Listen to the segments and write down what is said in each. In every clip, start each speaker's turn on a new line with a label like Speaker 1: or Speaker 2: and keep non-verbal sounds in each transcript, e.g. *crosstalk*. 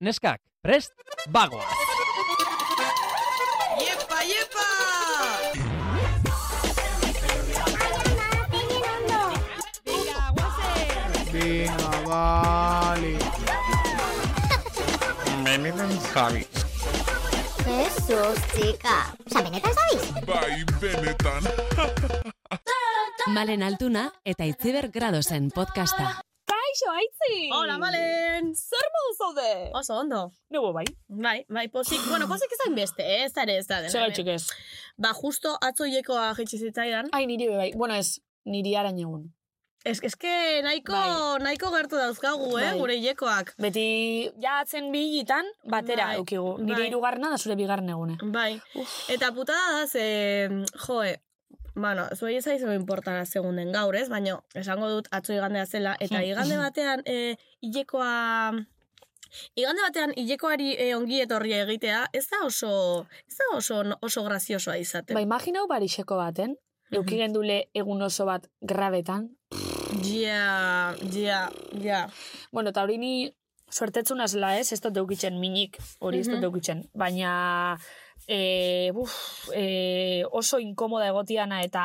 Speaker 1: neskak, prest, bagoaz!
Speaker 2: ¡Yepa, yepa!
Speaker 3: Venga, guazen.
Speaker 4: Venga, vale.
Speaker 5: Jesus, txika. Osa, benetan zabiz?
Speaker 6: Bai, benetan.
Speaker 7: Malen Altuna eta Itziber Gradosen podcasta.
Speaker 3: Kaixo, aitzi.
Speaker 2: Hola, Malen!
Speaker 3: Zer modu zaude?
Speaker 2: Oso ondo.
Speaker 3: Nubo bai.
Speaker 2: Bai, bai, posik, bueno, posik ezain beste, eh? ez ere, ez da dena.
Speaker 3: Zer gaitxik ez.
Speaker 2: Ba, justo atzoiekoa jetxi zitzaidan.
Speaker 3: Ai, niri bai. Bueno, ez, niri arañ egun.
Speaker 2: Ez, ez que nahiko,
Speaker 3: Bai.
Speaker 2: nahiko gertu dauzkagu, eh?
Speaker 3: Bai.
Speaker 2: Gure hilekoak.
Speaker 3: Beti jatzen bigitan, batera
Speaker 2: Bai,
Speaker 3: eukigu. Nire
Speaker 2: bai.
Speaker 3: hirugarrena da zure bigarren egune.
Speaker 2: Bai. Eta putada da, ze, joe, bueno, zuei ez aizu importara segun den gaur, ez? Baina, esango dut atzo igandea zela,
Speaker 3: Hmm.
Speaker 2: eta igande batean e, hilekoa... Igande batean hilekoari e, ongi etorria egitea, ez da oso, ez da oso, oso graziosoa izaten.
Speaker 3: Ba, imaginau barixeko baten, euki gendule egun oso bat grabetan.
Speaker 2: Ja, ja, ja.
Speaker 3: Bueno, eta hori ni suertetzuna zela ez, ez dut eukitzen minik, hori ez dut
Speaker 2: Mhm.
Speaker 3: eukitzen. Baina e, buf, e, oso inkomoda egotiana eta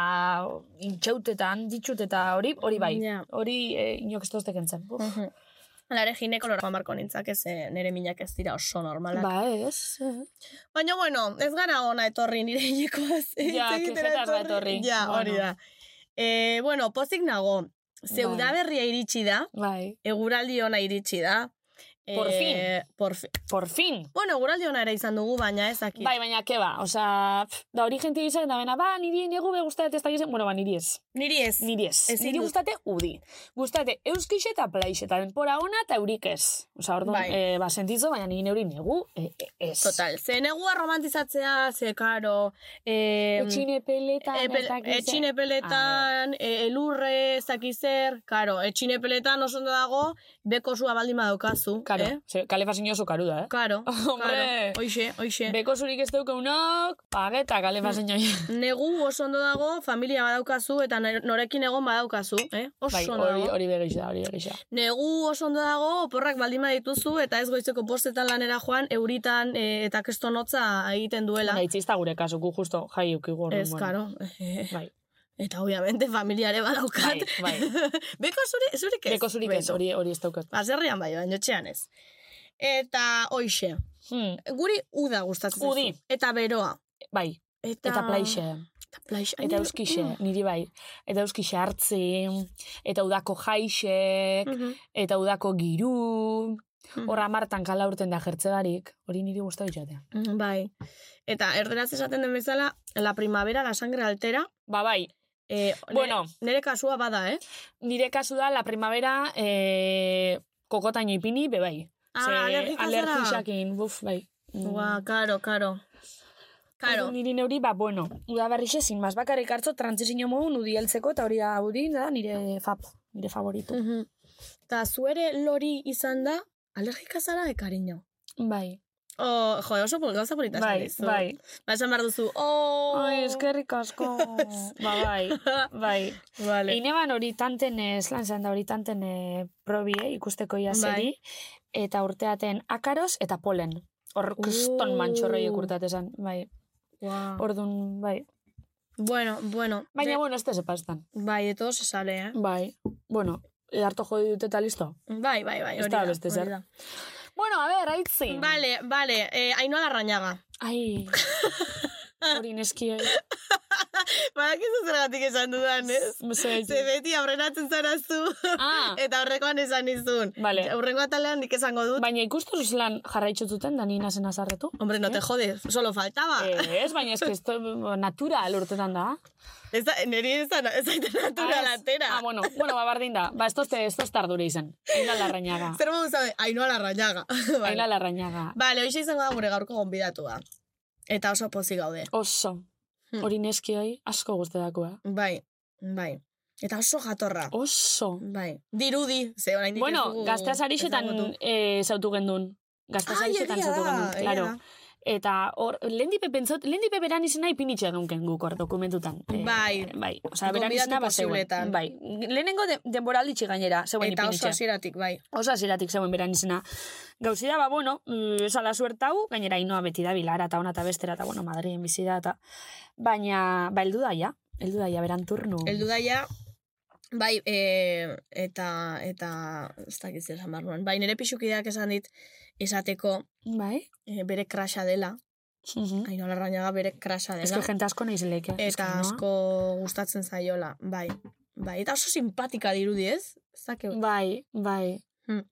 Speaker 3: intxaut eta handitxut eta hori, hori bai. Mhm.
Speaker 2: Ja.
Speaker 3: Hori e, inok ez doztek entzen. Buf.
Speaker 2: Hala ere ginekolora joan barko nintzak, ez eh, nere minak ez dira oso normalak.
Speaker 3: Ba ez. eh.
Speaker 2: Baina, bueno, ez gara ona etorri nire hilekoaz.
Speaker 3: Ja,
Speaker 2: hitz egitera
Speaker 3: kejetaz da etorri.
Speaker 2: Ja,
Speaker 3: Bueno.
Speaker 2: hori da. E, bueno, pozik nago, ze
Speaker 3: Bai.
Speaker 2: udaberria iritsi da,
Speaker 3: Bai.
Speaker 2: eguraldi ona iritsi da. E,
Speaker 3: Por fin.
Speaker 2: Por fin.
Speaker 3: Por fin.
Speaker 2: Bueno, eguraldi ona ere izan dugu, baina ez dakit.
Speaker 3: Bai, baina keba, osea, pf, da hori jente izan, da bena, ba, niri niegu be gustate ez dakizen, bueno, ba, niri ez.
Speaker 2: Niri ez.
Speaker 3: Niri ez.
Speaker 2: Ezin
Speaker 3: niri
Speaker 2: dut.
Speaker 3: gustate udi. Gustate euskixe eta plaixe, eta denpora ona eta eurik ez. Osa, orduan,
Speaker 2: Bai.
Speaker 3: eh, ba, sentitzo, baina nire neuri negu e, e, ez.
Speaker 2: Total, ze negua romantizatzea, ze karo, eh,
Speaker 3: Etxine peletan,
Speaker 2: Epel,
Speaker 3: ez dakiz ze.
Speaker 2: Eh, etxinepeletan, e, elurre, ez dakizzer, karo, etxinepeletan oso ondo dago, beko zua baldin badaukazu.
Speaker 3: Karo,
Speaker 2: Eh?
Speaker 3: ze, kale fazinio oso karu da, eh?
Speaker 2: Karo,
Speaker 3: *laughs* Hombre.
Speaker 2: karo, oixe, oixe.
Speaker 3: Beko zurik ez deukeunok, pageta kale fazinio.
Speaker 2: Negu oso ondo dago, familia badaukazu, eta nor- norekin egon badaukazu, eh? Oso
Speaker 3: bai,
Speaker 2: ondo
Speaker 3: hori,
Speaker 2: dago.
Speaker 3: hori begixa, hori begixa.
Speaker 2: Negu oso ondo dago, oporrak baldin badituzu, eta ez goizeko postetan lanera joan, euritan e, eta kestonotza egiten duela.
Speaker 3: Gaitzista gure kasu, gu justo jai eukigu. orduan,
Speaker 2: Ez,
Speaker 3: bueno.
Speaker 2: karo.
Speaker 3: Bai,
Speaker 2: *laughs* Eta, obviamente, familiare badaukat.
Speaker 3: bai, bai.
Speaker 2: *laughs* Beko zure, zurik ez.
Speaker 3: Beko zurik ez,
Speaker 2: Beko.
Speaker 3: hori, hori ez daukat.
Speaker 2: Baserrian bai, baina etxean ez. Eta hoixe,
Speaker 3: Hmm,
Speaker 2: guri uda gustatzen zaizu.
Speaker 3: Udi.
Speaker 2: Eta beroa.
Speaker 3: bai,
Speaker 2: Eta,
Speaker 3: eta plaixe,
Speaker 2: Eta plaixe.
Speaker 3: eta euskixe,
Speaker 2: mm.
Speaker 3: niri bai. Eta euskixe hartzi, eta udako jaixek,
Speaker 2: Mhm.
Speaker 3: eta udako giru,
Speaker 2: Mhm.
Speaker 3: horra martan kala urten da jertze barik, hori niri guztau jatea.
Speaker 2: Mm, Bai. Eta erderaz esaten den bezala, la primavera, la sangre altera.
Speaker 3: Ba bai,
Speaker 2: E,
Speaker 3: Bueno.
Speaker 2: Nere kasua bada, eh?
Speaker 3: nire kasu da, la primavera, e, kokotaino ipini, be bai.
Speaker 2: Ah, alergika zara.
Speaker 3: alergixakin, buf, bai. Mm.
Speaker 2: Ua, karo, karo. Karo.
Speaker 3: Ordu Niri neuri, ba, bueno, udaberrixe zin, maz bakarrik hartzo trantzizio modun udieltzeko, eta hori da, hori da, nire fab, nire favoritu.
Speaker 2: Mhm. Eta zuere lori izan da, alergika zara de cariño.
Speaker 3: Bai,
Speaker 2: Oh, jo, oso pol- gauza polita esan
Speaker 3: bai,
Speaker 2: dizu.
Speaker 3: bai.
Speaker 2: Ba, esan behar duzu, oh!
Speaker 3: Ai, eskerrik asko.
Speaker 2: *laughs*
Speaker 3: ba, bai, bai.
Speaker 2: Vale.
Speaker 3: Eine ban hori tanten, eh, ez lan zen da hori tanten eh, probi, eh, ikusteko
Speaker 2: Bai.
Speaker 3: ia zeri. Eta urteaten akaros eta polen. Hor, kriston
Speaker 2: Uh.
Speaker 3: mantxorroiek urteat esan, bai.
Speaker 2: Wow.
Speaker 3: Ordun bai.
Speaker 2: Bueno, bueno.
Speaker 3: Baina,
Speaker 2: Be-
Speaker 3: bueno, ez da sepastan.
Speaker 2: Bai, de todo se sale, eh?
Speaker 3: Bai. Bueno, eh, harto jode dut eta listo.
Speaker 2: Bai, bai, bai,
Speaker 3: Ez
Speaker 2: hori
Speaker 3: da
Speaker 2: da,
Speaker 3: beste zer.
Speaker 2: hori da.
Speaker 3: Bueno, a ver, aitzi.
Speaker 2: Vale, vale, eh, Ainhoa Larrañaga.
Speaker 3: Ai. Hori neski, eh.
Speaker 2: *laughs* Badakizu zergatik esan dudan, ez?
Speaker 3: Mesedez.
Speaker 2: Ze beti aurreratzen zara zu,
Speaker 3: Ah,
Speaker 2: *laughs* eta horrekoan esan izun.
Speaker 3: Vale.
Speaker 2: Aurrengo atalean nik esango dut.
Speaker 3: baina ikustuz lan jarraitzu zuten, da nina zen azarretu.
Speaker 2: Hombre, no te jodes, solo faltaba.
Speaker 3: Eh, Ez, baina ez que esto natural urtetan da.
Speaker 2: Ez da, niri ez da, ez da natural
Speaker 3: Ah, ez.
Speaker 2: atera.
Speaker 3: Ah, bueno, bueno, ba, bardin da. Ba, esto ez da tardure izan. Aina
Speaker 2: *laughs*
Speaker 3: larrañaga.
Speaker 2: Zer modu zaude? Ainhoa Larrañaga. *laughs*
Speaker 3: Aina
Speaker 2: vale,
Speaker 3: larrañaga.
Speaker 2: vale hoxe izango da gure gaurko gonbidatua. Eta oso pozik gaude.
Speaker 3: Oso.
Speaker 2: Hmm.
Speaker 3: Hori neskioi asko guztetako, eh?
Speaker 2: Bai, bai. Eta oso jatorra.
Speaker 3: Oso.
Speaker 2: Bai. Dirudi, ze oraindik ez
Speaker 3: Bueno,
Speaker 2: dugu
Speaker 3: gazteaz arixetan
Speaker 2: ezagutu.
Speaker 3: eh, zautu gendun. Gazteaz
Speaker 2: Ai,
Speaker 3: arixetan
Speaker 2: egia
Speaker 3: zautu
Speaker 2: da,
Speaker 3: gendun,
Speaker 2: egia
Speaker 3: claro.
Speaker 2: da.
Speaker 3: Eta hor, lehendipe pentsot, lehendipe beran izena ipinitxe genuen guk hor dokumentutan. Eh,
Speaker 2: Bai.
Speaker 3: bai. Osa, beran
Speaker 2: Gonbidatu
Speaker 3: izena bat
Speaker 2: posibletan.
Speaker 3: zegoen. Bai. Lehenengo de, denboralditxe gainera, zegoen
Speaker 2: Eta oso
Speaker 3: ipinitxe.
Speaker 2: hasieratik bai.
Speaker 3: Oso hasieratik zegoen beran izena. Gauzida, ba, bueno, mm, esala suertau, gainera inoa beti da bilara eta ona eta bestera, eta bueno, Madrilen bizi da, eta... Baina, ba, eldu daia, eldu daia beran turnu.
Speaker 2: Eldu daia, bai, e, eta, eta, ez dakit zer esan behar nuen. bai, nire pixukideak esan dit, esateko
Speaker 3: Bai?
Speaker 2: e, bere krasa dela,
Speaker 3: Mhm.
Speaker 2: Ainola Larrañaga bere krasa
Speaker 3: Ez que
Speaker 2: dela,
Speaker 3: jente asko nahiz lehik.
Speaker 2: eta asko gustatzen zaiola, bai, bai, eta oso simpatika dirudi ez, ez dakit,
Speaker 3: Bai, bai.
Speaker 2: Hmm.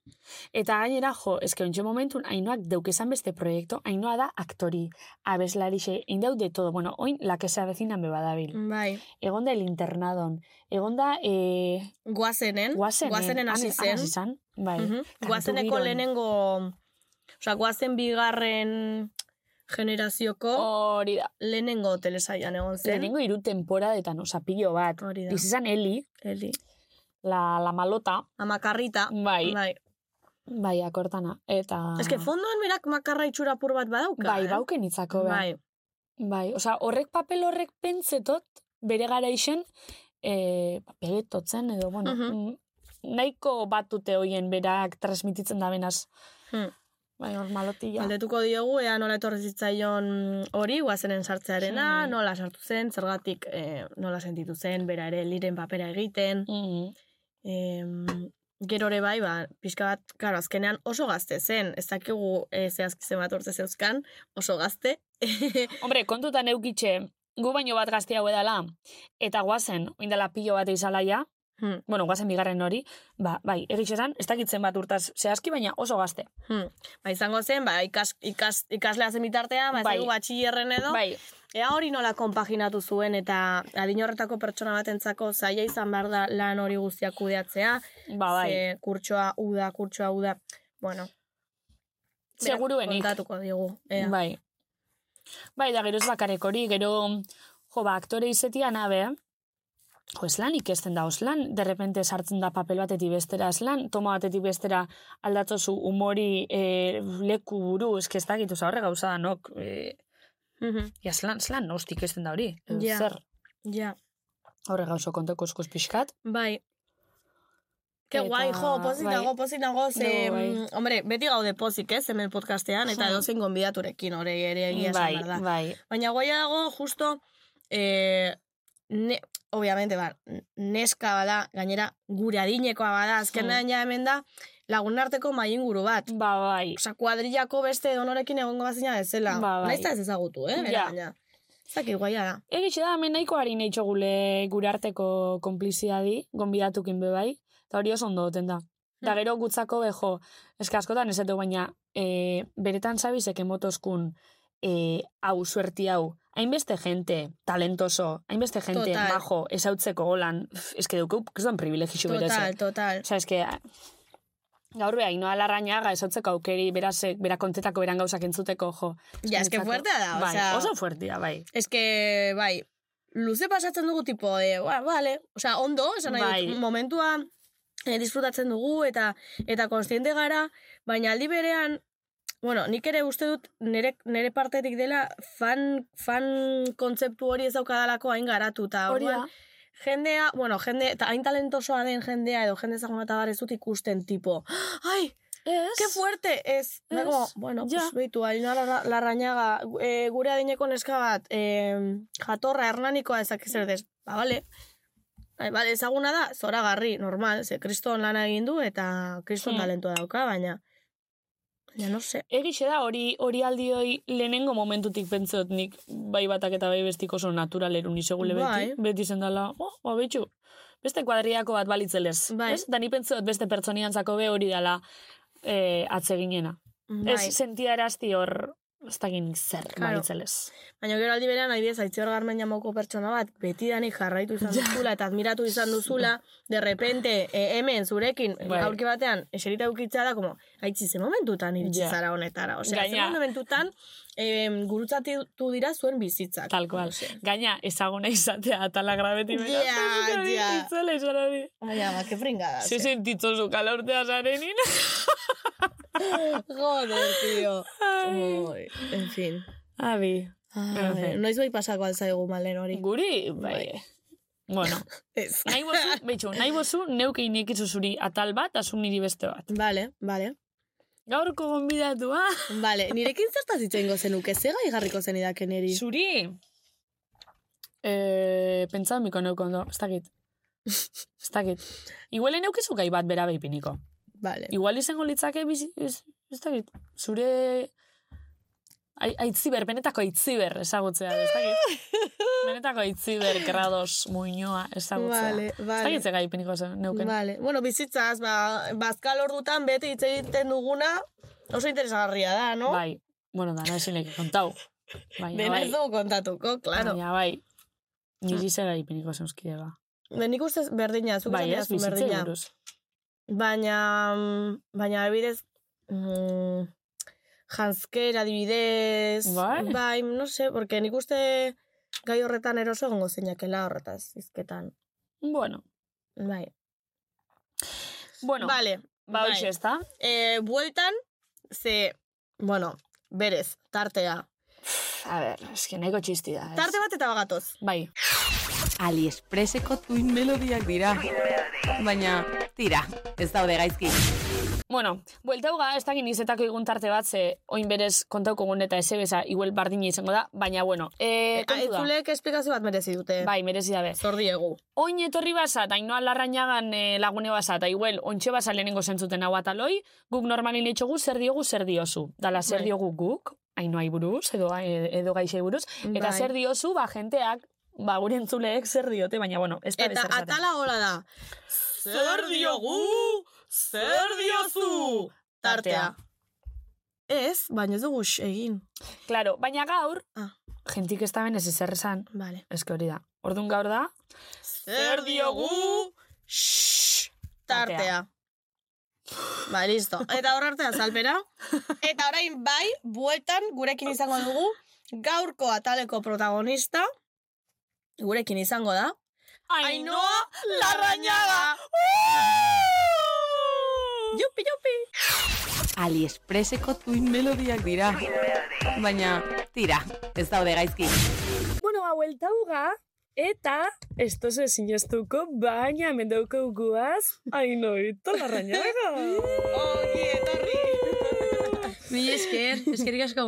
Speaker 3: Eta gainera, jo, eske ontxe momentun, hainoak deukesan beste proiektu, hainoa da aktori, abeslarixe, indau de todo. Bueno, oin, la que se avecinan beba dabil.
Speaker 2: bai,
Speaker 3: Egon da el internadon, egon da eh,
Speaker 2: guazenen,
Speaker 3: guazenen.
Speaker 2: Hm? hasi
Speaker 3: han- han
Speaker 2: zen,
Speaker 3: izan, bai.
Speaker 2: Mhm.
Speaker 3: Kantu
Speaker 2: guazeneko
Speaker 3: giroan.
Speaker 2: lehenengo, osea, guazen bigarren generazioko,
Speaker 3: Hori da.
Speaker 2: lehenengo telesaian egon zen.
Speaker 3: Lehenengo iru temporadetan, osa, pilo bat.
Speaker 2: Hori da.
Speaker 3: Izan Eli,
Speaker 2: Eli.
Speaker 3: la, la malota,
Speaker 2: Amakarrita.
Speaker 3: bai,
Speaker 2: Bai.
Speaker 3: bai, akortana. Eta...
Speaker 2: Ez que fondoan berak makarra itxura pur bat badauka.
Speaker 3: Bai,
Speaker 2: eh?
Speaker 3: bauken itzako, bai.
Speaker 2: Bai.
Speaker 3: Bai, osea, horrek papel horrek pentsetot, bere gara isen, e, pegetotzen edo, bueno,
Speaker 2: Mhm.
Speaker 3: mm, nahiko batute hoien berak transmititzen da benaz.
Speaker 2: Hmm.
Speaker 3: Bai, hor malotia.
Speaker 2: Galdetuko diogu, ea nola etorri zitzaion hori, guazenen sartzearena,
Speaker 3: Sí.
Speaker 2: nola sartu zen, zergatik eh, nola sentitu zen, bera ere liren papera egiten.
Speaker 3: Mhm.
Speaker 2: Em, gero ere bai, ba, pixka bat, claro, azkenean oso gazte zen, ez dakigu e, zehazki zenbat urte zeuzkan, oso gazte. *laughs*
Speaker 3: Hombre, kontutan eukitxe, gu baino bat gazti hau edala, eta guazen, oindala pilo bat izalaia,
Speaker 2: Hmm,
Speaker 3: bueno, guazen bigarren hori, ba, bai, egitxetan, ez dakitzen bat urtaz zehazki, baina oso gazte.
Speaker 2: hmm. Ba, izango zen, ba, ikas, ikas, ikaslea zen bitartean, ba, ez
Speaker 3: Bai.
Speaker 2: dakigu batxillerren edo,
Speaker 3: Bai,
Speaker 2: Ea hori nola konpaginatu zuen eta adin horretako pertsona batentzako zaila izan behar da lan hori guztiak kudeatzea.
Speaker 3: ba, bai.
Speaker 2: Ze kurtsoa uda, kurtsoa uda. Bueno. berak
Speaker 3: Seguruenik.
Speaker 2: Kontatuko digu. Ea.
Speaker 3: Bai. Bai, da gero ez bakarek hori, gero, jo, ba, aktore izetian, abe, jo, eslan ikesten da, oslan, derrepente sartzen da papel batetik bestera, eslan, toma batetik bestera aldatzozu umori e, leku buru, eske ez dakit, oza, horre gauza da, nok, e,
Speaker 2: Mhm.
Speaker 3: ja, eslan, eslan, nosti ikesten da hori, E,
Speaker 2: Ja.
Speaker 3: zer,
Speaker 2: Ja.
Speaker 3: horre gauza kontako eskuz pixkat,
Speaker 2: Bai. Ke
Speaker 3: Eta-
Speaker 2: guai, jo, pozik
Speaker 3: bai.
Speaker 2: nago, pozik nago, ze,
Speaker 3: Dugu, bai.
Speaker 2: mm, hombre, beti gaude pozik, ez, hemen podcastean, eta
Speaker 3: Ja.
Speaker 2: edozein gonbidaturekin, hori ere egia esan
Speaker 3: bai,
Speaker 2: behar da.
Speaker 3: bai,
Speaker 2: Baina guaia dago, justo, e, ne, obviamente, ba, neska bada, gainera, gure adinekoa bada,
Speaker 3: Hmm.
Speaker 2: azkenean ja hemen da, lagun arteko mai inguru bat.
Speaker 3: ba, bai,
Speaker 2: Osa, kuadrillako beste donorekin egongo bazina bezala.
Speaker 3: Ba, bai.
Speaker 2: Nahiz eta ez ezagutu, eh? Bera,
Speaker 3: Ja.
Speaker 2: baina. Zaki, guaia da.
Speaker 3: Egitxe da, hemen nahiko harin eitxo gule gure arteko konpliziadi, gonbidatukin bebai, eta hori oso ondo doten da.
Speaker 2: Hmm.
Speaker 3: Da gero gutzako bejo, eske askotan ez edo baina, e, beretan zabizek emotozkun, e, hau, suerti hau, hainbeste jente, talentoso, hainbeste jente,
Speaker 2: Total.
Speaker 3: majo, esautzeko holan, pf, eske dugu, kriston privilegixu
Speaker 2: Total,
Speaker 3: berez.
Speaker 2: total.
Speaker 3: Osa, eske, a- gaur beha, inoa larrañaga esautzeko aukeri, beraz, eh, bera kontetako beran gauzak entzuteko, jo.
Speaker 2: Ja, eske
Speaker 3: niretzako-
Speaker 2: fuertea da,
Speaker 3: bai,
Speaker 2: osea-
Speaker 3: oso fuertea, bai.
Speaker 2: Ez que, bai, luze pasatzen dugu tipo, de, ba, vale, osea, ondo, esan nahi dut,
Speaker 3: Bai.
Speaker 2: momentua eh, disfrutatzen dugu eta eta konstiente gara, baina aldi berean, bueno, nik ere uste dut nere, nere partetik dela fan, fan kontzeptu hori ez daukadalako hain garatuta.
Speaker 3: Hori da.
Speaker 2: orduan, Jendea, bueno, jende, eta hain talentosoa den jendea edo jende ezaguna eta barrez dut ikusten tipo, *gasps* ai,
Speaker 3: Ez.
Speaker 2: ¡Qué fuerte! Ez, da
Speaker 3: Ez,
Speaker 2: como, bueno,
Speaker 3: ja.
Speaker 2: pues beitu, Ainhoa Larra- larrañaga, eh, gure adineko neska bat, eh, jatorra, hernanikoa ezak zer des. Ba, vale. Ai, vale, ezaguna da, zoragarri, normal, ze kriston lana egin du eta kriston
Speaker 3: Hmm.
Speaker 2: talentua dauka, baina, ja, no se.
Speaker 3: Egixe da, hori hori aldioi lehenengo momentutik pentsot nik bai batak eta bai bestik oso naturalerun isegule beti.
Speaker 2: Bai.
Speaker 3: Beti zendala, oh, ba, betxu, beste kuadriako bat balitzelez.
Speaker 2: Bai.
Speaker 3: Ez? Da ni pentsot beste pertsoniantzako be hori dala eh, atzeginena.
Speaker 2: Bai.
Speaker 3: Ez sentia erazti hor, ez dakin zer
Speaker 2: Claro.
Speaker 3: balitzelez.
Speaker 2: Baina gero aldi berean, adibidez, aitzior garmen jamoko pertsona bat, betidanik jarraitu izan duzula eta admiratu izan duzula, de repente, eh, hemen, zurekin,
Speaker 3: Bai.
Speaker 2: aurki batean, eserita eukitza da, como, aitzi, ze momentutan iritsi
Speaker 3: Ja.
Speaker 2: zara honetara. Osea, ze
Speaker 3: Gaina-
Speaker 2: momentutan, eh, gurutzatu dira zuen bizitzak.
Speaker 3: Tal cual.
Speaker 2: Osea.
Speaker 3: Gaina, ezaguna izatea atala grabeti bera.
Speaker 2: Ja, ja.
Speaker 3: Itzela izan hori.
Speaker 2: Baina, ba, que fringada. *laughs*
Speaker 3: Sí, sentitzozu kalortea zarenin.
Speaker 2: Joder, tío.
Speaker 3: Ai.
Speaker 2: Oi, en fin.
Speaker 3: Abi.
Speaker 2: Ai, noiz bai pasako alzaigu malen hori.
Speaker 3: Guri, bai. Bueno,
Speaker 2: Ez.
Speaker 3: nahi bozu, betxu, nahi bozu, neuke inekizu zuri atal bat, asun niri beste bat.
Speaker 2: Vale, vale.
Speaker 3: Gaurko
Speaker 2: *laughs*
Speaker 3: gonbidatua.
Speaker 2: Vale, nirekin zertaz itxoingo ingo zenuke, ze gai jarriko zenidaken eri?
Speaker 3: Zuri! Eh, pentsa miko neuko ondo, ez dakit. *laughs* Ez dakit. Igual neukizu gai bat bera beipiniko.
Speaker 2: Vale.
Speaker 3: Igual izango litzake bizi, ez, ez dakit, zure ai- aitziber, benetako aitziber ezagutzea, ez dakit.
Speaker 2: *laughs*
Speaker 3: Benetako aitziber grados muinoa ezagutzea.
Speaker 2: Vale,
Speaker 3: Ez
Speaker 2: vale.
Speaker 3: dakit ze gai piniko zen, neuken.
Speaker 2: Vale. Bueno, bizitzaz, ba, bazkal ordutan beti hitz egiten duguna oso interesgarria da, no?
Speaker 3: Bai, bueno, da, nahi zilek kontau. Bai,
Speaker 2: Dena
Speaker 3: bai,
Speaker 2: ez dugu kontatuko, klaro.
Speaker 3: baina bai. Niri zer gai piniko zeuzkide ba.
Speaker 2: Ba, Nik ustez berdina, zuk
Speaker 3: Bai,
Speaker 2: esan
Speaker 3: ez,
Speaker 2: didazun
Speaker 3: bizitzei
Speaker 2: berdina.
Speaker 3: buruz.
Speaker 2: Baina, mm, baina adibidez, mm, janzker adibidez,
Speaker 3: Bai.
Speaker 2: no sé, porque nik uste gai horretan eroso egongo zeinakela horretaz, izketan.
Speaker 3: Bueno,
Speaker 2: Bai.
Speaker 3: bueno,
Speaker 2: Vale,
Speaker 3: ba,
Speaker 2: bai.
Speaker 3: hoxe, ez da?
Speaker 2: Eh, bueltan, ze, bueno, berez, tartea.
Speaker 3: A ber, eski nahiko txisti da, ez?
Speaker 2: Tarte bat eta bagatoz.
Speaker 3: Bai,
Speaker 6: Aliexpreseko tuin melodiak dira. Baina, tira, ez daude gaizki.
Speaker 3: Bueno, buelta huga, ez dakin izetako igun tarte bat, ze oin berez kontauko gun eta ezebeza, igual bardina izango da, baina bueno,
Speaker 2: Eh,
Speaker 3: e, kontu da.
Speaker 2: Entzulek esplikazio bat merezi dute.
Speaker 3: Bai, merezi dabe.
Speaker 2: Zordiegu.
Speaker 3: Oin etorri basa, eta inoa larrañagan e, lagune basa, eta igual, ontxe basa lehenengo zentzuten hau ataloi, guk normalin leitxogu zer diogu, zer diozu. Dala, zer
Speaker 2: Bai.
Speaker 3: diogu guk, hainoai buruz, edo, eh, edo gaixei buruz, eta
Speaker 2: Bai.
Speaker 3: zer diozu, ba, jenteak, ba, gure entzuleek zer diote, baina bueno, ez da
Speaker 2: Eta
Speaker 3: bezer esaten.
Speaker 2: atala hola da. Zer diogu, zer diozu, tartea. Ez, baina ez dugu x- egin.
Speaker 3: Claro, baina gaur,
Speaker 2: Ah.
Speaker 3: jentik ez da benez ezer esan,
Speaker 2: Vale.
Speaker 3: eske hori da. Orduan gaur da,
Speaker 2: Zer diogu, x- tartea. Ba, listo. Eta hor arte azalpera. *laughs* Eta orain bai, bueltan gurekin izango dugu gaurko ataleko protagonista. Gurekin izango da. Ainhoa Larrañaga! Yupi, yupi!
Speaker 6: Aliexpreseko tuin melodiak dira. Baina, tira, ez daude gaizki.
Speaker 3: Bueno, hau eltauga, eta esto se sinestuko, baina mendauko guaz, ainoito
Speaker 2: *laughs*
Speaker 3: larrañaga.
Speaker 2: Ongi etorri!
Speaker 8: Mi esker, eskerrik asko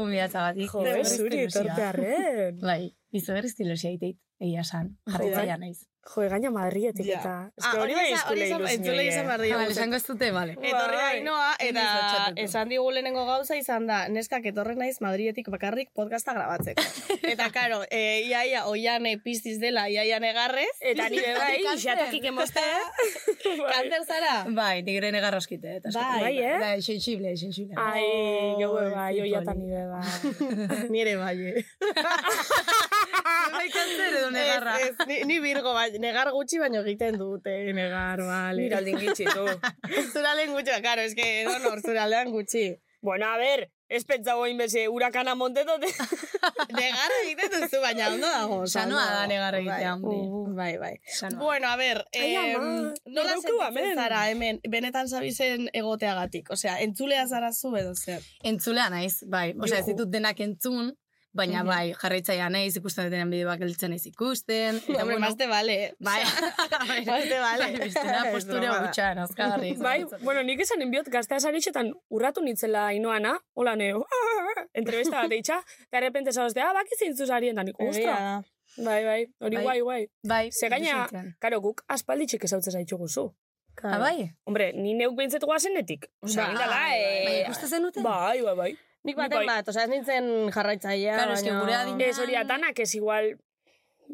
Speaker 2: eh,
Speaker 8: gombidatzagatik.
Speaker 3: Jo,
Speaker 8: Izugarri
Speaker 3: zuri
Speaker 8: estilosia. *laughs*
Speaker 3: etortearen.
Speaker 8: Bai, izugarri estilosia iteit, egia san, jarraitzaia naiz.
Speaker 3: Jo, gaina Madrietik
Speaker 8: Ja.
Speaker 3: eta...
Speaker 2: Ah,
Speaker 3: eske
Speaker 2: hori esan- hori
Speaker 3: entzule
Speaker 2: esan-
Speaker 3: ilusioi,
Speaker 2: entzule izan
Speaker 3: eh.
Speaker 2: behar
Speaker 8: Hala,
Speaker 2: diogu.
Speaker 8: Bai, esango ez dute, bale.
Speaker 2: Etorri
Speaker 3: Bai.
Speaker 2: ainoa, eta
Speaker 8: Inoiz altxatuko.
Speaker 2: esan digu lehenengo gauza izan da, neskak etorren naiz Madrietik bakarrik podcasta
Speaker 3: *laughs*
Speaker 2: grabatzeko. Eta karo, e, iaia oiane piztiz dela, iaia negarrez,
Speaker 3: Eta nire bai, xatakik emoztea.
Speaker 2: *laughs*
Speaker 3: Bai.
Speaker 2: kanter zara?
Speaker 3: *laughs*
Speaker 8: Bai, nik ere negarroskite. Eta asko.
Speaker 2: Bai, Ah.
Speaker 3: Bai, eh?
Speaker 8: Bai, sensible, sensible.
Speaker 3: Ai, gaue bai,
Speaker 8: Ai,
Speaker 3: oiatan
Speaker 8: poli.
Speaker 3: nire bai.
Speaker 2: Nire bai. eh.
Speaker 8: Bai, kantzer edo negarra.
Speaker 2: Ez, ez, ni, ni birgo, bai, negar gutxi baino egiten dute, negar, bale.
Speaker 8: Mira, aldin gitxi,
Speaker 2: *laughs*
Speaker 8: tu.
Speaker 2: Zuralen gutxi, ba, karo, eske, donor, zuraldean gutxi.
Speaker 3: Bueno, a ver, ez pentsago inbeze, hurakana montetote.
Speaker 2: Negar egiten duzu, baina ondo dago. oso
Speaker 8: Sanoa
Speaker 2: ondo
Speaker 8: da
Speaker 2: dago.
Speaker 8: negar egitea,
Speaker 2: Bai.
Speaker 8: hombre.
Speaker 2: Uh, Bai, bai.
Speaker 8: Sanoa.
Speaker 2: Bueno, a ber,
Speaker 3: Ai,
Speaker 2: em,
Speaker 3: ama,
Speaker 2: nola
Speaker 3: badaukagu hemen.
Speaker 2: sentitzen zara hemen, benetan zabizen egoteagatik? Osea, entzulea zara zu edo zer.
Speaker 8: Entzulea naiz, bai. Osea, ez
Speaker 2: Juhu.
Speaker 8: ditut denak entzun, baina
Speaker 2: Mhm.
Speaker 8: bai, jarraitzaia naiz, ikusten dutenen bideoak eltzen naiz ikusten. Eta,
Speaker 2: Hombre,
Speaker 8: Ba, bueno,
Speaker 2: más te vale. eh.
Speaker 8: Bai, *laughs*
Speaker 2: Más te vale.
Speaker 8: Bai,
Speaker 2: *laughs*
Speaker 8: bestela
Speaker 2: Ez
Speaker 8: postura
Speaker 2: broma da.
Speaker 8: gutxan, azkarri.
Speaker 3: *laughs* Bai, bueno, nik esan enbiot gaztea saritxetan urratu nitzela inoana, hola neo, *laughs* entrevista bat eitxa, eta errepente zauzte, ah, baki zintzu zarien, danik,
Speaker 2: Egia
Speaker 3: ostra.
Speaker 2: da.
Speaker 3: Bai, bai, hori
Speaker 8: Bai.
Speaker 3: guai, guai.
Speaker 8: bai,
Speaker 3: Ze gaina,
Speaker 8: bizitzen.
Speaker 3: karo, guk aspalditxik ezautze zaitxu guzu.
Speaker 8: Ah, bai?
Speaker 3: Hombre, ni neuk behintzet guazenetik. Osa,
Speaker 2: Bai,
Speaker 3: indala,
Speaker 8: Baina
Speaker 3: eh.
Speaker 8: ikusten zenuten?
Speaker 3: Bai, bai, bai.
Speaker 2: Nik
Speaker 3: Bai.
Speaker 2: baten bat, osea, ez nintzen jarraitzaia.
Speaker 8: Claro, eske
Speaker 2: baina-
Speaker 8: gure adina-
Speaker 3: Ez hori atanak ez igual,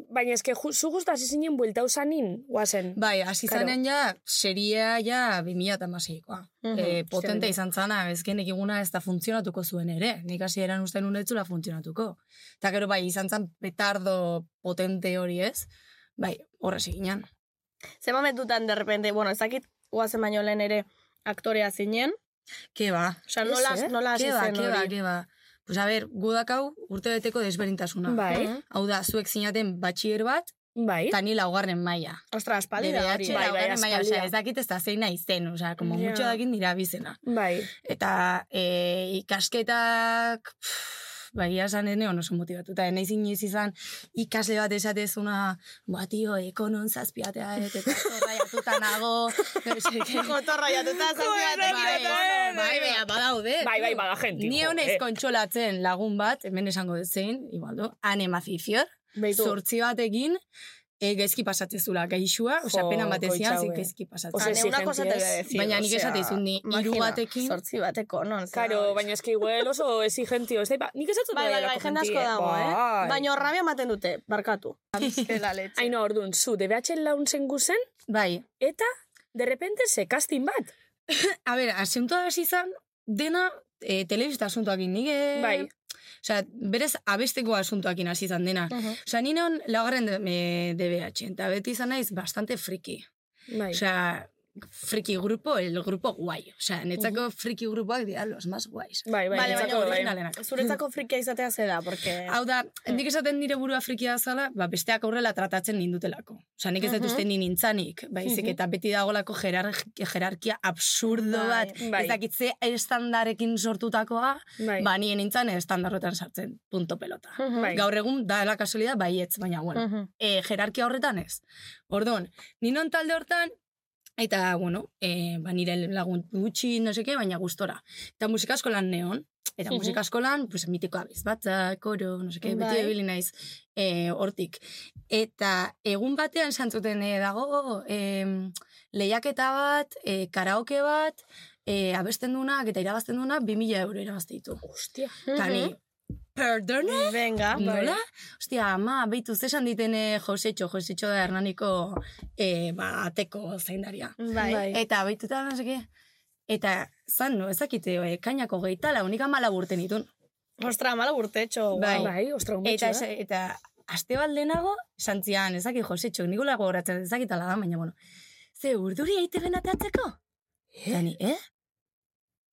Speaker 3: baina eske ju, zu guztu hasi zinen buelta usanin guazen.
Speaker 2: Ba-
Speaker 8: Bai, hasi
Speaker 3: Claro.
Speaker 8: zanen ja, seria ja 2008koa.
Speaker 2: Mhm.
Speaker 8: e, potente izan zana, ezkenek iguna ez da funtzionatuko zuen ere. Nik hasi eran uste nun etzula funtzionatuko. Eta gero bai, izan zan petardo potente hori ez, bai, horrez eginan.
Speaker 2: Ze momentutan, de repente, bueno, ez dakit, guazen baino lehen ere aktorea zinen.
Speaker 8: Ke ba,
Speaker 2: Osea, nola,
Speaker 3: Ez, eh?
Speaker 2: nola hasi
Speaker 8: ke ba,
Speaker 2: zen
Speaker 8: ke ba,
Speaker 2: hori.
Speaker 8: ke ba. Pues a ber, gu dakau urte beteko desberintasuna.
Speaker 2: Mhm.
Speaker 3: Bai.
Speaker 8: Hau da, zuek zinaten batxier bat,
Speaker 3: Bai.
Speaker 8: Eta ni laugarren maila.
Speaker 2: Ostra, espaldira
Speaker 8: DDH
Speaker 2: hori.
Speaker 3: Bai, bai,
Speaker 8: laugarren maila,
Speaker 3: aspaldia.
Speaker 8: osea, ez dakit ez da zein naizen, osea, como
Speaker 3: Ja.
Speaker 8: mucho dakit nira bizena.
Speaker 3: Bai.
Speaker 8: Eta e, ikasketak, pff, bai, esan ez neon oso motibatuta. Naiz inoiz izan ikasle bat esatezuna, ba, tio, ekonon zazpiatea, et, eta
Speaker 3: *laughs*
Speaker 8: zorraiatuta nago. no sé qué.
Speaker 2: Kotorra jatuta,
Speaker 8: Bai, bai, bai,
Speaker 2: bea, badaude.
Speaker 3: Bai, bai, bada jenti.
Speaker 8: Ni honez kontsolatzen lagun bat, hemen esango dut zein, igualdo, ane mazifior,
Speaker 3: Beitu,
Speaker 8: sortzi batekin, e, gaizki pasatzezula gaixua, osea,
Speaker 3: Jo,
Speaker 8: pena
Speaker 3: goitza,
Speaker 8: batezian, zik
Speaker 3: hue.
Speaker 8: gaizki pasatzen.
Speaker 3: Osea,
Speaker 2: Ane, una
Speaker 3: exigentziez.
Speaker 2: cosa te voy a decir.
Speaker 8: Baina
Speaker 2: o
Speaker 8: nik
Speaker 2: sea,
Speaker 8: esate izun ni, hiru
Speaker 2: imagina,
Speaker 8: batekin-
Speaker 2: Sortzi bateko, non? zera.
Speaker 3: Karo, baina eski igual oso exigentio. Ez da, ipa- nik esatzen
Speaker 2: Bai, bai, bai, jende asko dago, eh? Bai. Baina horrabia ematen dute, barkatu. Zela letxe.
Speaker 3: bai. Aino, orduan, zu, DBH launtzen guzen,
Speaker 8: Bai,
Speaker 3: eta, de repente, se casting bat.
Speaker 8: a ber, asuntoa hasi izan, dena e, telebista asuntoakin, nik... E,
Speaker 3: Bai.
Speaker 8: Osea, berez abesteko asuntoakin hasi izan dena.
Speaker 2: Mhm.
Speaker 8: Osea, ni neon laugarren de, e, DBH, eta beti izan naiz bastante friki.
Speaker 3: Bai.
Speaker 8: Osea, friki grupo, el grupo guai. Osea, netzako friki grupoak dira los más guais.
Speaker 3: Bai, bai,
Speaker 2: Vale,
Speaker 3: niretzako
Speaker 2: baina
Speaker 3: bai.
Speaker 8: originalenak.
Speaker 2: Zuretzako frikia izatea zeda, porque... *laughs*
Speaker 8: Hau da, nik esaten nire burua frikia zala, ba, besteak aurrela tratatzen nindutelako. Osa, nik ez dut
Speaker 2: Mhm.
Speaker 8: uste ni nintzanik, baizik, eta beti dagolako jerar, jerarkia absurdo
Speaker 2: Bai,
Speaker 8: bat,
Speaker 3: bai.
Speaker 8: ez dakitze estandarekin sortutakoa,
Speaker 3: Bai.
Speaker 8: ba, nien nintzan estandarrotan sartzen, punto pelota.
Speaker 2: Mhm.
Speaker 3: Bai. Mm.
Speaker 8: Gaur egun, da la kasualidad, baietz, baina, bueno,
Speaker 2: Mhm.
Speaker 8: e, jerarkia horretan ez. Orduan, ninon talde hortan, eta, bueno, e, ba, nire lagun gutxi, no seke, baina gustora. Eta musikaskolan neon, eta
Speaker 3: Mhm.
Speaker 8: musikaskolan, pues, mitikoa bizbatza, koro, no seke, beti
Speaker 2: Bai.
Speaker 8: ebili naiz e, hortik. Eta egun batean santzuten e, dago, e, lehiaketa bat, e, karaoke bat, e, abesten dunak eta irabazten dunak 2000 euro irabazte ditu.
Speaker 3: Hostia.
Speaker 8: Eta ni, perdona?
Speaker 2: Venga, bai.
Speaker 8: Nola? Ostia, ama, beitu, zesan ditene Josetxo, Josetxo da Hernaniko eh, ba, ateko zaindaria.
Speaker 2: Bai.
Speaker 3: Bai.
Speaker 8: Eta beitu eta no seke, eta zan, no, ezakite, eh, kainako gehieta, launik amala urte nitun.
Speaker 2: Ostra, mala urtetxo.
Speaker 8: Bai.
Speaker 2: guau.
Speaker 3: Bai, ostra, un
Speaker 2: eh?
Speaker 8: Eta, esa- eta aste bat lehenago, santzian, ezakit Josetxo, nikola gogoratzen ezakitala da, baina, bueno, ze urduri aite benatatzeko? Eta ni, eh?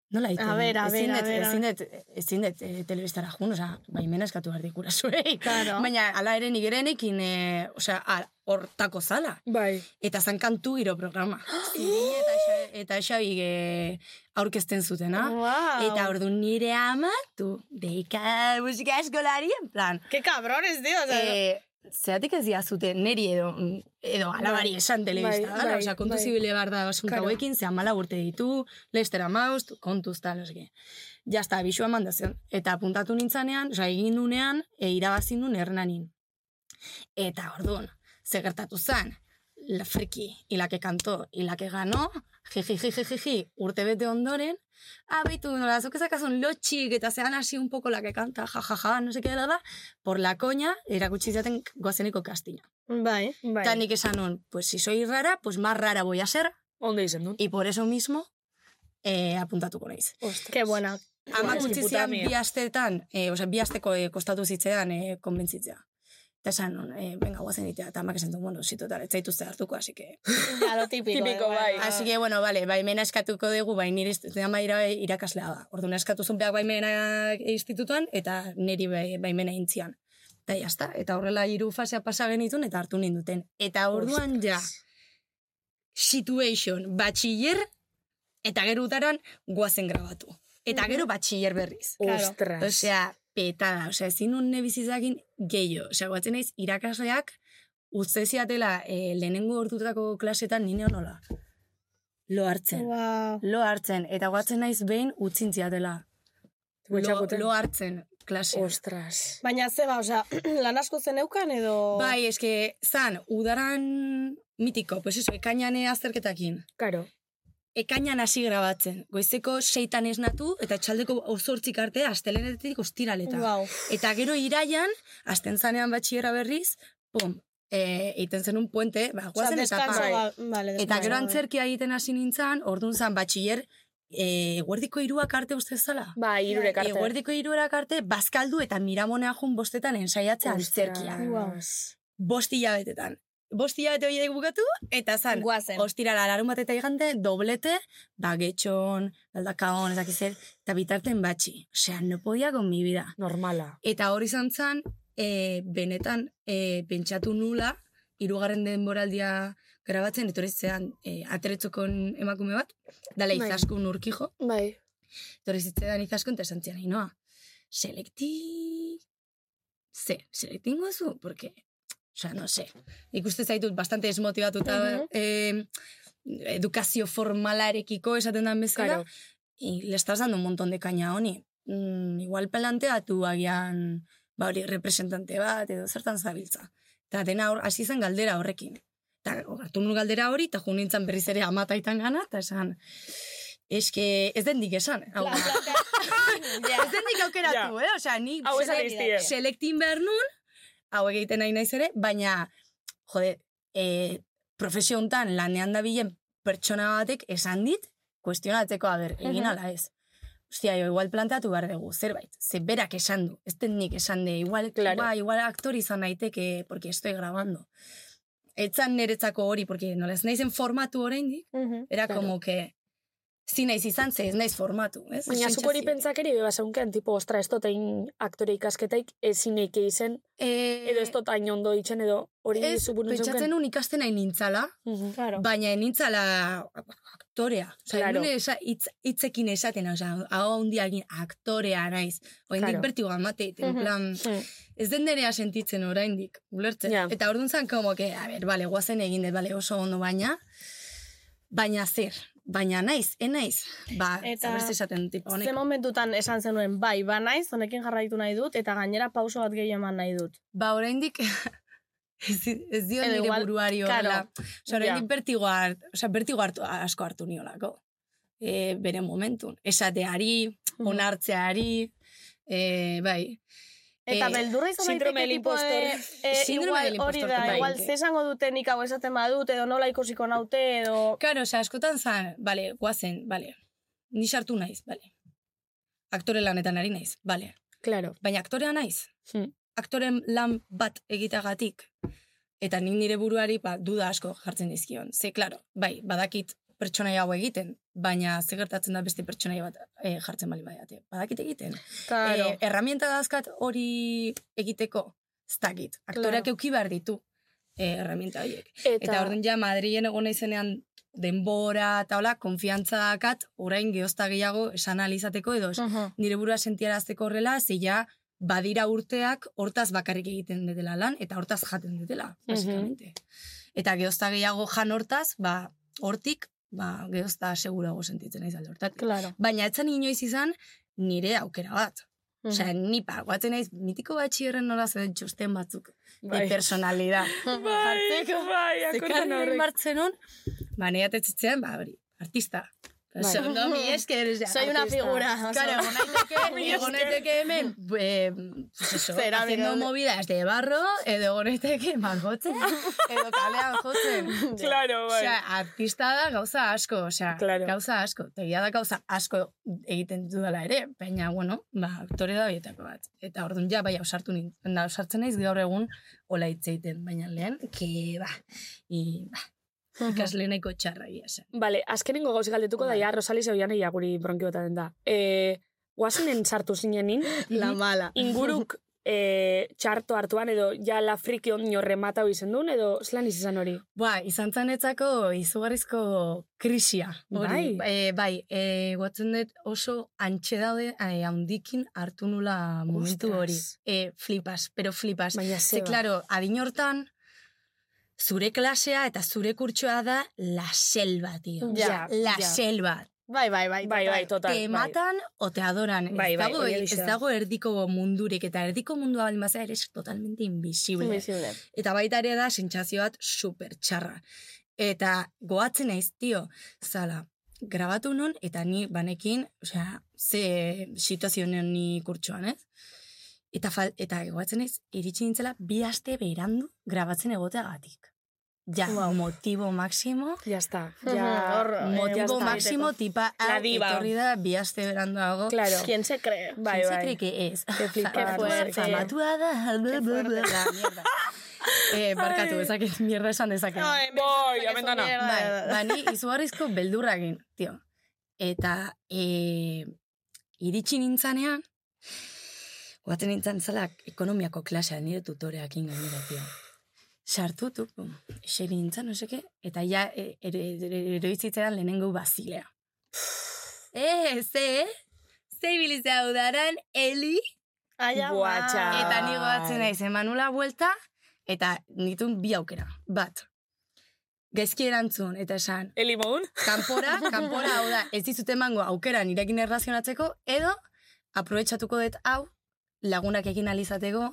Speaker 8: Nola aite?
Speaker 2: A ber, a
Speaker 8: ezin
Speaker 2: ber, a
Speaker 8: dut-
Speaker 2: ber, a
Speaker 8: Ezin dut, ezin dut, eh, telebistara jun, oza, baimena eskatu behar dikura zuei.
Speaker 2: Claro.
Speaker 8: Baina, ala ere nik ere nekin, e, osea, a- hortako zala.
Speaker 3: Bai.
Speaker 8: Eta zan kantu giro
Speaker 3: *gasps*
Speaker 8: programa. Ziri eta, Xa- eta xabi e, aurkezten zutena.
Speaker 2: Wow.
Speaker 8: Eta ordu nire ama, tu, deika musika eskolari, en plan,
Speaker 2: Ke cabrones, tío. o sea,
Speaker 8: e, zeatik ez diazute, neri edo, mm, edo alabari esan telebista,
Speaker 3: Bai,
Speaker 8: bai,
Speaker 3: bai,
Speaker 8: osea, kontu
Speaker 3: bai.
Speaker 8: zibile behar da basun
Speaker 3: Claro.
Speaker 8: hauekin, ze amala urte ditu, lester amauz, kontuz, tal, oske. Ja, está, bisua eman da zen. Eta apuntatu nintzanean, osea, egin nunean, e, irabazin nun hernanin. Eta orduan, ze gertatu zen, la friki, hilake kanto, hilake gano, jiji, jiji, jiji, urte bete ondoren, abitu, nola, zuk ezakazun lotxik, eta zean hasi un poco lake kanta, ja, ja, ja, no seke dela da, por la coña, erakutsi zaten goazeneko kastina.
Speaker 2: Bai.
Speaker 3: Bai.
Speaker 8: Eta nik esan nun, pues si soy rara, pues más rara voy a ser,
Speaker 3: Ondo izen dut.
Speaker 8: y por eso mismo, eh, apuntatuko naiz.
Speaker 3: Ostras.
Speaker 2: Qué buena.
Speaker 8: Amak
Speaker 3: Bai.
Speaker 8: utzi
Speaker 3: Puta
Speaker 8: zian
Speaker 3: mia.
Speaker 8: bi astetan, eh, osea, bi asteko eh, kostatu zitzean eh, konbentzitzea. Eta esan, nun, eh, venga, guazen ditea, eta amak esan du, bueno, si total, ez zaituzte hartuko, así que...
Speaker 2: Ya, lo *laughs* típico.
Speaker 3: Típico, bai.
Speaker 8: Así que, bueno, vale, baimena eskatuko dugu, bai nire institutuan ama ira, irakaslea da. Orduan eskatu zuen beak baimena institutuan, eta niri bai- baimena intzian. Eta jazta, eta horrela hiru fasea pasa genitun, eta hartu ninduten. Eta orduan ja, situation, batxiller, eta gero utaran guazen grabatu. Eta gero batxiller berriz.
Speaker 2: Claro.
Speaker 3: Ostras.
Speaker 8: Osea, petada, osea, ezin nun nebizizakin gehiago. Osea, guatzen naiz irakasleak utze ziatela eh, lehenengo ordutako klasetan nine nola. Lo hartzen.
Speaker 2: Wow.
Speaker 8: Lo hartzen. Eta guatzen naiz behin utzin ziatela. Lo,
Speaker 3: Gutxakuten.
Speaker 8: lo hartzen klase.
Speaker 3: Ostras.
Speaker 2: Baina ze ba, osea, *clears throat* lan asko zeneukan edo...
Speaker 8: Bai, eske, zan, udaran mitiko, pues eso, ekainan eh, azterketakin.
Speaker 3: Karo.
Speaker 8: Ekainan hasi grabatzen. Goizeko seitan esnatu eta txaldeko ozortzik arte astelenetik ostiraleta.
Speaker 2: Wow.
Speaker 8: Eta gero iraian, azten zanean batxierra berriz, pum, e, eiten zenun puente, ba,
Speaker 2: Osea,
Speaker 8: guazen etapa.
Speaker 2: descanso ba- Vale,
Speaker 8: Eta
Speaker 2: descanso,
Speaker 8: gero
Speaker 2: bai.
Speaker 8: antzerkia egiten hasi nintzen, ordun zan batxier, e, guerdiko iruak arte uste zala.
Speaker 3: Ba, irure
Speaker 8: E,
Speaker 3: karte.
Speaker 8: guerdiko irurak arte, bazkaldu eta miramonea jun bostetan ensaiatzea antzerkia.
Speaker 2: Wow.
Speaker 8: Bost hilabetetan. Bost hilabete horiek bukatu, eta zan,
Speaker 2: Guazen.
Speaker 8: ostirala larun bat eta igante, doblete, ba, bagetxon, aldakaon, ezakizer, eta bitarten batxi. Osea, no podia con mi vida.
Speaker 3: Normala.
Speaker 8: Eta hori izan zen, e, benetan e, eh, pentsatu nula, irugarren denboraldia grabatzen, etorri zean e, ateretzokon emakume bat, dala
Speaker 9: Bai.
Speaker 8: izaskun urkijo,
Speaker 9: Bai.
Speaker 8: etorri zitzean izaskun, eta esan zian, noa, selekti... Ze, selektingo zu, porque... Osa, no se. Ikuste zaitut, bastante desmotibatuta
Speaker 9: Mhm.
Speaker 8: eh, edukazio formalarekiko esaten den bezala.
Speaker 9: Claro.
Speaker 8: y le estás dando un montón de caña a honi. Mm, igual planteatu agian ba hori representante bat edo zertan zabiltza. Eta dena hor, hasi zen galdera horrekin. Eta hartu nun galdera hori, eta jo nintzen berriz ere amataitan gana, eta esan, eske ez dendik esan. Hau,
Speaker 2: *laughs*
Speaker 8: *laughs* ez dendik aukeratu, eh? Osea, ni
Speaker 3: Hau esan diztie.
Speaker 8: selektin behar nun, hau egiten nahi naiz ere, baina, jode, e, profesio hontan lanean dabilen pertsona batek esan dit, kuestionatzeko, a ber, egin
Speaker 9: Mhm.
Speaker 8: ala ez. Ostia, jo, igual planteatu behar dugu, zerbait. Ze berak esan du, ez den nik esan de, igual,
Speaker 3: Claro.
Speaker 8: ba, igual aktor izan naiteke, porque estoy grabando. Etzan niretzako hori, porque nola ez naizen formatu oraindik, era
Speaker 3: Claro.
Speaker 8: como que, zi naiz izan, ze ez naiz formatu, ez?
Speaker 3: Baina zuk hori
Speaker 8: Sentsazio.
Speaker 3: pentsakeri beba zeunken, tipo, ostra, ez dotein aktore ikasketaik ezineik eizen,
Speaker 8: Eh,
Speaker 3: edo ez dotain ondo itzen, edo hori
Speaker 8: Ez,
Speaker 3: zuburun
Speaker 8: pentsatzen
Speaker 3: zeunken.
Speaker 8: nun ikasten hain nintzala,
Speaker 3: Mhm.
Speaker 9: Claro.
Speaker 8: baina ez nintzala aktorea. Osa,
Speaker 3: Claro.
Speaker 8: claro. esa, hitz, hitzekin esaten, osa, hau handia egin aktorea naiz. Oaindik
Speaker 3: Claro.
Speaker 8: claro. bertigoan mateiten, en
Speaker 9: Mhm.
Speaker 8: plan,
Speaker 3: Mm.
Speaker 8: ez den nerea sentitzen oraindik, ulertzen.
Speaker 3: Ja.
Speaker 8: Eta orduan zan, como que, a ber, bale, guazen egin dut, bale, oso ondo baina, baina zer, baina naiz, e naiz. Ba,
Speaker 2: Eta
Speaker 8: Eta... esaten dut, tipo,
Speaker 2: Ze
Speaker 8: honek.
Speaker 2: momentutan esan zenuen, bai, ba naiz, honekin jarraitu nahi dut, eta gainera pauso bat gehi eman nahi dut.
Speaker 8: Ba, oraindik *laughs* ez, ez dio
Speaker 2: Edo
Speaker 8: nire
Speaker 2: igual,
Speaker 8: buruari horrela.
Speaker 2: claro,
Speaker 8: Osa, oraindik bertigo, hart, osa, bertigo hartu, asko hartu niolako. E, bere momentun. Esateari, onartzeari, e, bai.
Speaker 2: Eta
Speaker 8: Eh,
Speaker 2: beldurra izan
Speaker 3: síndrome
Speaker 2: daiteke
Speaker 3: del
Speaker 2: tipo de...
Speaker 3: impostor.
Speaker 2: eh,
Speaker 8: Síndrome
Speaker 2: igual,
Speaker 8: del
Speaker 2: hori
Speaker 8: impostor
Speaker 2: da,
Speaker 8: totalmente.
Speaker 2: igual, ze esango duten nik hau esaten badut, edo nola ikusiko naute, edo...
Speaker 8: Karo, osa, askotan zan, bale, guazen, bale. Ni sartu naiz, bale. Aktore lanetan ari naiz, bale.
Speaker 3: Claro.
Speaker 8: Baina aktorea naiz.
Speaker 3: Hmm.
Speaker 8: Aktoren lan bat egitagatik. Eta nik nire buruari ba, duda asko jartzen dizkion. Ze, klaro, bai, badakit pertsonai hau egiten, baina ze gertatzen da beste pertsonai bat eh, jartzen bali badiate. Badakit egiten.
Speaker 2: Claro.
Speaker 8: Eh, herramienta dazkat hori egiteko, ez dakit. Aktoreak
Speaker 3: Claro.
Speaker 8: euki behar ditu eh, herramienta horiek.
Speaker 3: Eta,
Speaker 8: Eta orduan ja Madrilen egon naizenean denbora eta hola, konfiantza dakat, orain gehozta gehiago esan ahal izateko edo es-
Speaker 2: Mhm.
Speaker 8: nire burua sentiarazteko horrela, ze ja badira urteak hortaz bakarrik egiten dutela lan eta hortaz jaten dutela, basikamente. Eta gehozta gehiago jan hortaz, ba, hortik, ba, gehozta segurago sentitzen naiz alde hortatik.
Speaker 2: Claro.
Speaker 8: Baina etzan inoiz izan nire aukera bat.
Speaker 2: Mhm.
Speaker 8: Osea, ni pa, guatzen naiz, mitiko batxierren nola zen txosten batzuk
Speaker 3: Bai.
Speaker 8: de personalidad.
Speaker 3: *laughs* Bai, bai, akordan
Speaker 8: Zekarri
Speaker 3: horrek.
Speaker 8: martzen hon, ba, nire atetzitzean, ba, hori, artista.
Speaker 3: Bai.
Speaker 8: Oso, no, mi esker, o sea,
Speaker 2: Soy una
Speaker 8: artista.
Speaker 2: figura, oso.
Speaker 8: Claro, egon
Speaker 2: *laughs*
Speaker 8: naiteke- egon naiteke hemen, eh, pues eso,
Speaker 2: Zera,
Speaker 8: haciendo
Speaker 2: bideo-
Speaker 8: movidas de barro, edo egon naiteke margotzen,
Speaker 2: *laughs*
Speaker 8: edo kalean jotzen.
Speaker 3: Claro, bai.
Speaker 8: Osea, artista da gauza asko, osea,
Speaker 3: Claro.
Speaker 8: gauza asko. Tegia da gauza asko egiten dudala ere, baina, bueno, ba, aktore da horietako bat. Eta orduan ja, bai, ausartu nintzen, da, ausartzen naiz gaur egun hola hitz egiten, baina lehen, ke, ba, i, ba, ikasle nahiko txarra egia esan.
Speaker 3: Vale, azkenengo gauz galdetuko da,
Speaker 8: Bai.
Speaker 3: ja, Rosali zeuian egia guri bronkiotaten da. E, guazinen sartu zinenin,
Speaker 2: La mala.
Speaker 3: inguruk e, txarto hartuan, edo ja la friki ondino remata izen duen, edo zelan izan hori?
Speaker 8: Ba, izan zanetzako izugarrizko krisia. Hori,
Speaker 3: Bai.
Speaker 8: E, bai, e, guatzen dut oso antxe daude e, handikin hartu nula momentu
Speaker 3: Ostras.
Speaker 8: hori. E, flipas, pero flipas.
Speaker 3: Baina
Speaker 8: Ze,
Speaker 3: ze, ba.
Speaker 8: klaro, adin hortan, zure klasea eta zure kurtsoa da la selva, tio.
Speaker 3: Ja,
Speaker 8: la
Speaker 3: ja.
Speaker 8: selva.
Speaker 2: Bai, bai, bai.
Speaker 3: Bai, bai, total.
Speaker 8: te
Speaker 3: bai.
Speaker 8: matan o te adoran.
Speaker 3: Bai,
Speaker 8: ez,
Speaker 3: bai,
Speaker 8: dago, e,
Speaker 3: hori
Speaker 8: ez
Speaker 3: egia da.
Speaker 8: dago erdiko mundurik, eta erdiko mundua baldin bazea eres totalmente invisible.
Speaker 2: Invisible.
Speaker 8: Eta baita ere da sentsazio bat super txarra. Eta goatzen naiz, tio, zala, grabatu nun, eta ni banekin, osea, ze situazio honen ni kurtsoan, ez? Eta, fal, eta goatzen naiz, iritsi nintzela bi aste berandu grabatzen egoteagatik. Ja, motibo maximo,
Speaker 3: Ya está.
Speaker 2: Mhm,
Speaker 3: Ja,
Speaker 2: hor, eh,
Speaker 8: motibo
Speaker 2: bost
Speaker 8: maximo tipa
Speaker 3: La
Speaker 8: hau
Speaker 3: diva.
Speaker 8: etorri da bi aste beranduago.
Speaker 3: Claro.
Speaker 2: ¿Quién se cree?
Speaker 3: Bai,
Speaker 8: ¿Quién se cree
Speaker 3: bai.
Speaker 8: que es?
Speaker 3: Qué eh, flipar,
Speaker 8: Famatua-
Speaker 2: qué fuerte.
Speaker 8: Famatua da. bla, bla, bla. *laughs* Eh, barkatu, ezaket, mierda esan dezaket.
Speaker 2: Ay, me
Speaker 3: Voy,
Speaker 2: parece
Speaker 3: aventana.
Speaker 2: mierda.
Speaker 8: Bai, ba, ni izugarrizko beldurra egin, tio. Eta e, iritsi nintzanean, guaten nintzen zela ekonomiako klasea nire tutoreakin gainera, tio. sartutuk, bum, eseri nintzen, no seke, eta ja e- ere- ere- eroitzitzean lehenengo bazilea. Eh, ze, ze ibilizea udaran, Eli,
Speaker 2: Aia,
Speaker 3: Guatxa.
Speaker 2: ba.
Speaker 8: Eta ni
Speaker 3: Ai.
Speaker 8: goatzen naiz emanula buelta, eta nitun bi aukera. Bat, gaizki erantzun, eta esan,
Speaker 3: Elimon?
Speaker 8: kanpora,
Speaker 2: *laughs*
Speaker 8: kanpora, hau da, ez dizut emango aukera nirekin erlazionatzeko, edo, aprobetsatuko dut hau, lagunak egin alizateko,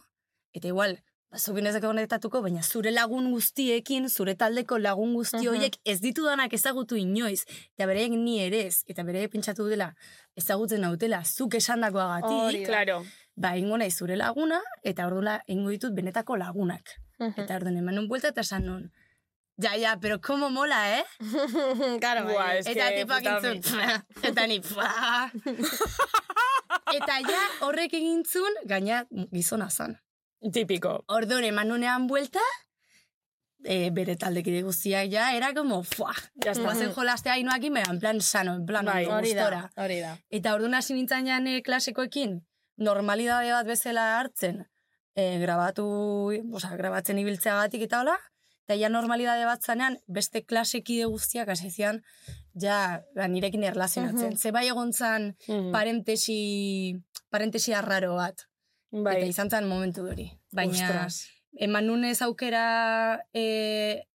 Speaker 8: eta igual, ba, zukin ez konektatuko, baina zure lagun guztiekin, zure taldeko lagun guzti
Speaker 2: Mhm.
Speaker 8: horiek ez ditudanak ezagutu inoiz, eta bereek ni ere ez, eta bereek pentsatu dela ezagutzen nautela, zuk esandakoagatik,
Speaker 2: Hori da.
Speaker 3: Claro.
Speaker 8: ba, ingo nahi zure laguna, eta ordula ingo ditut benetako lagunak.
Speaker 3: Mm.
Speaker 2: Mhm.
Speaker 8: Eta orduan eman nun buelta eta esan nun, ja, ja, pero como mola, eh?
Speaker 2: *laughs* Gara, bai.
Speaker 3: Buah, Ez
Speaker 8: eta
Speaker 3: Ah, que
Speaker 8: tipak
Speaker 3: puta
Speaker 8: intzun, *laughs* eta
Speaker 3: *laughs*
Speaker 8: ni, "Pua." Eta ja, horrek egintzun, gaina gizona zan.
Speaker 3: Típico.
Speaker 8: Orduan eman nunean buelta, e, bere taldekide guztiak ja, era como, fua.
Speaker 3: Ya está.
Speaker 8: Bazen jolastea inoakin, baina en plan sano, en plan
Speaker 3: Mm-hmm. Bai,
Speaker 8: ondo,
Speaker 2: Hori da,
Speaker 8: gustora.
Speaker 2: hori da.
Speaker 8: Eta orduan hasi nintzen jan eh, klasekoekin, normalidade bat bezala hartzen, eh, grabatu, oza, grabatzen ibiltzeagatik eta hola, eta ja normalidade bat zanean, beste klasekide guztiak hasi zian, ja, ba, nirekin erlazionatzen.
Speaker 2: Mhm.
Speaker 8: Ze bai egon zan
Speaker 3: Mm.
Speaker 8: parentesi, parentesi arraro bat, eta
Speaker 3: Bai.
Speaker 8: izan zan momentu hori. Baina,
Speaker 3: Ostras.
Speaker 8: eman nunez aukera e,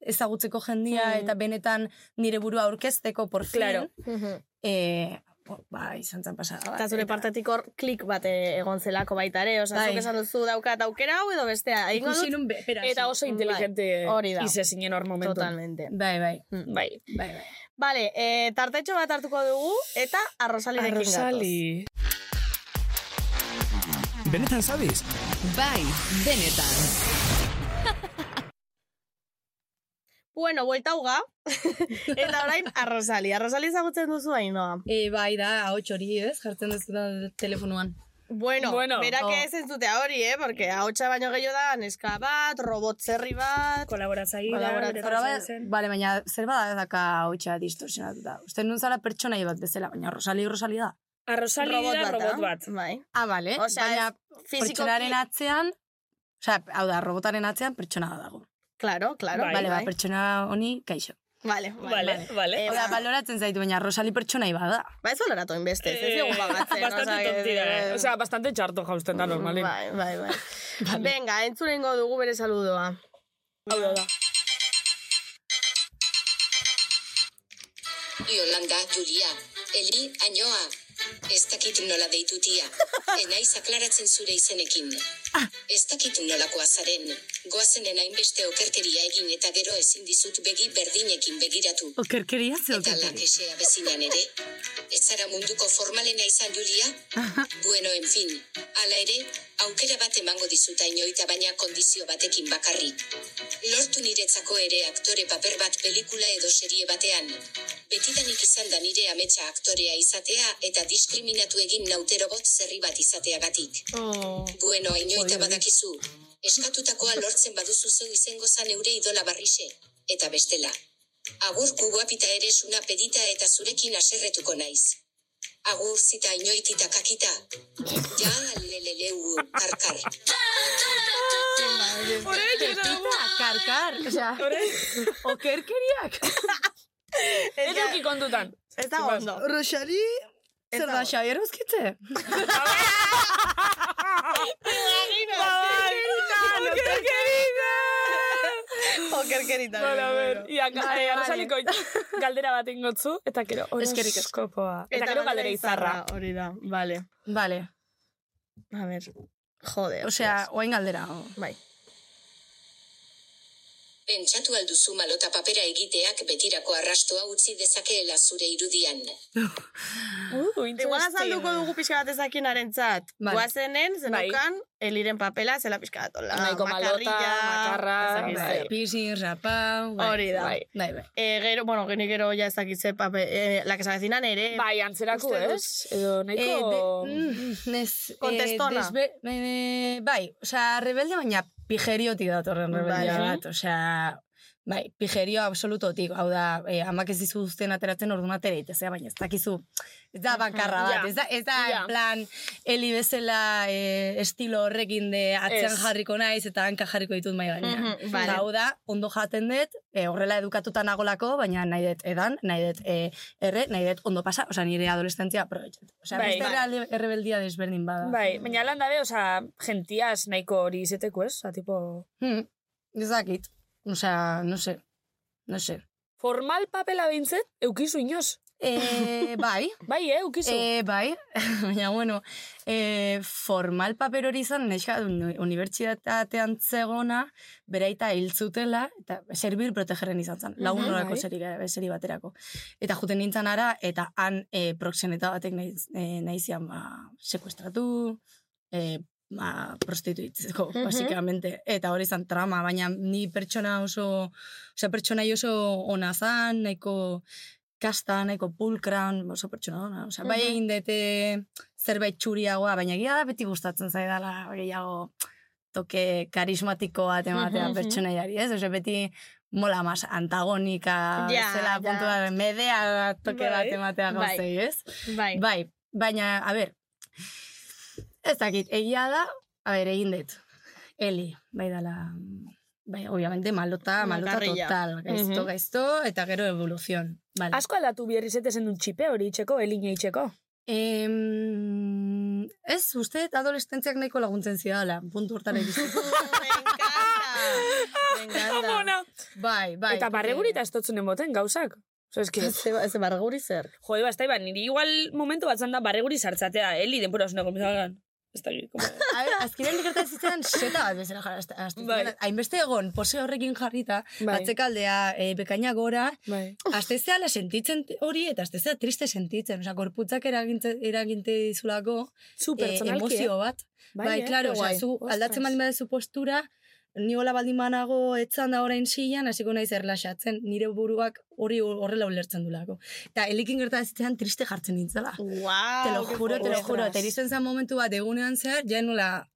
Speaker 8: ezagutzeko jendia
Speaker 3: Mm.
Speaker 8: eta benetan nire burua aurkezteko, por fin,
Speaker 3: Claro.
Speaker 2: Mhm.
Speaker 8: e, bo, ba, izan zen pasada. bat.
Speaker 2: Eta zure partetik hor klik bat eh, egon zelako baita ere, osa,
Speaker 8: Bai.
Speaker 2: zuk esan duzu daukat aukera hau edo bestea. Egingo dut,
Speaker 8: Ikusi nun be- beraz.
Speaker 3: Eta oso
Speaker 2: Bai.
Speaker 3: inteligente
Speaker 2: Hori da.
Speaker 3: ize zinen hor momentu.
Speaker 2: totalmente.
Speaker 8: Bai, bai,
Speaker 3: Bai.
Speaker 8: bai,
Speaker 2: Mm.
Speaker 8: bai.
Speaker 2: Bale, e, tartetxo bat hartuko dugu eta arrosalirekin gatoz.
Speaker 3: Arrosali.
Speaker 4: Benetan zabiz?
Speaker 6: Bai, benetan.
Speaker 2: Bueno, buelta uga. *laughs* eta orain, arrosali. Arrosali ezagutzen duzu hainoa.
Speaker 8: E, bai da, hau txori ez, jartzen duzu da telefonuan.
Speaker 2: Bueno,
Speaker 3: Bueno,
Speaker 2: berak
Speaker 3: oh.
Speaker 2: ez entzutea hori, eh? Porque ahotsa baino gehiago da, neska bat, robot zerri bat...
Speaker 3: Kolaboratzaile.
Speaker 8: Kolaboratzora bai, bale, baina zer bada daka hotxa distorsionatuta. Uste nun zara pertsonai bat bezala, baina Rosali Rosali da.
Speaker 3: Arrosali da robot
Speaker 2: da.
Speaker 3: bat.
Speaker 2: Bai.
Speaker 8: Ah, bale,
Speaker 2: Osea,
Speaker 8: baina
Speaker 2: Fizikoki-
Speaker 8: pertsonaren atzean, osea, hau da, robotaren atzean pertsona bat dago.
Speaker 2: Claro, claro.
Speaker 3: Bai,
Speaker 8: bale, ba, pertsona honi kaixo.
Speaker 2: Vale,
Speaker 3: Vale, vale.
Speaker 2: Eh,
Speaker 8: Hau da,
Speaker 2: ba-
Speaker 8: baloratzen zaitu, baina Rosali pertsonai bat da.
Speaker 2: Ba, ez valoratu inbeste, ez
Speaker 3: Eh,
Speaker 2: dugu bagatzen.
Speaker 3: Bastante tontira, eh? O sea, bastante txarto jausten da normalin.
Speaker 2: Bai, bai,
Speaker 3: *laughs*
Speaker 2: bai. Venga, entzurengo dugu bere saludoa.
Speaker 3: Hau da.
Speaker 9: Yolanda, Julia, Eli, Ainoa. Ez dakit nola deitutia. Enaiz aklaratzen zure izenekin. Ez dakit nolakoa zaren. Goazen enain beste okerkeria egin eta gero ezin dizut begi berdinekin begiratu.
Speaker 8: Okerkeria ze
Speaker 9: Eta
Speaker 8: okerkeria.
Speaker 9: lakesea bezinan ere. Ez zara munduko formalena izan, Julia? bueno, en fin. Hala ere, aukera bat emango dizuta inoita baina kondizio batekin bakarrik. Lortu niretzako ere aktore paper bat pelikula edo serie batean. Betidanik izan da nire ametsa aktorea izatea eta diskriminatu egin nautero bot zerri bat izateagatik.
Speaker 3: Oh.
Speaker 9: Bueno, inoita badakizu. Eskatutakoa lortzen baduzu zeu izango zan eure idola barrixe. Eta bestela. Agur guapita ere suna pedita eta zurekin aserretuko naiz. Agur zita inoitita kakita. Ja, leleleu, karkar.
Speaker 8: Pepita, karkar, osea, okerkeriak.
Speaker 3: Ez duki kontutan.
Speaker 2: Ez da ondo. *laughs*
Speaker 8: Rosali, zer da, Xabier Euskitze?
Speaker 2: Okerkerita.
Speaker 3: Bueno, a ver, ia, ga-
Speaker 8: Vale,
Speaker 3: eh,
Speaker 8: vale.
Speaker 3: arrosaliko galdera bat ingotzu, eta gero
Speaker 8: Eskerrik asko.
Speaker 3: horoskopoa. Eta gero galdera izarra.
Speaker 2: Hori da, vale.
Speaker 8: Vale,
Speaker 2: A ver. Jode,
Speaker 8: osea, oain galdera. o.
Speaker 2: Bai.
Speaker 9: Pentsatu alduzu malota papera egiteak betirako arrastoa utzi dezakeela zure irudian.
Speaker 3: Uh,
Speaker 2: Igual azalduko dugu pixka bat ezakinaren zat.
Speaker 8: Bai.
Speaker 2: Guazenen, zenukan, eliren papela, zela pixka bat. hola,
Speaker 3: Nahiko malota, makarra,
Speaker 2: ezakit
Speaker 3: bai.
Speaker 2: zer.
Speaker 8: Piercing, rapau, bai.
Speaker 2: Hori da.
Speaker 8: Bai, bai. bai.
Speaker 2: Eh, gero, bueno, geni gero ja ezakit zer pape, eh, la que se avecinan ere.
Speaker 3: Bai, antzerako,
Speaker 2: Uste dut.
Speaker 3: ez? Edo
Speaker 8: Eh,
Speaker 3: nahiko...
Speaker 8: de- mm, nez, eh,
Speaker 2: Contestona.
Speaker 8: desbe- eh, bai, osea, rebelde baina pijeriotik datorren rebeldia
Speaker 2: Bai.
Speaker 8: bat, osea, Bai, pijerio absolutotik, hau da, eh, amak ez dizu guztien ateratzen orduan atera itezea, baina ez dakizu, ez da bankarra bat,
Speaker 2: Ja.
Speaker 8: ez da, ez da
Speaker 2: Ja.
Speaker 8: plan, heli bezala eh, estilo horrekin de atzean
Speaker 3: Ez.
Speaker 8: jarriko naiz, eta hanka jarriko ditut mai gainean.
Speaker 2: Mhm, vale.
Speaker 8: Eta Ba, Hau da, ondo jaten dut, eh, horrela edukatuta nagolako, baina nahi dut edan, nahi dut eh, erre, nahi dut ondo pasa, osea, nire adolescentzia aprobetxatu. Osea,
Speaker 3: Bai.
Speaker 8: beste
Speaker 3: Bai.
Speaker 8: erreal- errebeldía desberdin bada. Hmm,
Speaker 3: Bai, baina lan dabe, oza, gentiaz nahiko hori izeteko, ez? Oza, tipo...
Speaker 8: Hmm, ez dakit. Osea, no sé, no sé.
Speaker 3: Formal papela behintzet, eukizu inoz. *laughs*
Speaker 8: Eh, bai,
Speaker 3: Bai, eh, eukizu.
Speaker 8: E, bai, *laughs* baina, bueno, e, formal paper hori izan, neska, uni- unibertsitatean zegona, beraita hil zutela, eta servir protegeren izan zen, lagun
Speaker 3: Mhm,
Speaker 8: horako
Speaker 3: bai.
Speaker 8: seri, eh, seri baterako. Eta juten nintzen ara, eta han e, proxeneta batek nahi, e, nahi zian, ba, sekuestratu, e, ba, prostituitzeko,
Speaker 2: Mhm.
Speaker 8: basikamente. Eta hori izan trama, baina ni pertsona oso, osea, pertsonai oso ona zan, nahiko kasta, nahiko pulkran, oso pertsona ona. Osea, bai
Speaker 2: Mhm.
Speaker 8: egin dute zerbait txuriagoa, baina egia da beti gustatzen zaidala gehiago toke karismatiko bat ematea
Speaker 2: Mhm.
Speaker 8: pertsonaiari, ez? Osea, beti mola mas antagonika,
Speaker 2: Ja,
Speaker 8: zela
Speaker 2: ja.
Speaker 8: puntua, medea toke
Speaker 2: Bai,
Speaker 8: bat ematea
Speaker 2: bai.
Speaker 8: gauzei, ez?
Speaker 2: Bai.
Speaker 8: Bai, baina, a ber, ez dakit, egia da, a ber, egin dut. Eli, bai dala, bai, obviamente, malota, malota
Speaker 2: Makarrilla.
Speaker 8: total, gaizto,
Speaker 2: Mhm.
Speaker 8: gaizto, eta gero evoluzion. Vale.
Speaker 3: Asko aldatu bihar izete zen dut txipe hori itxeko, elina itxeko.
Speaker 8: Em, ez, uste, dut adolescentziak nahiko laguntzen zidala, puntu hortara iristeko.
Speaker 3: *laughs*
Speaker 2: Me encanta. Me
Speaker 8: *laughs*
Speaker 2: encanta.
Speaker 8: bai, bai.
Speaker 3: Eta barreguri eta ez dutzunen boten gauzak. Oso eski.
Speaker 2: Ze, ze barguri zer.
Speaker 3: Jode, ba, ez da, iba, niri igual momentu bat zanda barreguri sartzatea, eh? heli denpura osuna konbizagan. Ez da, como...
Speaker 8: A ber, azkenean gertatzen zitzaidan seta bat bezala jara. azte- azte-
Speaker 3: Bai.
Speaker 8: Hainbeste egon, pose horrekin jarrita,
Speaker 3: *laughs* Bai.
Speaker 8: atzekaldea, e, bekaina gora,
Speaker 3: Bai.
Speaker 8: Astezeala sentitzen hori eta astezea triste sentitzen, osea gorputzak eraginte eraginte dizulako
Speaker 3: Super
Speaker 8: eh,
Speaker 3: tonalki,
Speaker 8: emozio bat. Bai,
Speaker 3: Ke
Speaker 8: claro, osea,
Speaker 3: guai.
Speaker 8: zu
Speaker 3: Ostras.
Speaker 8: aldatzen baldin baduzu postura, ni hola baldin banago etzan da orain silan, hasiko naiz erlaxatzen, nire buruak hori horrela ulertzen dulako. Eta elikin gertatzen triste jartzen nintzela.
Speaker 2: Wow.
Speaker 8: te lo juro, te lo juro,
Speaker 3: ostras.
Speaker 8: eta iristen zen momentu bat egunean zehar, ja nola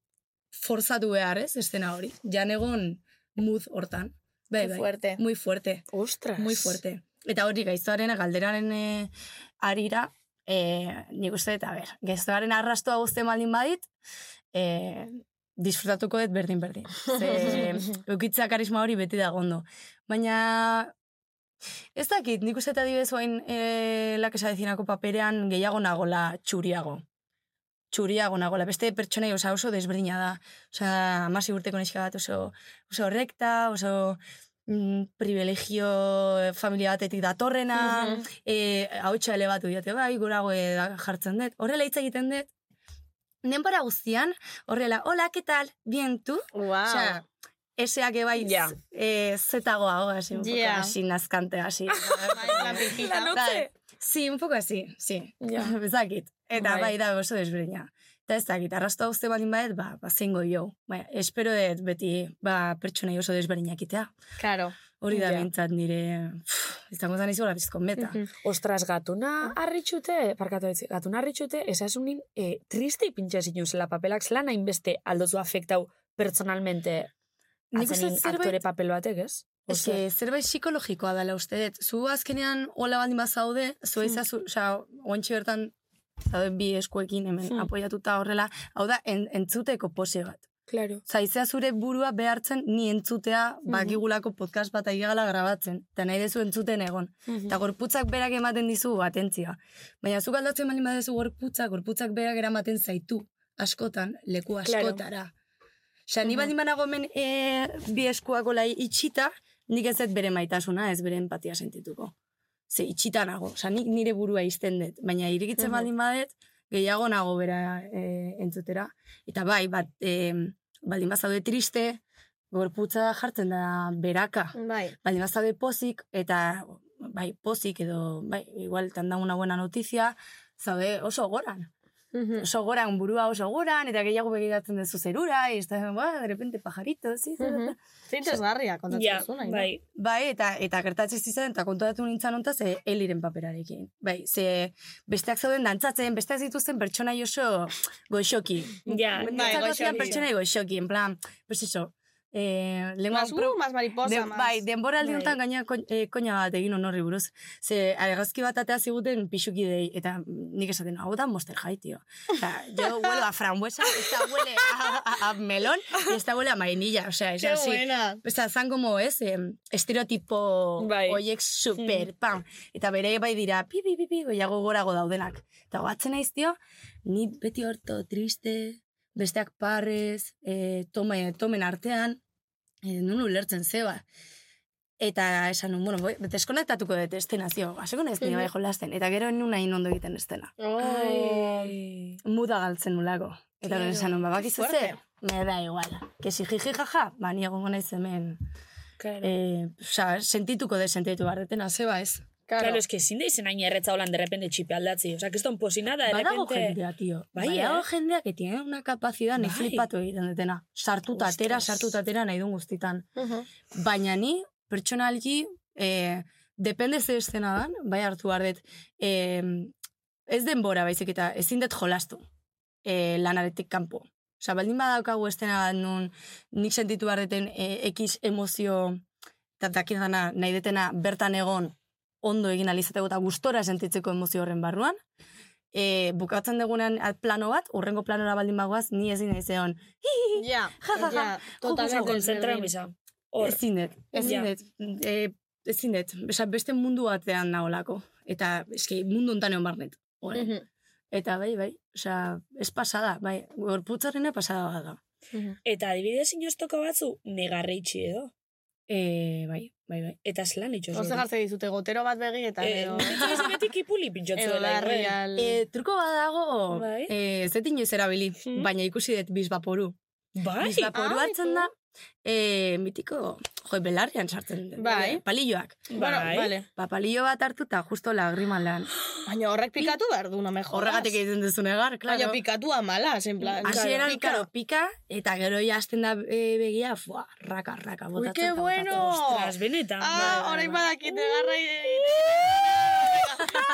Speaker 8: forzatu behar, ez, estena hori. Ja egon mood hortan. Bai,
Speaker 2: Qué
Speaker 8: bai.
Speaker 2: fuerte.
Speaker 8: Muy fuerte.
Speaker 3: Ostras.
Speaker 8: Muy fuerte. Eta hori gaiztoaren galderaren eh, arira, eh, nik uste dut, a ber, gaiztoaren arrastoa guzti maldin badit, eh, disfrutatuko dut berdin-berdin. Ze, eukitza karisma hori beti da gondo. Baina, ez dakit, nik uste eta dibez oain eh, lakesa dezinako paperean gehiago nagola txuriago. Txuriago nagola. Beste pertsonei osa oso desberdina da. Osa, amasi urteko neska bat oso, oso rekta, oso mm, privilegio eh, familia batetik datorrena,
Speaker 2: Mhm.
Speaker 8: e, hautsa elebatu diote, bai, gorago e, da- jartzen dut. Horrela hitz egiten dut, denbora guztian, horrela, hola, ¿qué tal? Bien, tú?
Speaker 2: Wow.
Speaker 8: Osea, eseak ebai
Speaker 3: Ja.
Speaker 8: eh, zetagoa, hoga, así, un poco
Speaker 2: Ja. Bai,
Speaker 8: así, nazkante, Bai, así.
Speaker 3: La noche.
Speaker 8: Sí, Bai. un poco así, sí.
Speaker 3: Ja.
Speaker 8: *laughs*
Speaker 3: *laughs*
Speaker 8: Ez dakit. Eta
Speaker 3: Bai.
Speaker 8: bai, da oso desbreina. Eta ez dakit, arrastoa uste baldin badet, ba, ba zengo jo. Ba, espero dut beti, ba, pertsonei oso desberdinak itea.
Speaker 2: Claro.
Speaker 8: Hori da
Speaker 3: Ja.
Speaker 8: bintzat nire, pff, izango zan izu bizko meta.
Speaker 2: Mhm.
Speaker 3: Ostras, gatuna harritxute, parkatu etzi, gatuna harritxute, esasunin e, triste ipintxe zinun zela papelak zela nahin beste aldozu afektau personalmente
Speaker 8: Nik uste
Speaker 3: atzenin
Speaker 8: zerbait-
Speaker 3: aktore papel batek, ez?
Speaker 8: Eske, zerbait psikologikoa dela uste dut. Zu azkenean hola baldin bazaude, zu izazu, osea, oantxe bertan zauden bi eskuekin hemen
Speaker 3: Hmm.
Speaker 8: apoiatuta horrela, hau da, en, entzuteko pose bat.
Speaker 3: claro.
Speaker 8: Zaizea zure burua behartzen ni entzutea bakigulako podcast bat aigala grabatzen, eta nahi dezu entzuten egon.
Speaker 3: Mhm.
Speaker 8: Eta gorputzak berak ematen dizu atentzia. Baina zuk aldatzen bali badezu gorputzak, gorputzak berak eramaten zaitu. Askotan, leku
Speaker 3: Claro.
Speaker 8: askotara. Osea, ni baldin banago hemen e, bi eskuako lai itxita, nik ez dut bere maitasuna, ez bere empatia sentituko. Ze itxita nago, osea, nik nire burua izten dut, baina irikitzen
Speaker 3: Mhm.
Speaker 8: baldin badet, gehiago nago bera e, entzutera. Eta bai, bat, e, baldin bazaude triste, gorputza jartzen da beraka
Speaker 2: Bai.
Speaker 8: baldin bazabe pozik, eta bai, pozik edo, bai, igual tan da una buena noticia, zaude oso goran. *laughs*
Speaker 2: Mhm.
Speaker 8: Oso goran, burua oso goran, eta gehiago begiratzen dezu zerura, y está, ba, de repente pajarito, sí,
Speaker 2: Mhm. Interesgarria kontatzen
Speaker 3: Ja,
Speaker 2: duzuna, Ina.
Speaker 3: bai.
Speaker 8: Bai, eta eta gertatzen zitzen, eta kontatu nintzen hontaz, e, eliren paperarekin. Bai, ze besteak zeuden dantzatzen, besteak zituzten pertsona oso goxoki.
Speaker 3: Ja,
Speaker 8: Bai,
Speaker 2: bai,
Speaker 8: goxoki.
Speaker 2: goxoki.
Speaker 8: pertsona goxoki, en plan, pues eso, eh, lengua
Speaker 2: Más uh, más mariposa,
Speaker 8: Den-
Speaker 2: más...
Speaker 8: bai, denboraldi
Speaker 2: Bai.
Speaker 8: honetan gaina kon, eh, koina bat egin honorri buruz. Ze argazki bat atea ziguten pixukidei, eta nik esaten, hau da Monster High, tío. Eta, jo huelo a frambuesa, esta huele a, a, a melón, y esta huele a vainilla, o sea, es
Speaker 2: Qué
Speaker 8: así.
Speaker 2: buena.
Speaker 8: O sea, zan como ez, em, estereotipo
Speaker 2: Bai. Mm.
Speaker 8: hoiek super, pam. Eta bere bai dira, pi, pi, pi, pi, goiago gorago daudenak. Eta goatzen naiz, tio, ni beti horto triste, besteak parrez, e, tome, tomen artean, e, nun ulertzen zeba. Eta esan nun, bueno, boi- deskonektatuko dut estena, zio, haseko naiz
Speaker 2: Mhm.
Speaker 8: ni bai jolasten. Eta gero nun hain ondo egiten estena.
Speaker 3: Ai.
Speaker 8: Muda galtzen nulako. Eta gero
Speaker 2: Claro,
Speaker 8: esan nun, babak
Speaker 2: fuerte.
Speaker 8: ze, me da igual. Que si jiji jaja, ba, ni egongo naiz hemen.
Speaker 3: Claro.
Speaker 8: Eh, osa, sentituko de sentitu behar detena, zeba ba, ez.
Speaker 3: Claro, es que ezin da izan hain erretza holan derrepende txipe aldatzi. Osa, keston posinada,
Speaker 8: Badago
Speaker 3: derrepente...
Speaker 8: jendea, tio.
Speaker 3: Bai,
Speaker 8: Badago
Speaker 3: eh?
Speaker 8: jendea que tiene una capacidad ni
Speaker 3: Bai.
Speaker 8: flipatu egiten detena. Sartuta atera,
Speaker 3: Ostras.
Speaker 8: sartuta atera nahi duen guztitan.
Speaker 2: Ujú.
Speaker 8: Baina ni, pertsonalki, eh, depende ze estena dan, bai hartu behar dut, eh, ez denbora baizik eta ezin dut jolastu eh, lanaretik kanpo. Osa, baldin badaukagu estena bat nun, nik sentitu behar duten eh, ekiz emozio, eta dakit dana, nahi detena bertan egon, ondo egin alizateko eta gustora sentitzeko emozio horren barruan, eh, bukatzen dugunean at- plano bat, urrengo planora baldin bagoaz, ni ezin naiz egon.
Speaker 2: Ja,
Speaker 8: *laughs* Ja, ja, pues ja.
Speaker 2: ja,
Speaker 3: Osa,
Speaker 2: totalmente
Speaker 3: konzentra
Speaker 2: desberdin.
Speaker 3: misa. Hor,
Speaker 8: Ezin dut, ezin
Speaker 3: Ja.
Speaker 8: dut. E, ezin dut, Osea, beste mundu batean naolako. Eta, eski, mundu ontan egon barnet. Hor.
Speaker 3: Mhm.
Speaker 2: Ujú,
Speaker 8: Eta bai, bai, osea, ez pasada, bai, gorputzarrena pasada bat da.
Speaker 2: ujú.
Speaker 3: eta adibidez inoztoko batzu, negarreitxi edo.
Speaker 8: E, bai, bai, bai.
Speaker 3: Eta zelan itxos.
Speaker 2: Hortze jartze dizute, gotero bat begi
Speaker 3: Eh,
Speaker 2: eta gero...
Speaker 3: *laughs* Beti kipuli pintxotzu
Speaker 2: Edo
Speaker 3: dela. igual.
Speaker 2: larrial...
Speaker 8: E, truko badago,
Speaker 3: Mm. Bai.
Speaker 8: e, ez dut inoiz erabili,
Speaker 3: Mhm.
Speaker 8: baina ikusi dut bizbaporu.
Speaker 3: Bai,
Speaker 8: Bizbaporu
Speaker 2: Ah,
Speaker 8: hartzen
Speaker 2: jo.
Speaker 8: da, e, mitiko, jo, belarrian sartzen dut.
Speaker 2: Bai.
Speaker 8: Palilloak.
Speaker 2: Bueno,
Speaker 3: bai.
Speaker 2: vale.
Speaker 8: Ba, palillo bat hartu eta justo
Speaker 3: *gasps*
Speaker 8: lagriman lan.
Speaker 2: Baina horrek pikatu behar du, no me jodas.
Speaker 8: Horregatik egiten duzu negar, klaro.
Speaker 2: Baina pikatu amalas, en plan...
Speaker 8: Hasieran,
Speaker 2: pika.
Speaker 8: claro, pika, eta gero ja hasten da e, begia, fua, raka, raka, botatzen.
Speaker 2: qué
Speaker 8: eta
Speaker 2: bueno!
Speaker 8: botatzen.
Speaker 3: Ostras, Oh. benetan.
Speaker 2: Ah,
Speaker 3: bai,
Speaker 2: orain
Speaker 3: bai,
Speaker 2: badakit garra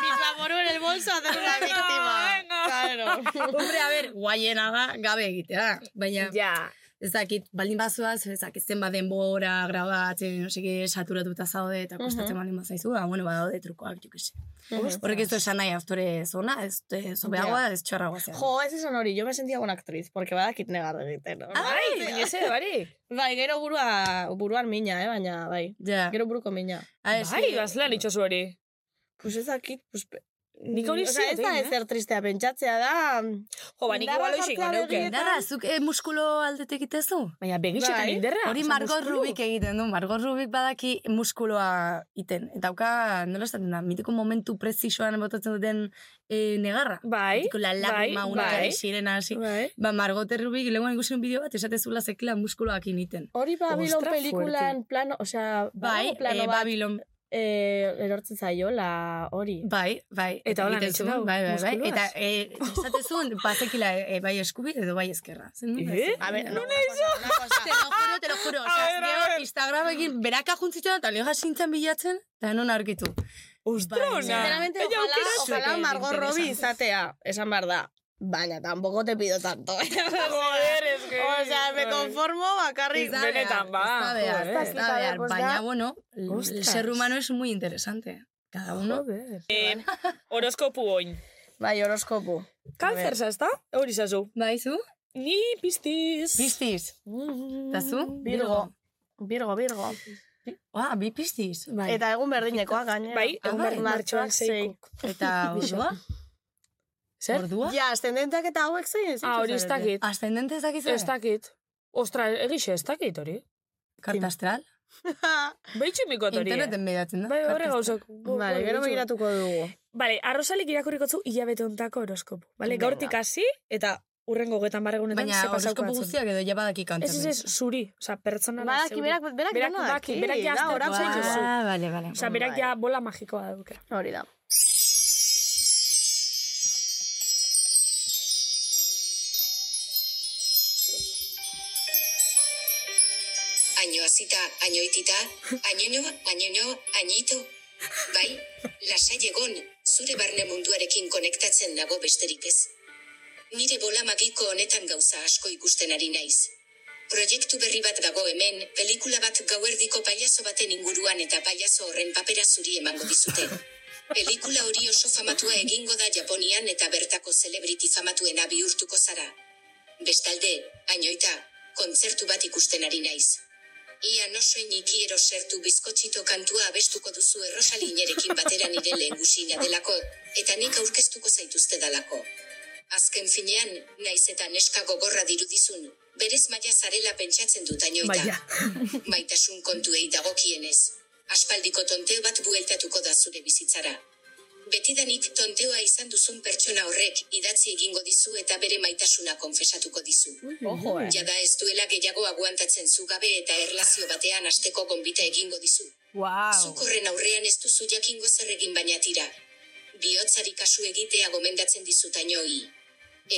Speaker 2: Bizaboru en el bolso a hacer una víctima. Claro.
Speaker 8: *laughs* Hombre, a ber, guaiena da gabe egitea, baina
Speaker 2: Ja.
Speaker 8: ez dakit, baldin bazuaz, ez dakit zenbat denbora, grabatzen, no seke, saturatuta zaude, eta kostatzen
Speaker 2: Mhm.
Speaker 8: baldin bazaizu, ba, bueno, badaude trukoak, jo que se. Horrek ez du esan nahi aktore zona, ez ez zobeagoa, ez txarragoa zea.
Speaker 2: Jo, ez esan hori, yo me sentía una actriz, porque badakit negar egiten. no?
Speaker 3: Bai, baina ze, barik.
Speaker 2: Bai, gero burua, buruan mina, eh, baina, bai.
Speaker 8: Ja.
Speaker 2: Gero buruko mina.
Speaker 8: A ber,
Speaker 3: Bai,
Speaker 8: ze-
Speaker 3: bazlan itxosu hori.
Speaker 2: Pues ez dakit, pues... pe-
Speaker 3: Nik hori
Speaker 2: Osea, ez
Speaker 3: ziot,
Speaker 2: da
Speaker 3: eh?
Speaker 2: ezer tristea pentsatzea da... mm,
Speaker 3: Jo, ba, nik
Speaker 2: Indarra
Speaker 3: igual hoxiko
Speaker 2: jartzea
Speaker 3: neuke.
Speaker 2: begietan.
Speaker 8: Indarra, zuk eh, muskulo aldetek itezu?
Speaker 3: Baina begitxetan
Speaker 2: Bai.
Speaker 3: inderra.
Speaker 8: *laughs* Hori
Speaker 3: Osa,
Speaker 8: Margot
Speaker 3: muskulu.
Speaker 8: Rubik egiten du, Margot Rubik badaki muskuloa iten. Eta hauka, nola esaten da, mitiko momentu prezisoan botatzen duten e, negarra.
Speaker 3: Bai,
Speaker 8: Mitiko la
Speaker 3: bai,
Speaker 8: lagma, una
Speaker 3: bai.
Speaker 8: sirena, hasi.
Speaker 3: Bai.
Speaker 8: Ba, Margot Rubik, lehenguan ikusi un bideo bat, esatezula zekila muskuloak initen.
Speaker 2: Hori Babilon
Speaker 3: Ostra,
Speaker 2: pelikulan plano, osea, badago
Speaker 8: Bai, e,
Speaker 2: plano
Speaker 3: ba-
Speaker 2: bat,
Speaker 8: Babilon,
Speaker 2: eh, erortzen zaiola hori.
Speaker 8: bai, bai.
Speaker 3: Eta hola
Speaker 8: egiten
Speaker 3: nahitzen
Speaker 8: zuen,
Speaker 3: hau,
Speaker 8: Bai, bai, bai.
Speaker 3: muskuloaz.
Speaker 8: Eta e, esatezun, bazekila e, bai eskubi edo bai eskerra. Zen du?
Speaker 3: Eh?
Speaker 2: A ver, no,
Speaker 8: Te lo juro, te lo juro. Osea,
Speaker 3: ver, a
Speaker 8: gero
Speaker 3: ver.
Speaker 8: Instagramekin beraka juntzitzen eta lehoa sintzen bilatzen, eta non aurkitu. Baina-
Speaker 2: Bai, Sinceramente,
Speaker 3: Ella
Speaker 2: ojalá,
Speaker 3: aukera
Speaker 2: ojalá
Speaker 8: zuen,
Speaker 2: Margot Robbie
Speaker 3: *laughs*
Speaker 8: interesante.
Speaker 2: izatea, esan behar da. Baina, tampoco te pido tanto. Joder,
Speaker 3: es que-
Speaker 2: *laughs* O sea, me conformo bakarrik.
Speaker 8: Ez da behar,
Speaker 3: Benetan, ba,
Speaker 8: Ez da behar,
Speaker 3: joder.
Speaker 8: ez da behar.
Speaker 2: Pues da-
Speaker 8: Baina, bueno, el
Speaker 3: Ostras.
Speaker 8: ser humano es muy interesante. Cada uno.
Speaker 3: Eh, Horoskopu oin.
Speaker 2: Bai, horoskopu.
Speaker 3: Kalzer zazta? Hori zazu.
Speaker 8: Baizu?
Speaker 3: Ni piztiz.
Speaker 8: Piztiz.
Speaker 3: Mm.
Speaker 8: Eta zu?
Speaker 2: Mm, Virgo. Virgo, Virgo.
Speaker 8: Ah, bi piztiz.
Speaker 3: Bai.
Speaker 2: Eta egun berdinekoa gainera.
Speaker 3: Bai,
Speaker 8: Ah,
Speaker 3: egun
Speaker 8: bai,
Speaker 3: berri martxoan
Speaker 2: martxoak
Speaker 3: zeikuk.
Speaker 8: Eta ordua?
Speaker 3: Zer?
Speaker 8: Ordua?
Speaker 2: Ja, ascendenteak eta hauek zein ez?
Speaker 3: Ah, hori ez dakit.
Speaker 8: Ascendente ez dakizu?
Speaker 3: Ez dakit. Ostra, egixe, ez dakit hori.
Speaker 8: Karta astral.
Speaker 3: Behitxe mikot hori. eh?
Speaker 8: Interneten bedatzen da.
Speaker 3: Bai, horre
Speaker 8: Karta
Speaker 3: gauzak.
Speaker 2: Vale, gero begiratuko dugu.
Speaker 3: Vale, arrozalik irakurrikotzu hilabete ontako horoskopo. Vale, gaurtik hasi eta urrengo getan
Speaker 8: astral.
Speaker 3: barregunetan
Speaker 8: Baina
Speaker 3: ze pasauko
Speaker 8: horoskopo
Speaker 3: atzen.
Speaker 8: guztiak edo ja badaki kantzen.
Speaker 3: Ez, ez, ez, zuri. Osa, pertsona
Speaker 2: Badaki, berak, berak,
Speaker 3: Berak
Speaker 2: dena
Speaker 3: daki,
Speaker 2: daki,
Speaker 3: berak ja
Speaker 2: da,
Speaker 3: aztertu
Speaker 2: orain
Speaker 3: da.
Speaker 2: zaizu zu.
Speaker 8: Ah, bale, bale.
Speaker 3: Osa, berak ja bola magikoa dauka.
Speaker 2: Hori da.
Speaker 9: Añoazita, añoitita, añoño, añoño, añito. Bai, lasai egon, zure barne munduarekin konektatzen nago besterik ez. Nire bola magiko honetan gauza asko ikusten ari naiz. Proiektu berri bat dago hemen, pelikula bat gauerdiko pailazo baten inguruan eta pailazo horren papera zuri emango dizute. Pelikula hori oso famatua egingo da Japonian eta bertako celebrity famatuena bihurtuko zara. Bestalde, ainoita, kontzertu bat ikusten ari naiz. Ia no soinik iero sertu bizkotxito kantua abestuko duzu errosalinerekin batera nire lehengusina delako, eta nik aurkeztuko zaituzte dalako. Azken finean, naiz eta neska gogorra dirudizun, berez maia zarela pentsatzen dut ainoita.
Speaker 2: Baina.
Speaker 9: *laughs* Maitasun kontuei dagokienez, aspaldiko tonteo bat bueltatuko da zure bizitzara. Betidanik tonteoa izan duzun pertsona horrek idatzi egingo dizu eta bere maitasuna konfesatuko dizu.
Speaker 2: Ojo, eh.
Speaker 9: Jada ez duela gehiago aguantatzen zu gabe eta erlazio batean asteko gonbita egingo dizu.
Speaker 2: Wow.
Speaker 9: Zuk horren aurrean ez duzu jakingo zer egin baina tira. Biotzari kasu egitea gomendatzen dizutainoi.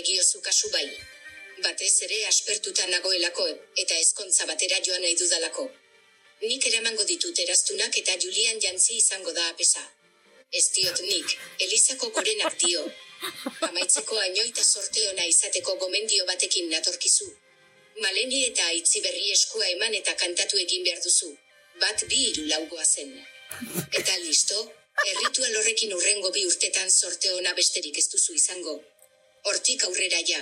Speaker 9: Egiozu kasu bai. Batez ere aspertuta nagoelako eta ezkontza batera joan nahi dudalako. Nik eramango ditut eraztunak eta Julian jantzi izango da apesa. Ez diot nik, Elizako gorenak dio. Amaitzeko ainoita sorte ona izateko gomendio batekin natorkizu. Maleni eta aitzi berri eskua eman eta kantatu egin behar duzu. Bat bi hiru laugoa zen. Eta listo, erritual horrekin urrengo bi urtetan sorte ona besterik ez duzu izango. Hortik aurrera ja,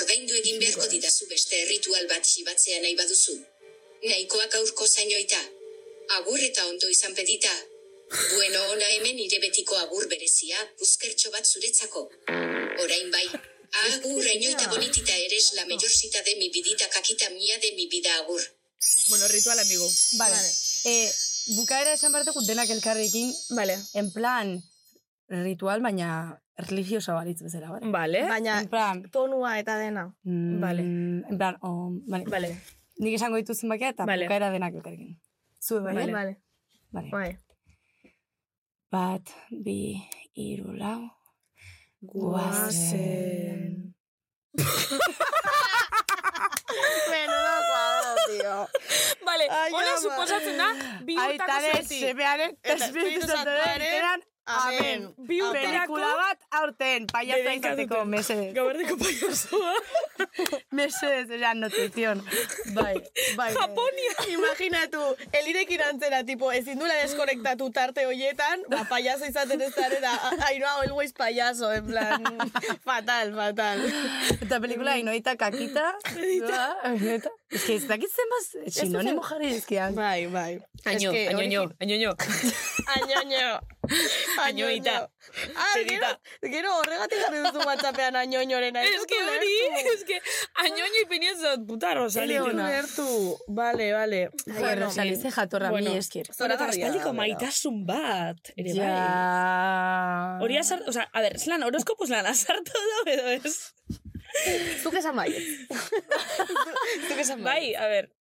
Speaker 9: ordaindu egin beharko didazu beste erritual bat xibatzea nahi baduzu. Nahikoa gaurko zainoita. Agur eta ondo izan pedita. Bueno, ona hemen nire betiko agur berezia, uzkertxo bat zuretzako. Orain bai, agur ainoita bonitita eres la mejorsita de mi vidita kakita mia de mi vida agur.
Speaker 2: Bueno, ritual amigo.
Speaker 10: Vale. Eh, bukaera esan behar dugu denak elkarrekin,
Speaker 2: Vale.
Speaker 10: en plan, ritual, baina religiosa balitz bezala, bale?
Speaker 2: Vale. Baina
Speaker 10: En plan,
Speaker 2: tonua eta dena.
Speaker 10: mm,
Speaker 2: Vale.
Speaker 10: En plan, oh, vale.
Speaker 2: Vale.
Speaker 10: Nik esango dituzen bakea eta
Speaker 2: Vale.
Speaker 10: bukaera denak elkarrekin. Zue, bai?
Speaker 2: Vale. Vale.
Speaker 10: Vale.
Speaker 2: Bai.
Speaker 10: Bat, bi, iru, lau. Guazen.
Speaker 2: Menudo cuadro, tío.
Speaker 6: Vale,
Speaker 2: Ai,
Speaker 6: hola
Speaker 2: ama.
Speaker 6: suposatzen da, bi urtako
Speaker 8: Aitaren,
Speaker 6: zerti.
Speaker 8: semearen,
Speaker 2: Eta
Speaker 8: espiritu
Speaker 2: Espiritu
Speaker 8: santoren,
Speaker 2: Santuaren,
Speaker 8: eran,
Speaker 2: amen.
Speaker 8: amen.
Speaker 6: Bi urteko
Speaker 8: Pelikula bat aurten, paiatza
Speaker 2: Dedikatuten.
Speaker 8: izateko, mesedez.
Speaker 6: gauerdeko
Speaker 3: *laughs*
Speaker 6: paiazoa.
Speaker 8: Mesedez, era notizion. Bai, bai.
Speaker 6: Japonia.
Speaker 2: Imaginatu, elirekin antzera, tipo, ezin duela deskonektatu tarte hoietan, ba, payaso izaten ez dara, da, I know, always payaso, en plan, fatal, fatal.
Speaker 8: Eta pelikula
Speaker 10: Bai.
Speaker 8: inoita kakita. Ba, Inoita. Ez que ez dakit zenbaz, sinonimo jarri dizkian.
Speaker 2: Bai, bai.
Speaker 3: Año,
Speaker 2: Es que
Speaker 3: añoño,
Speaker 2: origi-
Speaker 3: añoño.
Speaker 2: Añoño.
Speaker 3: Añoita.
Speaker 2: Ah, gero,
Speaker 3: Segita.
Speaker 2: gero horregatik jarri duzu whatsappean añoñoren.
Speaker 6: Es que hori, es que añoño ipini ez dut puta Rosalía.
Speaker 2: Gertu, vale, vale.
Speaker 8: Joder, Rosalize jatorra, mi
Speaker 3: Bueno.
Speaker 8: esker.
Speaker 2: Zoragarria da, bera.
Speaker 3: Aspaldiko maitasun bat, ere bai.
Speaker 8: Ja.
Speaker 3: Hori azart, o sea, a ver, zelan horoskopuz lan *laughs* azartu da, edo ez?
Speaker 2: Zuk esan bai. Zuk esan
Speaker 3: Bai, a ver,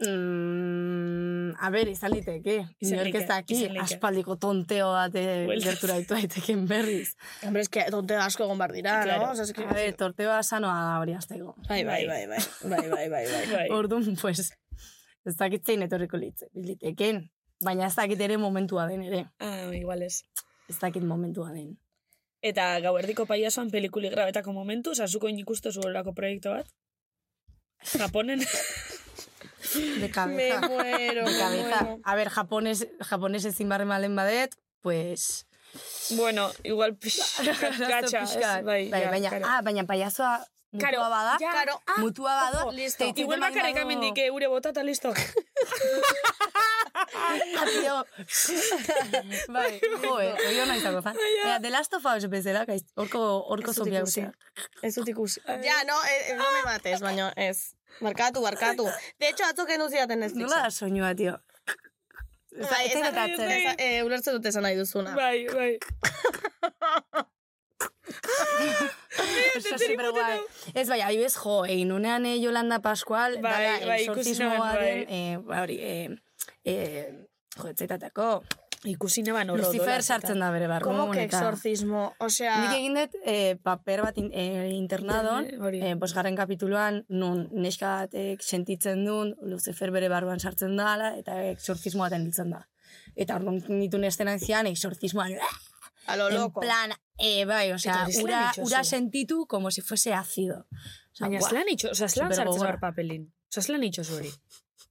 Speaker 8: Mm, a ber, izan liteke.
Speaker 3: Izan
Speaker 8: Inork ez
Speaker 3: liteke,
Speaker 8: daki,
Speaker 3: izan liteke.
Speaker 8: aspaldiko tonteo bat eh,
Speaker 3: Buelta.
Speaker 8: gertura ditu daiteken berriz.
Speaker 2: Hombre, es que tonte asko egon bar dira,
Speaker 3: *laughs* Claro.
Speaker 2: no? Osea, es que...
Speaker 8: A ber, torteo sanoa da hori azteko.
Speaker 2: Bai, bai, bai, bai, bai, bai, bai, bai.
Speaker 3: bai.
Speaker 8: Orduan, pues, ez dakit zein etorriko litze, liteken. Baina ez dakit ere momentua den ere.
Speaker 3: Ah, igual ez.
Speaker 8: Ez dakit momentua den.
Speaker 3: Eta gauerdiko paiasoan pelikuli grabetako momentu, sasuko inikustu zuelako proiektu bat. Japonen. *laughs*
Speaker 8: De
Speaker 2: Me
Speaker 8: cabeza.
Speaker 2: muero,
Speaker 8: De
Speaker 2: me
Speaker 8: cabeza.
Speaker 2: muero.
Speaker 8: A ber, japones, japones ezin barre malen badet,
Speaker 3: *laughs*
Speaker 8: pues...
Speaker 3: bueno, igual pix,
Speaker 8: arazo
Speaker 3: katxa,
Speaker 8: pixkat.
Speaker 3: ez, bai,
Speaker 8: bai,
Speaker 3: ja,
Speaker 8: baina,
Speaker 3: claro.
Speaker 8: ah, baina paiazoa mutua
Speaker 3: Karo,
Speaker 8: bada,
Speaker 3: ja,
Speaker 2: Karo, ah,
Speaker 8: mutua bado,
Speaker 2: listo.
Speaker 8: eta
Speaker 3: Igual bakarrik amendik eh, eure bota eta listo.
Speaker 8: Atio. *laughs* bai, jo, eh, oio nahi zago, fan. Ea, The Last of Us bezala, gaiz, horko, horko
Speaker 2: Ez dut
Speaker 8: zombia
Speaker 2: ikusi.
Speaker 8: guztia.
Speaker 2: Ez dut ikusi. Ja, no, eh, eh, no me mates, baina ez. Barkatu, barkatu. De hecho, atzok endu zidaten ez
Speaker 8: Nola da soinua, tio?
Speaker 2: Bai,
Speaker 8: Ez da- ez da gertatzen.
Speaker 2: Eh, ulertzen dut esan nahi duzuna.
Speaker 3: bai, bai.
Speaker 8: Oso superguai. Ez bai, adibidez, jo, egin unean eh, Yolanda Pascual,
Speaker 3: Bai,
Speaker 8: bada,
Speaker 3: bai, ikusi nuen,
Speaker 8: exorcismoaren,
Speaker 3: bai.
Speaker 8: eh, ba, hori, eh, eh, jo, etxetatako,
Speaker 3: Ikusi neban horro
Speaker 8: Lucifer sartzen da bere barru.
Speaker 2: Como que exorcismo? Osea...
Speaker 3: Ah.
Speaker 8: Nik egin dut eh, paper bat in, eh, internadon,
Speaker 3: Bai, Hori.
Speaker 8: eh, bosgarren kapituluan, nun neska batek sentitzen duen, Lucifer bere barruan sartzen dala, eta exorcismo baten ditzen da. Eta orduan nituen estenan zian, exorcismoan,
Speaker 2: A lo
Speaker 8: en
Speaker 2: loco.
Speaker 8: plan, eh, bai, osea,
Speaker 3: Eta hori zelan
Speaker 8: ura,
Speaker 3: itxoso.
Speaker 8: ura sentitu como si fuese ácido. Osea,
Speaker 3: Baina
Speaker 8: guau.
Speaker 3: zelan itxo, oza, zelan
Speaker 8: Supergogorra.
Speaker 3: sartzen zor papelin. Osa, zelan itxozu hori?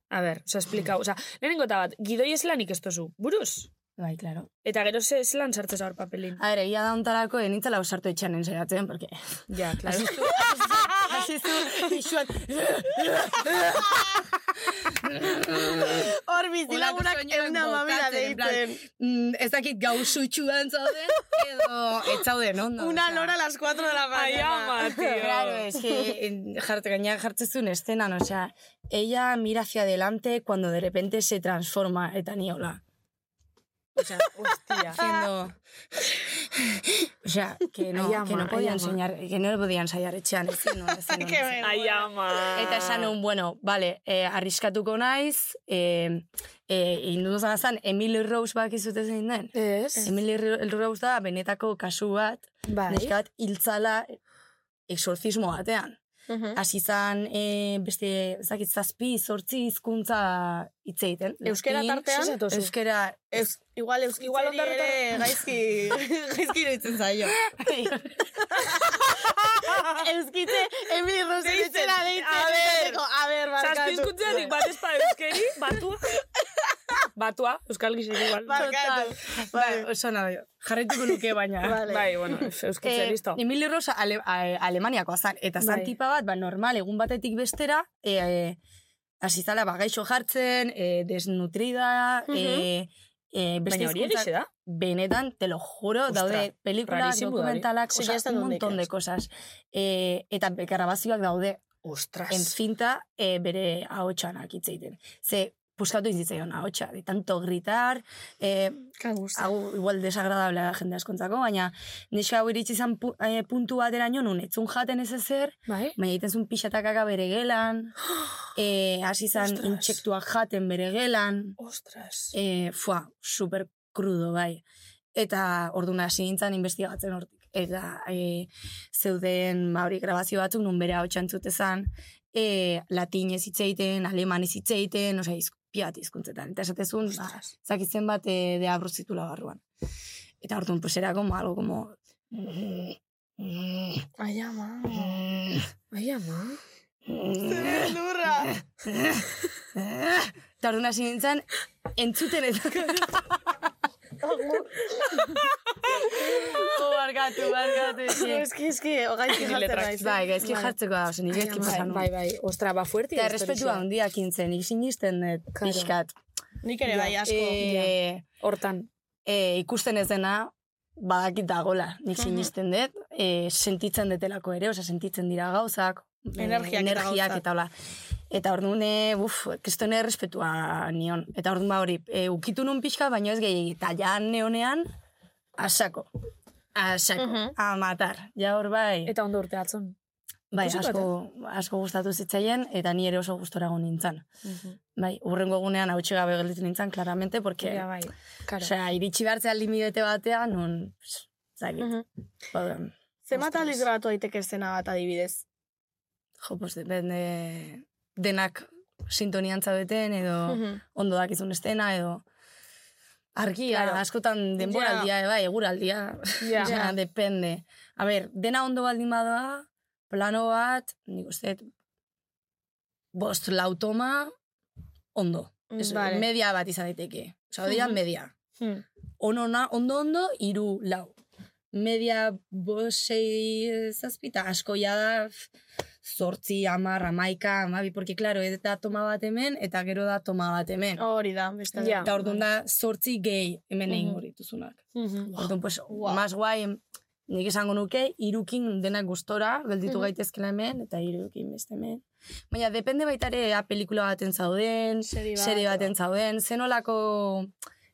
Speaker 3: A ber, osa, esplikau. Osa, lehenengo eta bat, gidoi eslanik ez tozu, buruz?
Speaker 8: Bai, claro.
Speaker 3: Eta gero ze zelan sartzez hor papelin.
Speaker 8: A ber, egia da ontarako, enitzela osartu etxean enseratzen, porque...
Speaker 3: Ja,
Speaker 8: *laughs*
Speaker 3: klaro.
Speaker 8: Hasi zu, pixuan...
Speaker 2: Hor bizilagunak euna mamera deiten.
Speaker 8: Mm, ez dakit gau sutxuan zauden, edo ez zauden ondo.
Speaker 2: Una
Speaker 8: osea.
Speaker 2: lora a las 4 de la *laughs* mañana.
Speaker 8: Claro, es que en- jarte, gaina jartzezun estenan, osea, ella mira hacia adelante cuando de repente se transforma, eta ni hola.
Speaker 3: Osa,
Speaker 2: Ah.
Speaker 3: hostia.
Speaker 8: Haciendo... O sea, que no,
Speaker 4: Ai, ama,
Speaker 8: que no podía
Speaker 4: ai, ama.
Speaker 8: enseñar, que no le podía ensayar
Speaker 2: *laughs*
Speaker 8: etxean, ezin, no, ezin, no,
Speaker 2: Qué
Speaker 8: ezin.
Speaker 2: bueno.
Speaker 3: Ai, ama.
Speaker 8: Eta esan un, bueno, vale, eh, arriskatuko naiz, eh, eh, indudu zan zan, Emily Rose bak izute zein den.
Speaker 3: Ez?
Speaker 8: Emily Ro- Rose da benetako kasu bat,
Speaker 3: Bai.
Speaker 8: neska bat hiltzala exorcismo batean.
Speaker 2: Mm.
Speaker 8: Hasi zan eh, beste, ez dakit, zazpi, zortzi hizkuntza hitz egiten.
Speaker 2: Euskera
Speaker 8: Latin,
Speaker 2: tartean?
Speaker 8: zer zatozu? Euskera...
Speaker 2: Ez, igual eus, igual ere gaizki, gaizki iruditzen zaio. Euskitze, Emily Rose deitzen. A ver, a ver, barkatu.
Speaker 3: Zazpizkuntzatik bat ezpa euskeri, batua. Batua, euskal gizik igual.
Speaker 2: Barkatu.
Speaker 8: *laughs* Bai, oso nahi, jarretuko nuke baina.
Speaker 3: Bai, bueno, euskitze,
Speaker 8: Eh,
Speaker 3: listo.
Speaker 8: Emilio Rosa ale, a- Alemaniakoa zan, eta zan
Speaker 3: Bai.
Speaker 8: tipa bat, ba, normal, egun batetik bestera, e, hasi zala, ba, gaixo jartzen, e, desnutrida,
Speaker 2: Mhm.
Speaker 8: e, e, beste
Speaker 3: Baina hori
Speaker 8: hizkuntzak-
Speaker 3: egixe da.
Speaker 8: Benetan, te lo juro,
Speaker 3: Ostra,
Speaker 8: daude pelikulas,
Speaker 3: rarísimo da hori.
Speaker 8: dokumentalak,
Speaker 2: Sí,
Speaker 8: osea,
Speaker 2: ya está
Speaker 8: un
Speaker 2: donde
Speaker 8: montón de
Speaker 2: quieras.
Speaker 8: cosas. E, eta bekarabazioak daude,
Speaker 3: Ostras.
Speaker 8: en finta, e, bere ahotxan akitzeiten. Ze, puskatu izitzaion ahotxa, de tanto gritar, e, hau igual desagradable da jende askontzako, baina neska hau iritsi izan pu, eh, puntu bateraino nun etzun jaten ez ezer,
Speaker 3: Bai?
Speaker 8: baina egiten zuen pixatakaka bere gelan, *gasps* eh, hasi izan
Speaker 3: Ostras.
Speaker 8: intsektuak jaten bere gelan,
Speaker 3: Ostras.
Speaker 8: eh, fua, super crudo bai. Eta orduna hasi nintzen investigatzen hortik. Eta eh, zeuden ba, hori grabazio batzuk nun bere hau txantzutezan, e, latinez hitz egiten, alemanez hitz egiten, osea, hizk- piat hizkuntzetan. Eta esatezun, ba, zakitzen bat e, de abruzitula barruan. Eta orduan, pues era como algo como...
Speaker 2: Ai, ama.
Speaker 3: Mm. Ai, ama.
Speaker 2: Lurra.
Speaker 8: Eta orduan hasi nintzen, entzuten
Speaker 3: *laughs*
Speaker 8: eta... oh, barkatu,
Speaker 3: Bai,
Speaker 8: barkatu.
Speaker 3: *laughs*
Speaker 8: sí.
Speaker 2: Eski, eski, gaizki jartzen
Speaker 3: eh.
Speaker 2: naiz.
Speaker 8: Bai, gaizki
Speaker 2: Vale.
Speaker 8: jartzeko da, oso, nire gaizki pasan.
Speaker 3: Bai, bai, ostra, ba, fuerte.
Speaker 8: Eta errespetua handiak intzen, nik sinisten dut
Speaker 3: Claro.
Speaker 8: pixkat.
Speaker 2: Nik ere bai asko.
Speaker 8: Eh,
Speaker 3: Hortan.
Speaker 8: eh, ikusten ez dena, badakit dagola, nik
Speaker 2: Mhm.
Speaker 8: sinisten dut, eh, sentitzen detelako ere, osea, sentitzen dira gauzak, eh,
Speaker 2: Energiak eta
Speaker 8: energiak
Speaker 2: gauzak.
Speaker 8: eta hola. Eta orduan, eh, uf, kriston errespetua nion. Eta orduan ba hori, eh, ukitu nun pixka, baino ez gehiagik. Eta ja neonean, asako. Asako,
Speaker 2: Mhm.
Speaker 8: a matar. Ja hor bai,
Speaker 3: Eta ondo urte atzon.
Speaker 8: bai
Speaker 3: ikusiko eh?
Speaker 8: asko, asko gustatu zitzaien, eta ni ere oso gustorago nintzen. Bai, urrengo egunean hautsi gabe gelditu nintzen, klaramente, porque...
Speaker 3: Ja, bai. Karo.
Speaker 8: Osea, iritsi behartzea limidete batean, non, pss, zagit,
Speaker 2: Mhm.
Speaker 8: mm
Speaker 2: Zenbat
Speaker 8: Ostras.
Speaker 2: aldiz grabatu daiteke zena bat adibidez?
Speaker 8: jo, pues, de, bende- denak sintonian zaudeten, edo
Speaker 2: Mhm.
Speaker 8: ondo dakizun estena, edo argia,
Speaker 2: Claro.
Speaker 8: askotan denboraldia, bai, eguraldia,
Speaker 3: Ja.
Speaker 8: Osea, depende. A ber, dena ondo baldin badoa, plano bat, nik uste, dut, bost lautoma, ondo. Ez,
Speaker 2: Mm, Vale.
Speaker 8: Media bat izan daiteke. Osa, hori da
Speaker 2: Mhm.
Speaker 8: media.
Speaker 3: Hmm.
Speaker 8: Ono, na, ondo, ondo, iru, lau. Media bost, sei, zazpita, asko ja da, f- zortzi, amar, amaika, amabi, porque, claro, ez da toma bat hemen, eta gero da toma bat hemen.
Speaker 2: Hori da, beste.
Speaker 3: Ja.
Speaker 8: Eta orduan da, zortzi gehi hemen egin
Speaker 3: Mhm.
Speaker 8: hori dituzunak.
Speaker 3: Mhm.
Speaker 8: Orduan, pues, mas guai, nik esango nuke, irukin denak gustora, gelditu
Speaker 2: Mhm.
Speaker 8: gaitezkela hemen, eta irukin beste hemen. Baina, depende baita ere, a pelikula baten zauden,
Speaker 2: Seri bat,
Speaker 8: serie baten zauden, zenolako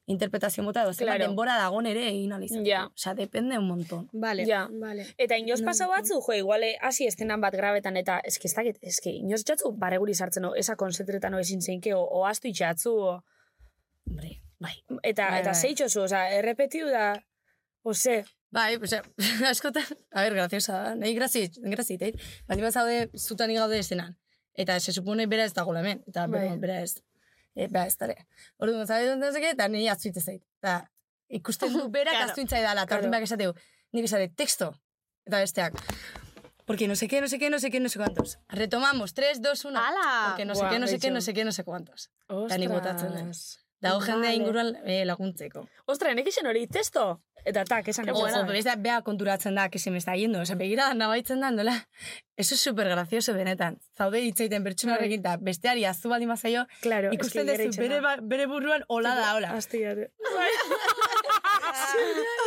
Speaker 8: interpretazio mota edo, zenbat
Speaker 3: Claro.
Speaker 8: denbora dagon ere egin alizan.
Speaker 3: Ja.
Speaker 8: Osea, depende un montón.
Speaker 2: Vale,
Speaker 3: Ja.
Speaker 2: vale.
Speaker 3: Eta inoz pasa batzu, jo, iguale, hasi estenan bat grabetan, eta eski ez dakit, eski, inoz itxatzu, bareguri sartzen, o, esa konzentretan o ezin zeinke, o, o astu itxatzu, o,
Speaker 8: Hombre, bai.
Speaker 3: eta,
Speaker 8: Bai,
Speaker 3: eta
Speaker 8: bai.
Speaker 3: zeitxozu, oza, errepetiu da, ose,
Speaker 8: Bai, pues, *laughs* askotan, a ber, graziosa da, nahi grazi, grazi, teit. Baldin bat zaude, zutan gaude eszenan. Eta se supone bera ez dago hemen, eta bera,
Speaker 3: Bai.
Speaker 8: bera ez, e, bera ez dara. Orduan, zabe dut dazake, eta nahi aztuitze zait. Eta ikusten du berak
Speaker 3: *laughs*
Speaker 2: Claro.
Speaker 8: aztuitza edala, eta orduan berak esateu, nik esate, texto, eta besteak. Porque no sé qué, no sé qué, no sé qué, no sé cuántos. Retomamos, 3, 2, 1.
Speaker 2: Ala!
Speaker 8: Porque no sé
Speaker 3: Buah,
Speaker 8: qué, no sé qué,
Speaker 3: gaixo.
Speaker 8: no sé qué, no sé cuántos. Eta ni botatzen da.
Speaker 3: Ostras.
Speaker 8: Dago jendea
Speaker 3: Vale.
Speaker 8: inguruan eh, laguntzeko.
Speaker 3: Ostra, nek isen hori testo? Eta tak, esan
Speaker 8: Ojo,
Speaker 3: egoera.
Speaker 8: pero ez da, bea konturatzen da, que se me está yendo. Osa, begira, nabaitzen da, nola. Eso es super gracioso, benetan. Zaude hitzeiten pertsona horrekin, eta besteari azu baldin bazaio,
Speaker 3: Claro,
Speaker 8: ikusten dezu bere, ba- bere buruan hola da, hola. *laughs*
Speaker 3: Aztigare. *laughs*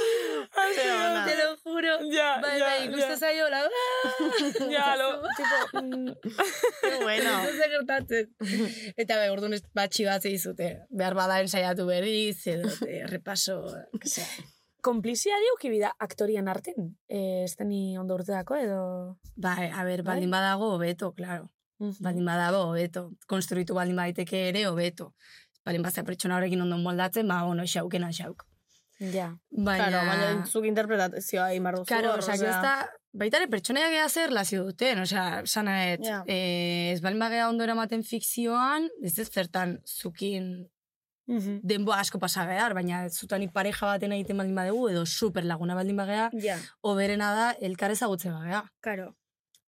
Speaker 8: Te lo juro.
Speaker 3: Ja,
Speaker 8: Bai,
Speaker 3: ja,
Speaker 8: bai, ikusten zaio, hola.
Speaker 3: Ja, lo, tipo, mm,
Speaker 2: bueno.
Speaker 8: Ez da gertatzen. *laughs* Eta bai, orduan ez batxi bat dizute. Behar badaren saiatu berriz, edo eh, repaso, que sea.
Speaker 3: konplizia diukibida aktorian arten. Eh, ez teni ondo urteako edo... Bai,
Speaker 8: Bai, a ber, baldin badago hobeto, claro. Baldin badago hobeto. Konstruitu baldin baditeke ere hobeto. Baldin bazea pertsona horrekin ondo moldatzen, ba, ono, xaukena xauk.
Speaker 3: Ja.
Speaker 8: Baina...
Speaker 2: *laughs* Claro, baina zuk interpretazioa egin behar duzu.
Speaker 8: Claro,
Speaker 2: hor,
Speaker 8: osea, gero ez da, baita ere pertsonaiak ea zer lazio duten, osea, sana et,
Speaker 2: Ja.
Speaker 8: eh, ez balin bagea ondo eramaten fikzioan, ez ez zertan zukin denboa asko pasa behar, baina zutanik pareja baten egiten baldin badegu, edo super laguna baldin bagea,
Speaker 3: Ja,
Speaker 8: oberena da elkar ezagutzen bagea.
Speaker 3: karo.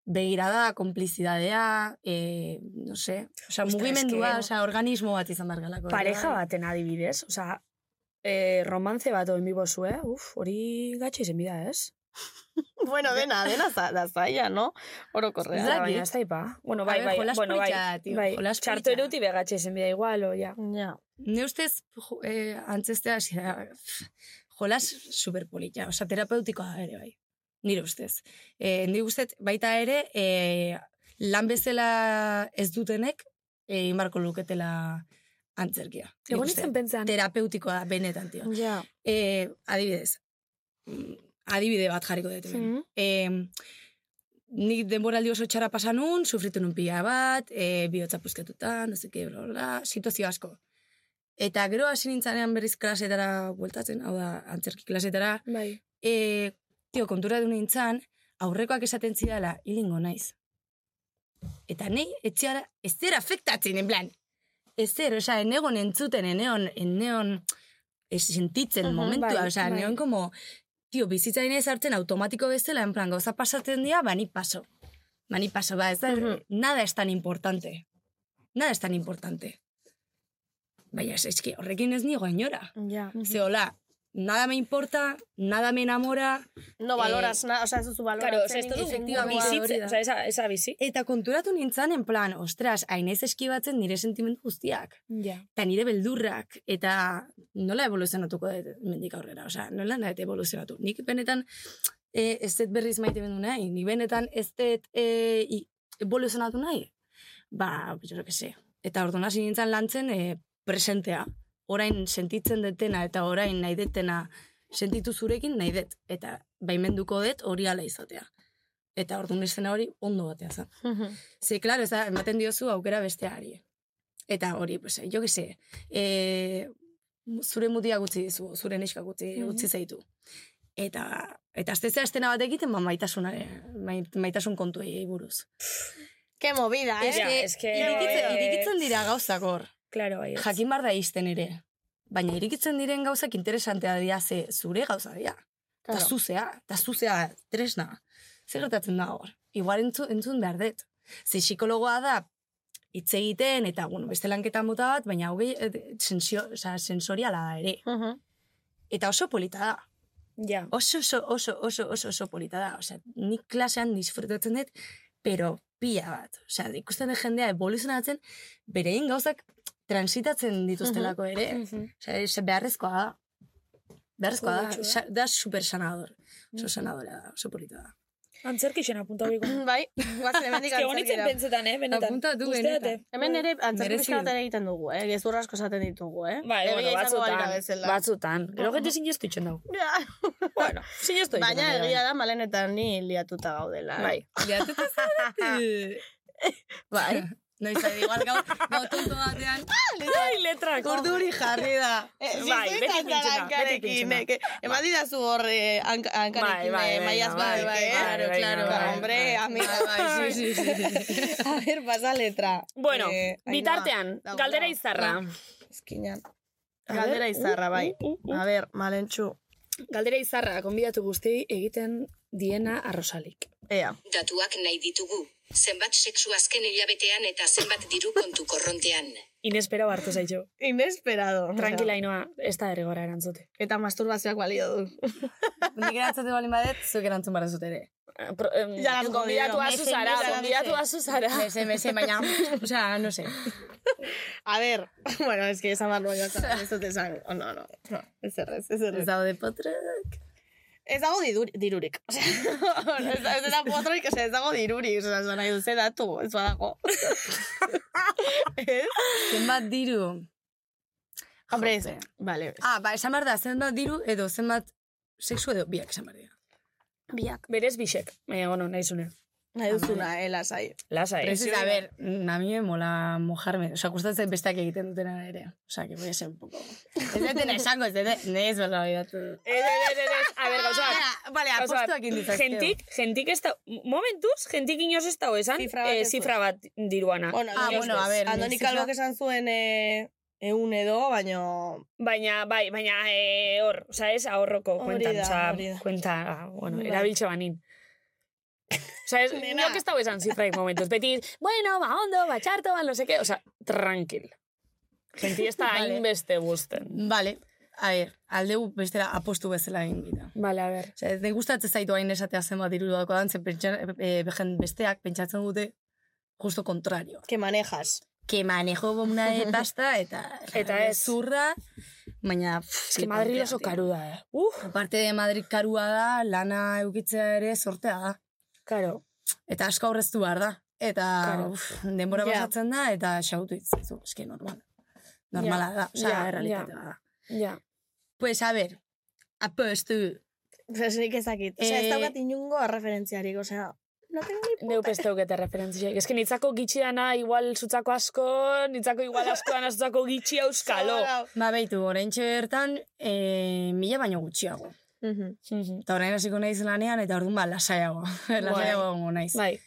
Speaker 8: Begirada, konplizidadea, eh, no sé,
Speaker 3: Ostra,
Speaker 8: osea, mugimendua,
Speaker 3: eske-
Speaker 8: osea, organismo bat izan behar galako. eh, bai.
Speaker 3: Pareja baten adibidez, oza, eh, romantze bat oin bibozue, uf, hori gatxe izen bida, ez?
Speaker 2: *laughs* Bueno, dena, dena za, da zaila, no?
Speaker 3: Ez
Speaker 2: Orokorrean.
Speaker 3: da, baina ez da ipa. Bueno,
Speaker 8: A
Speaker 3: bai,
Speaker 8: ber,
Speaker 3: bai,
Speaker 8: jolas
Speaker 3: bueno, bai,
Speaker 8: polita, tio,
Speaker 3: bai,
Speaker 8: jolas
Speaker 3: txarto
Speaker 8: polita.
Speaker 3: eruti begatxe izen bida igual, o, ja.
Speaker 2: Ja.
Speaker 8: Ne ustez, jo, eh, antzestea, zera, jolas superpolitia, osea, terapeutikoa da ere, bai. Nire ustez. Eh, nire ustez, baita ere, eh, lan bezala ez dutenek, eh, inbarko luketela antzerkia. Nire
Speaker 3: Egon
Speaker 8: ustez.
Speaker 3: izan pentsan.
Speaker 8: Terapeutikoa da, benetan, tio.
Speaker 3: Ja.
Speaker 8: Eh, adibidez, mm, adibide bat jarriko dut. hemen.
Speaker 3: Mhm.
Speaker 8: Eh, nik denboraldi oso txara pasa nun, sufritu nun pila bat, eh, bihotza puzketuta, no seke, bla, bla, bla, situazio asko. Eta gero hasi nintzanean berriz klasetara bueltatzen, hau da, antzerki klasetara,
Speaker 3: Bai.
Speaker 8: e, tio, kontura du nintzan, aurrekoak esaten zidala, hilingo naiz. Eta nei, etxeara, ez zer afektatzen, en plan. Ez zer, osea, enegon entzuten, eneon, eneon, ez sentitzen momentua,
Speaker 3: bai,
Speaker 8: osea,
Speaker 3: bai.
Speaker 8: eneon como, tio, bizitzain ez hartzen automatiko bezala, en plan, gauza pasatzen dira, ba, ni paso. Ba, ni paso, ba, ez da, nada es tan importante. Nada es tan importante. Baina, ez, eski, horrekin ez nigo inora.
Speaker 2: Ja.
Speaker 8: Ze, hola, nada me importa, nada me enamora,
Speaker 2: No valoras, na, o sea, ez duzu valoratzen.
Speaker 1: Claro, o sea, ez duzu
Speaker 8: efectivamente, hori
Speaker 1: bizitza,
Speaker 8: da.
Speaker 1: o sea, esa, esa bizi.
Speaker 8: Eta konturatu nintzen, en plan, ostras, hainez eskibatzen nire sentimendu guztiak.
Speaker 3: Ja.
Speaker 8: Eta nire beldurrak, eta nola evoluzionatuko dut mendik aurrera, osea, nola nahet evoluzionatu. Nik benetan, e, ez dut berriz maite bendu nahi, nik benetan ez dut e, i- evoluzionatu nahi. Ba, jo que se. Eta orduan hasi nintzen lantzen e, presentea. Orain sentitzen detena eta orain nahi detena sentitu zurekin nahi det. Eta baimenduko dut hori ala izatea. Eta orduan izena hori ondo batea zen. Ze, claro, ez da, ematen diozu aukera besteari. Eta hori, pues, jo que se, e, zure mutia gutzi dizu, zure neska gutzi,
Speaker 1: Mm-hmm.
Speaker 8: gutzi zaitu. Eta, eta aztezea estena bat egiten, ba, maitasunaren- mait, maitasun kontuei buruz.
Speaker 2: Ke movida, eh?
Speaker 1: Ah, Ja, es que...
Speaker 8: Irikitzen,
Speaker 1: eh,
Speaker 8: irikitzen dira gauzak hor.
Speaker 1: Claro, bai.
Speaker 8: Jakin bar da izten ere. Baina irikitzen diren gauzak interesantea dira ze zure gauza dira. Eta
Speaker 2: Claro.
Speaker 8: zuzea, eta zuzea tresna. Zer gertatzen da hor? Igual entzun, entzun behar dut. Ze psikologoa da hitz egiten eta bueno, beste lanketa mota bat, baina hogei eh, sensio, oza, sensoriala da ere.
Speaker 2: *laughs* Mhm.
Speaker 8: Eta oso polita da.
Speaker 1: Ja.
Speaker 8: Oso, oso, oso, oso, oso, oso polita da. Osea, nik klasean disfrutatzen dut, pero pila bat. Osea, ikusten dut jendea evoluzionatzen, berein gauzak transitatzen dituztelako ere. Osea, ez- beharrezkoa da. Beharrezkoa da. Sa- Da super sanador. Oso sanadora da, oso polita da.
Speaker 3: Antzerki zen apunta hori.
Speaker 2: Bai, guazen hemendik
Speaker 1: Ez que honitzen
Speaker 2: antzerkira.
Speaker 1: pentsetan, eh, benetan.
Speaker 8: Apuntatu
Speaker 1: Guztia
Speaker 8: benetan.
Speaker 1: dute.
Speaker 2: Hemen ere antzerki
Speaker 8: Merezi
Speaker 2: pixka
Speaker 8: du.
Speaker 2: bat egiten dugu, eh? Gezur asko esaten ditugu, eh?
Speaker 1: Bai,
Speaker 2: Egia
Speaker 1: bueno,
Speaker 2: izango balira
Speaker 1: batzutan,
Speaker 2: bezala.
Speaker 3: Batzutan. Gero gente sinestu itxen dago.
Speaker 2: *laughs* Ja.
Speaker 1: Bueno, sinestu egiten
Speaker 2: Baina
Speaker 1: dira,
Speaker 2: egia da malenetan ni liatuta gaudela. eh?
Speaker 1: Bai.
Speaker 8: Leatuta *laughs* zarete. Bai. Noiz, ari, igual gau, gau tonto batean.
Speaker 3: bai. Ai, letrak!
Speaker 8: Urduri jarri da.
Speaker 2: *laughs* Eh,
Speaker 3: Bai,
Speaker 2: ziztu
Speaker 3: beti
Speaker 2: izan zara
Speaker 3: pintzena, beti
Speaker 2: hankarekin,
Speaker 3: pintzena.
Speaker 2: eh, que- Eman didazu hor eh, hank- hankarekin,
Speaker 3: Bai, bai,
Speaker 2: eh, maiaz
Speaker 3: venga,
Speaker 2: bai,
Speaker 3: bai,
Speaker 2: bai, eh?
Speaker 3: claro, claro,
Speaker 2: Ba,
Speaker 3: bai,
Speaker 2: Hombre, amiga,
Speaker 8: Bai, sí, sí, sí.
Speaker 2: *laughs* A ver, pasa letra.
Speaker 3: Bueno,
Speaker 2: Eh, Ainhoa,
Speaker 3: bitartean,
Speaker 2: dago,
Speaker 3: galdera Uh,
Speaker 2: dago.
Speaker 3: izarra.
Speaker 2: Esquinan. Galdera izarra, bai.
Speaker 3: uh.
Speaker 2: A ver, malentxu.
Speaker 3: Galdera izarra, konbidatu guzti egiten diena arrosalik.
Speaker 2: Ea.
Speaker 9: Datuak nahi ditugu. Zenbat sexu azken hilabetean eta zenbat diru kontu korrontean.
Speaker 3: Inesperado hartu zaitxo.
Speaker 2: Inesperado.
Speaker 3: Tranquila, Inoa, ez da derrigora erantzute.
Speaker 2: Eta masturbazioak balio du.
Speaker 8: Nik erantzate balin badet, zuek erantzun bara ere.
Speaker 3: Pro, em,
Speaker 2: Ya las
Speaker 3: gonbidatu
Speaker 2: gobierno.
Speaker 3: azu zara,
Speaker 2: Mesedez,
Speaker 3: gonbidatu azu zara.
Speaker 8: Mese, mese, *laughs* baina, osea, no sé.
Speaker 2: A ver, *laughs* bueno, es que esa más rollo ez dut esan. Oh, no, no, no, ez errez, ez
Speaker 8: Ez
Speaker 2: errez.
Speaker 8: dago de potrek.
Speaker 2: Ez dago didur- dirurik. *laughs* Osea, ez da- ez da potroik, osea, ez dago dirurik. Osea, zona duze datu, ez *laughs* badago. Ez?
Speaker 8: Zenbat diru.
Speaker 2: Hombre, ez. Vale.
Speaker 8: Ah, ba, esan behar da, zenbat diru edo zenbat sexu edo biak esan behar dira.
Speaker 3: Berez bisek, eh, bueno, nahi zune.
Speaker 8: Ah,
Speaker 2: Nahi duzuna, eh, lasai.
Speaker 3: Lasa,
Speaker 8: Pero
Speaker 3: eh?
Speaker 8: ez, ez, a ver, na mi me mola mojarme. Osa, gustatzen besteak egiten dutena ere. Osa, que voy a ser un poco... Ez dutena esango, ez dutena... Ne, ez berra hori datu.
Speaker 3: Ez, ez, ez, ez, a ber, gauza bat.
Speaker 8: Vale,
Speaker 3: Gauza bat,
Speaker 8: apostuak inditzak.
Speaker 3: Gentik, gentik ez da, momentuz, gentik inoz ez dago esan,
Speaker 2: Zifra bat
Speaker 3: eh,
Speaker 2: ez du.
Speaker 3: zifra bat diruana.
Speaker 2: Bueno,
Speaker 8: Ah, bueno, a ver.
Speaker 2: Andoni
Speaker 8: zifra-
Speaker 2: Kalbok esan zuen eh, eun edo, baino...
Speaker 3: Baina, bai, baina eh, hor, oza, ez ahorroko
Speaker 2: Hori
Speaker 3: kuentan,
Speaker 2: da, hori
Speaker 3: oza,
Speaker 2: da.
Speaker 3: kuenta, ah, bueno,
Speaker 2: Bai.
Speaker 3: erabiltxe banin. Oza, ez,
Speaker 2: *laughs* Nena.
Speaker 3: niok ez dago esan zifraik momentuz. Beti, bueno, ba ondo, ba txarto, ba, no seke, oza, tranquil. Genti
Speaker 2: *laughs*
Speaker 3: ez da
Speaker 8: Vale.
Speaker 3: hainbeste guzten.
Speaker 8: Vale, a ver, aldeu bestela apostu bezala egin bida.
Speaker 3: Vale, a ber.
Speaker 8: Osa, ez den gustatzen zaitu hain esatea zenbat diru dako dan, zen pentsa- e, jen- besteak pentsatzen dute justo kontrario.
Speaker 2: Que manejas. *laughs*
Speaker 8: Que manejo bomna
Speaker 3: *laughs*
Speaker 8: de pasta eta...
Speaker 3: Eta ez.
Speaker 8: Zurra, baina... pff,
Speaker 3: Ez que Madrid
Speaker 8: flipantea,
Speaker 3: oso
Speaker 8: tío.
Speaker 3: karu da, eh? Uh,
Speaker 8: Aparte de Madrid karua da, lana eukitzea ere sortea da.
Speaker 3: karo.
Speaker 8: Eta asko aurreztu behar da. Eta
Speaker 3: Claro.
Speaker 8: uf, denbora
Speaker 2: Ja.
Speaker 8: pasatzen da, eta xautu itzizu. Ez que normal. Normala da, osea,
Speaker 3: ja,
Speaker 8: errealitatea da.
Speaker 3: Ja.
Speaker 8: Pues, a ber, apostu.
Speaker 2: Osea, nik ez dakit. Osea, ez
Speaker 8: Eh,
Speaker 2: daukat inungo referentziarik, osea... No tengo ni
Speaker 3: Neuk ez daukete referentziak. Ez que nitzako gitxi dana, igual zutzako asko, nitzako igual asko dana zutzako gitxi euskalo.
Speaker 8: Ba, beitu, orain bertan, e, mila baino gutxiago.
Speaker 2: Mhm.
Speaker 3: Mhm.
Speaker 8: Eta orain hasiko naiz lanean, eta orduan ba, lasaiago. *laughs* lasaiago egongo naiz.
Speaker 3: bai.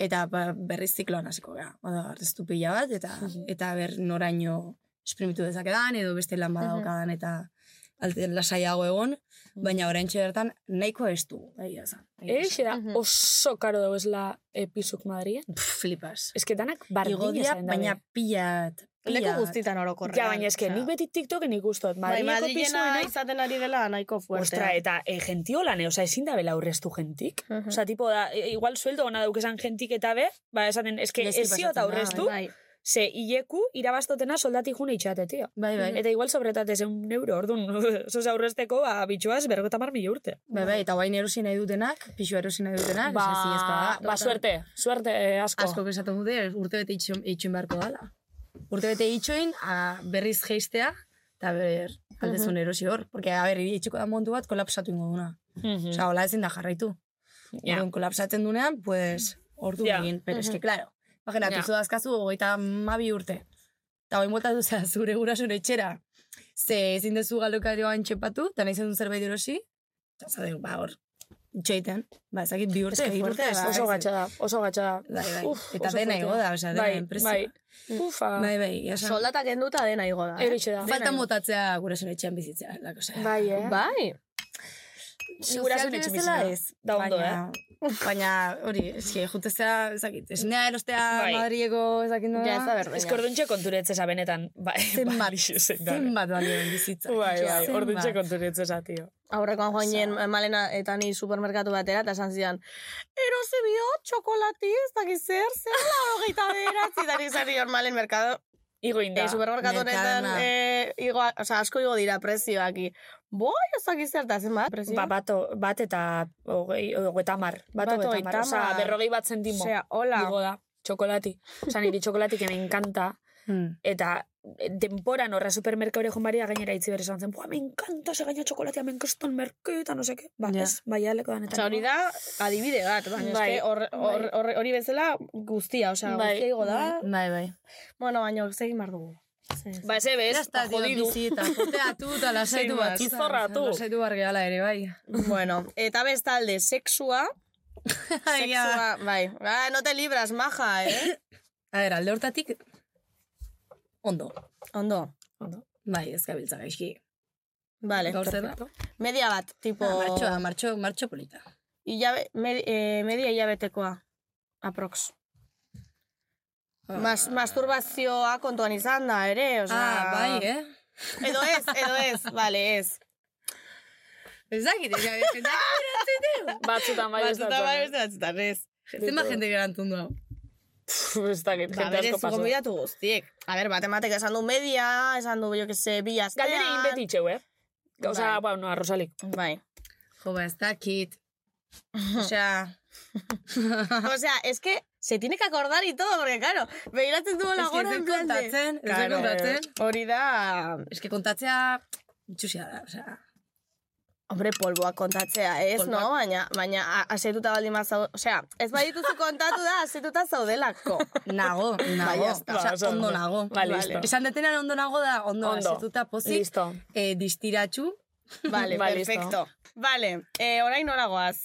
Speaker 8: Eta ba, berriz zikloan hasiko gara. Bada, arreztu pila bat,
Speaker 3: *laughs*
Speaker 8: eta, eta ber noraino esprimitu dezakedan, edo beste lan badaukadan, eta alte lasaiago egon,
Speaker 3: Mm.
Speaker 8: baina orain bertan nahiko ez du. Egia esan. Egia esan.
Speaker 3: Eix, era oso karo dago esla eh, pisuk Madrien.
Speaker 8: Pff, flipas.
Speaker 3: Ez que danak bardina
Speaker 8: Igodia,
Speaker 3: zaren dabe.
Speaker 8: baina pilat.
Speaker 2: Leku
Speaker 8: pilat.
Speaker 2: guztitan orokorrean.
Speaker 3: Ja, baina ez que
Speaker 2: osea.
Speaker 3: nik beti TikToken ikustot.
Speaker 2: Bai,
Speaker 3: Madrieko
Speaker 2: Madrilena
Speaker 3: pisuena...
Speaker 2: izaten ari dela nahiko fuertea.
Speaker 3: Ostra, eta e, gentio lan, oza, ezin da bela aurreztu gentik.
Speaker 2: Mhm.
Speaker 3: Oza, tipo, da, e, igual sueldo ona daukesan gentik eta be, ba, esaten, ez que
Speaker 8: Gaizki
Speaker 3: ezio eta
Speaker 8: pasatzen da,
Speaker 3: aurreztu,
Speaker 2: Bai.
Speaker 3: ze hileku irabaztotena soldati june itxate, tio.
Speaker 8: Bai, bai.
Speaker 3: Eta igual sobretate zeun euro, *laughs* orduan, zoz aurrezteko, ba, bitxoaz, berrogeta mar mila urte.
Speaker 8: Bai, bai, eta guain erosi nahi dutenak, pixu erosi nahi dutenak,
Speaker 3: Ba,
Speaker 8: Ah, ez ez da.
Speaker 3: ba, suerte, suerte eh, asko.
Speaker 8: Asko esaten dute, urte bete itxoin, itxoin beharko dala. Urte bete itxoin, a, berriz geistea, eta ber, aldezun erosi hor. Porque, a ber, itxiko da montu bat, kolapsatu ingo duna.
Speaker 3: Mhm.
Speaker 8: Osa, hola ezin da jarraitu.
Speaker 3: Ja.
Speaker 8: Orduan, kolapsatzen dunean, pues, ordu
Speaker 3: Ja. Mm-hmm.
Speaker 8: egin. Pero eske, claro, imagina, yeah. dazkazu, hogeita mabi urte. Eta hoin botatu zea, zure gurasun etxera. Ze ezin dezu galokarioan txepatu, eta nahi zen zerbait erosi. Eta zade, ba, hor, itxoiten. Ba, ezakit bi urte, hiru urte. ba, ez
Speaker 3: ba, Oso
Speaker 8: dakit.
Speaker 3: gatxa da, oso gatxa da.
Speaker 8: Bai, bai.
Speaker 3: Uf,
Speaker 8: Eta
Speaker 3: oso
Speaker 8: dena
Speaker 3: fuertea.
Speaker 8: igo da, osea, dena
Speaker 3: bai,
Speaker 8: enpresa.
Speaker 3: Bai, ufa.
Speaker 8: Bai, bai, ia esan.
Speaker 2: Soldatak enduta dena igo da. eh?
Speaker 3: Eritxe da.
Speaker 8: Falta motatzea gurasun etxean bizitzea, lako zea.
Speaker 3: Bai, eh?
Speaker 2: Bai.
Speaker 3: Gurasoen etxe bizitza. Da ondo, *laughs*
Speaker 8: eh? Baina, hori, eski, jutezea, ezakit, esnea erostea
Speaker 3: Bai.
Speaker 8: Madrileko, ezakit nola.
Speaker 2: Ja, ez da
Speaker 3: Ez
Speaker 2: berdina.
Speaker 3: korduntxe konturetze za benetan. Bai,
Speaker 8: Zenbat,
Speaker 3: bai, *laughs* zein da.
Speaker 8: zenbat balioen bizitza.
Speaker 3: Bai, bai,
Speaker 8: Zenbat.
Speaker 3: orduntxe konturetze za, tio.
Speaker 2: Aurrekoan joan ginen malena eta ni supermerkatu batera, eta esan zidan, erosi bio, txokolati, ez dakiz zer, zer la hogeita beratzi, eta nik zari hor malen merkado.
Speaker 3: Igo inda.
Speaker 2: Eh, supermerkatu honetan,
Speaker 8: Mercadona.
Speaker 2: eh, igo, oza, asko igo dira prezioaki. Boi, ez dakiz zer, eta zenbat, prezio?
Speaker 3: Ba, bato, bat eta hogei, hogeita mar. Bat
Speaker 2: Bat
Speaker 3: hogeita
Speaker 2: hogeita
Speaker 3: mar. Osa,
Speaker 2: hamar.
Speaker 3: berrogei bat zentimo.
Speaker 2: Osea, hola.
Speaker 3: Digo da, txokolati. Osa,
Speaker 2: *laughs*
Speaker 3: niri txokolati que me encanta.
Speaker 8: Hmm.
Speaker 3: Eta denporan horra supermerka hori baria gainera itzi bere esan zen, bua, me encanta, se gaina txokolatia, me encastan merketa, no seke. Ba,
Speaker 8: Ja.
Speaker 3: ez, bai, aleko danetan.
Speaker 2: Osa, hori da, adibide bat, baina
Speaker 3: Bai,
Speaker 2: eske hor- hor- hor- hori bezala guztia, osea,
Speaker 3: Bai.
Speaker 2: guztia igo da.
Speaker 8: Bai, bai.
Speaker 2: Bueno, baina zegin behar dugu. Ze- ze-
Speaker 3: Ba, ez ebe, ez,
Speaker 8: Erasta, dio,
Speaker 3: jodidu. *laughs*
Speaker 8: bizita, joteatu, eta lasaitu
Speaker 3: Zenbat,
Speaker 8: bat.
Speaker 3: zorratu.
Speaker 8: Lasaitu bargeala ere, bai.
Speaker 2: Bueno, eta bestalde, sexua. sexua, bai. Ah, no te libras, maja, eh?
Speaker 8: A ber, alde hortatik, ondo.
Speaker 2: Ondo.
Speaker 8: Bai, ez gabiltza gaizki.
Speaker 2: Vale.
Speaker 8: Gaur zer da? Ah,
Speaker 2: Media bat, tipo...
Speaker 8: Martxoa, martxo, martxo polita.
Speaker 2: hilabe, med, eh, media hilabetekoa, aprox. Mas, masturbazioa kontuan izan da, ere, osea...
Speaker 8: Ah, bai, eh?
Speaker 2: Edo ez, edo ez, bale, ez.
Speaker 8: Ez dakit, ja,
Speaker 3: *laughs*
Speaker 8: jendeak geratzen du.
Speaker 3: Batzutan bai ez
Speaker 2: Batzuta
Speaker 3: dator,
Speaker 2: bai,
Speaker 3: eh?
Speaker 2: beste batzutan ez.
Speaker 8: Zenba jende gerantun du hau.
Speaker 3: Pff, *laughs* Ez dakit,
Speaker 2: Ba,
Speaker 3: jente
Speaker 2: berez,
Speaker 3: asko paso.
Speaker 2: gombidatu guztiek. A ber, bat ematek esan du media, esan du, jo que se, bi astean.
Speaker 3: Galdera egin beti txeu, eh? Gauza,
Speaker 8: Bai.
Speaker 3: ba, no, arrozalik.
Speaker 2: Bai. *laughs*
Speaker 8: Jo, ba, ez *laughs* dakit. Osea,
Speaker 2: O sea, es que se tiene que acordar y todo, porque, claro, begiratzen du la
Speaker 8: Ez que ez
Speaker 2: gora en plan
Speaker 8: dut
Speaker 2: de...
Speaker 8: kontatzen, ez dut
Speaker 2: Claro,
Speaker 8: kontatzen.
Speaker 2: Hori da...
Speaker 8: eske kontatzea itxusia da, osea.
Speaker 2: Hombre, polboak kontatzea, ez,
Speaker 8: Polboak.
Speaker 2: no? Baina, baina a- asetuta baldin mazau... O sea, ez badituzu kontatu da, asetuta *laughs* zaudelako.
Speaker 8: Nago, *laughs* bai, nago.
Speaker 2: ya está.
Speaker 3: Ba,
Speaker 8: Osea,
Speaker 3: oso
Speaker 8: ondo
Speaker 3: ondo.
Speaker 8: nago.
Speaker 3: Ba, listo.
Speaker 8: Esan detenan ondo nago da, Bai, ondo,
Speaker 3: Ondo.
Speaker 8: asetuta pozik,
Speaker 3: Listo.
Speaker 8: eh, distiratxu,
Speaker 2: Vale,
Speaker 3: Ba, listo.
Speaker 2: perfecto. Vale, eh, orain noragoaz.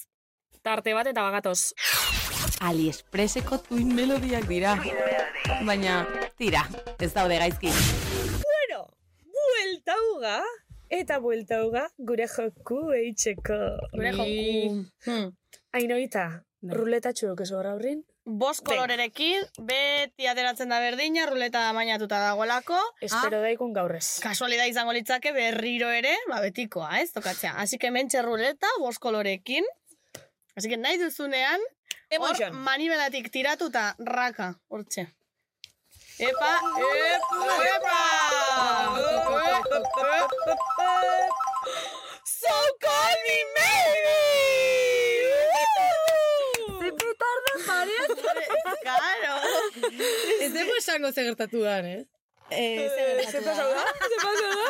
Speaker 3: Tarte bat eta bagatoz.
Speaker 6: AliExpresseko tuin melodiak dira. Baina, tira, ez daude gaizki.
Speaker 11: Bueno, buelta uga, eta buelta uga gure joku eitzeko. Gure joku.
Speaker 2: Hmm.
Speaker 11: Ainoita,
Speaker 2: Bai.
Speaker 11: ruleta txuok ez horra horrin.
Speaker 2: Bost kolorerekin, beti ateratzen da berdina, ruleta mainatuta dagoelako.
Speaker 3: Espero daikun gaurrez.
Speaker 2: Kasualidad izango litzake berriro ere, ba, betikoa, ez, tokatzea. Así que mentxe ruleta, bost kolorekin. Así que nahi duzunean, hor
Speaker 11: Emotion.
Speaker 2: manibelatik tiratuta raka, hortxe. Epa, epa, epa! So call me maybe! Ze petarda Claro.
Speaker 8: Ez dugu esango ze gertatu dan, *laughs* eh?
Speaker 2: Eh, ze
Speaker 11: Ze
Speaker 8: Bai,
Speaker 11: pasau da? Ze pasau da?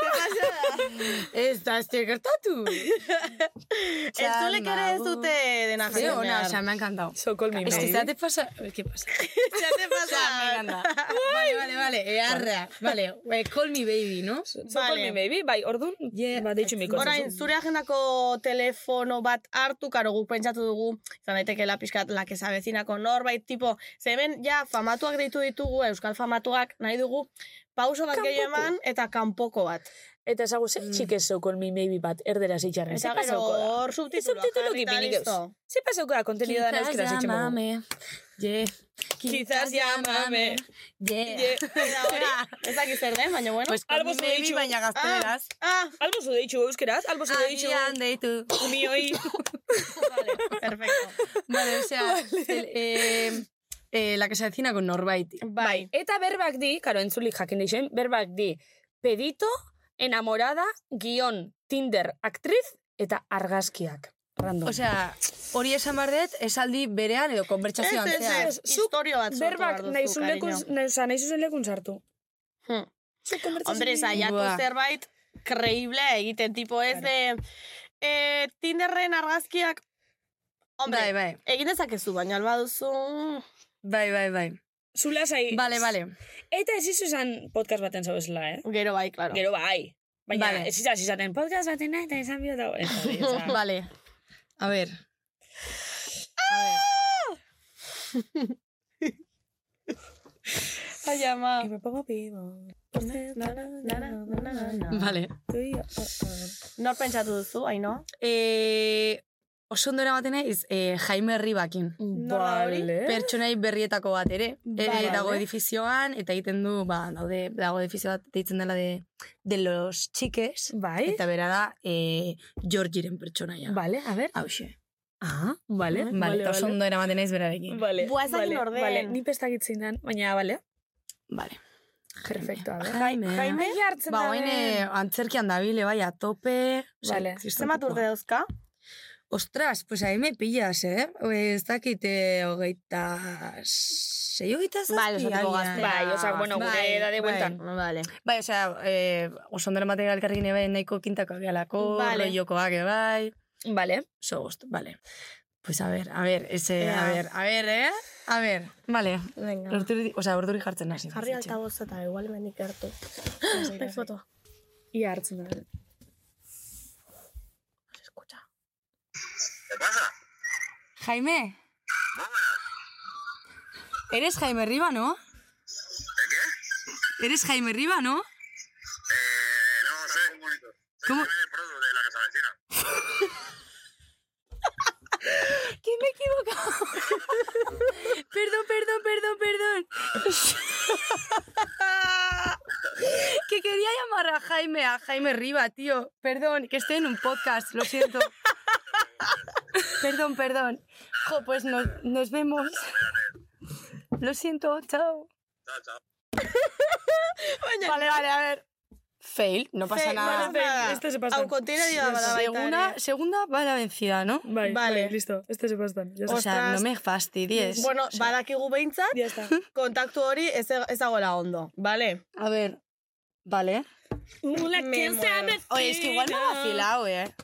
Speaker 8: Ez da, ez da gertatu.
Speaker 2: Entzulek ere ez dute dena
Speaker 8: Ze
Speaker 2: jakin
Speaker 8: ona,
Speaker 2: behar.
Speaker 8: osea, me ha encantado.
Speaker 3: So call me
Speaker 8: Ez que
Speaker 3: maybe.
Speaker 8: zate pasa... Ke pasa?
Speaker 2: Zate pasa.
Speaker 8: Ah. Vale, vale, vale, earra. Vale, eh, call me baby, no?
Speaker 3: So call me maybe, bai, orduan,
Speaker 8: Yeah.
Speaker 3: ba, deitxu miko.
Speaker 2: Orain, zure agendako telefono bat hartu, karo guk pentsatu dugu, izan daitekeela pixkat lake zabezinako norbait, tipo, zeben, ja, famatuak deitu ditugu, euskal famatuak, nahi dugu, pauso bat gehi eman eta kanpoko bat.
Speaker 3: Eta esagu zer txikez so call me maybe bat erdera zitxarren. Ze
Speaker 2: Mm. Eta gero
Speaker 3: pasauko da?
Speaker 2: hor subtituloa
Speaker 3: subtitulo
Speaker 2: jarri, eta
Speaker 3: ipini geuz.
Speaker 2: listo.
Speaker 3: Ze pasauko da kontenido da euskera zitxeko.
Speaker 8: Yeah.
Speaker 2: Quizás llámame.
Speaker 8: Yeah.
Speaker 2: *laughs* Eta hori, ez dakit zer den, baina bueno.
Speaker 8: Pues call me
Speaker 3: Albo zure
Speaker 8: baby,
Speaker 3: itxu.
Speaker 8: baina gazteleraz.
Speaker 2: Ah,
Speaker 3: Albo zu deitxu euskeraz, albo zu deitxu
Speaker 8: Agian deitu.
Speaker 3: unioi.
Speaker 2: vale, perfecto.
Speaker 8: *laughs* Vale, osea, el, eh, eh, la que se avecina con norbait.
Speaker 2: Bai.
Speaker 3: Eta berbak di, karo entzulik jakin deixen, berbak di, pedito, enamorada, guion, Tinder, aktriz, eta argazkiak. Random.
Speaker 8: Osea, hori esan behar dut, esaldi berean edo
Speaker 2: Ez,
Speaker 8: konbertsazioan
Speaker 2: ez,
Speaker 8: zehar.
Speaker 2: ez, historio bat sortu behar
Speaker 3: berbak nahi
Speaker 2: duzu,
Speaker 3: zuen lekun,
Speaker 2: cariño.
Speaker 3: nahi, oza, nahi zuzen lekun sartu.
Speaker 2: Hmm.
Speaker 3: Zu konbertsazio
Speaker 2: Hombre,
Speaker 3: hori-
Speaker 2: saiatu
Speaker 8: Buah.
Speaker 2: zerbait kreiblea egiten, tipo ez de... Eh, Tinderren argazkiak... Hombre,
Speaker 8: Bai, bai,
Speaker 2: egin dezakezu, baina alba duzu...
Speaker 8: bai, bai, bai.
Speaker 11: Zu lasai.
Speaker 8: Vale, vale.
Speaker 11: Eta ez izu esan podcast baten zauzela, eh?
Speaker 2: Gero bai, claro.
Speaker 11: Gero bai. Baina
Speaker 8: Vale.
Speaker 11: ez izan izaten podcast baten nahi eta izan bihot dago. Ez hori, ez da.
Speaker 8: Vale. A ver.
Speaker 2: Ai, ama.
Speaker 11: Y me pongo pibo.
Speaker 8: Vale.
Speaker 2: Nor pentsatu duzu, haino?
Speaker 8: Eh, oso ondo erabaten naiz eh, Jaime Herribakin.
Speaker 3: Vale.
Speaker 8: Pertsonai berrietako bat ere. Eh,
Speaker 2: Vale.
Speaker 8: dago edifizioan eta egiten du, ba, daude, dago edifizio bat deitzen dela de, de los chiques.
Speaker 3: Bai.
Speaker 8: Eta bera da, eh, Georgiren pertsonaia.
Speaker 3: Vale, a ver.
Speaker 8: Hauxe. Ah,
Speaker 3: Vale,
Speaker 8: vale, vale, eta oso ondo eramaten naiz berarekin.
Speaker 3: Vale,
Speaker 2: Buah, ez dakit
Speaker 3: vale,
Speaker 2: norden.
Speaker 3: vale, ni pestakitzen dan, baina, vale,
Speaker 8: Vale.
Speaker 3: perfecto, a ver.
Speaker 8: Jaime.
Speaker 2: Jaime?
Speaker 3: Ai, hartzen
Speaker 8: Ba,
Speaker 3: da,
Speaker 8: oain
Speaker 3: ben.
Speaker 8: eh, antzerkian dabile, bai, a tope. Osea,
Speaker 3: Vale.
Speaker 8: kriston
Speaker 2: Zemat urte
Speaker 8: tipua.
Speaker 2: dauzka?
Speaker 8: Ostras, pues ahí me pillas, eh? Ez dakite hogeita... Sei hogeita zazpi. agian.
Speaker 3: Bai, osea, bueno, gure
Speaker 8: Bai,
Speaker 3: edade
Speaker 8: bai.
Speaker 3: bueltan.
Speaker 2: Vale.
Speaker 8: Bai, osea, eh, oso ondera matera elkarrekin ebe bai, nahiko kintakoak galako,
Speaker 2: Vale.
Speaker 8: vale. rollokoak ere bai,
Speaker 3: Vale.
Speaker 8: oso gustu, vale. Pues a ver, a ver, ese,
Speaker 2: Ea.
Speaker 8: a ver, a ver, eh? A ver, vale.
Speaker 2: Venga.
Speaker 8: Orduri, osea, orduri jartzen hasi.
Speaker 2: Jarri altaboz eta igual mendik hartu. *gasps* Bai, foto.
Speaker 3: Ia hartzen da.
Speaker 8: Jaime. Eres Jaime Riva, ¿no? ¿Qué? Eres Jaime Riva, ¿no? *laughs* Eh, no sé. ¿Cómo? *laughs* *laughs* que quería llamar a Jaime, a Jaime Riva, tío. Perdón, que esté en un podcast, lo siento. *laughs* Perdón, perdón. Jo, pues nos, nos vemos. Lo siento, chao. Vale, vale, a ver. Fail, no pasa
Speaker 2: Fail,
Speaker 8: nada.
Speaker 2: vale, fail. Nada.
Speaker 3: Este se pasan.
Speaker 2: Hau kontenerioa bada baita
Speaker 8: Segunda,
Speaker 2: ere.
Speaker 8: segunda va la vencida, ¿no?
Speaker 3: Bai,
Speaker 2: Vale.
Speaker 3: bai, listo. Este se pasan. Ya
Speaker 8: O
Speaker 3: está.
Speaker 8: sea,
Speaker 2: Ostras.
Speaker 8: no me fastidies.
Speaker 2: Bueno, badakigu behintzat,
Speaker 3: Ya está.
Speaker 2: *laughs* kontaktu hori ez, e- ez dagoela ondo, bale?
Speaker 8: A ver, vale.
Speaker 3: Mula,
Speaker 2: Me
Speaker 3: ¿quién se
Speaker 2: muero.
Speaker 3: ha metido?
Speaker 8: Oye, es que igual me ha vacilado, ¿eh?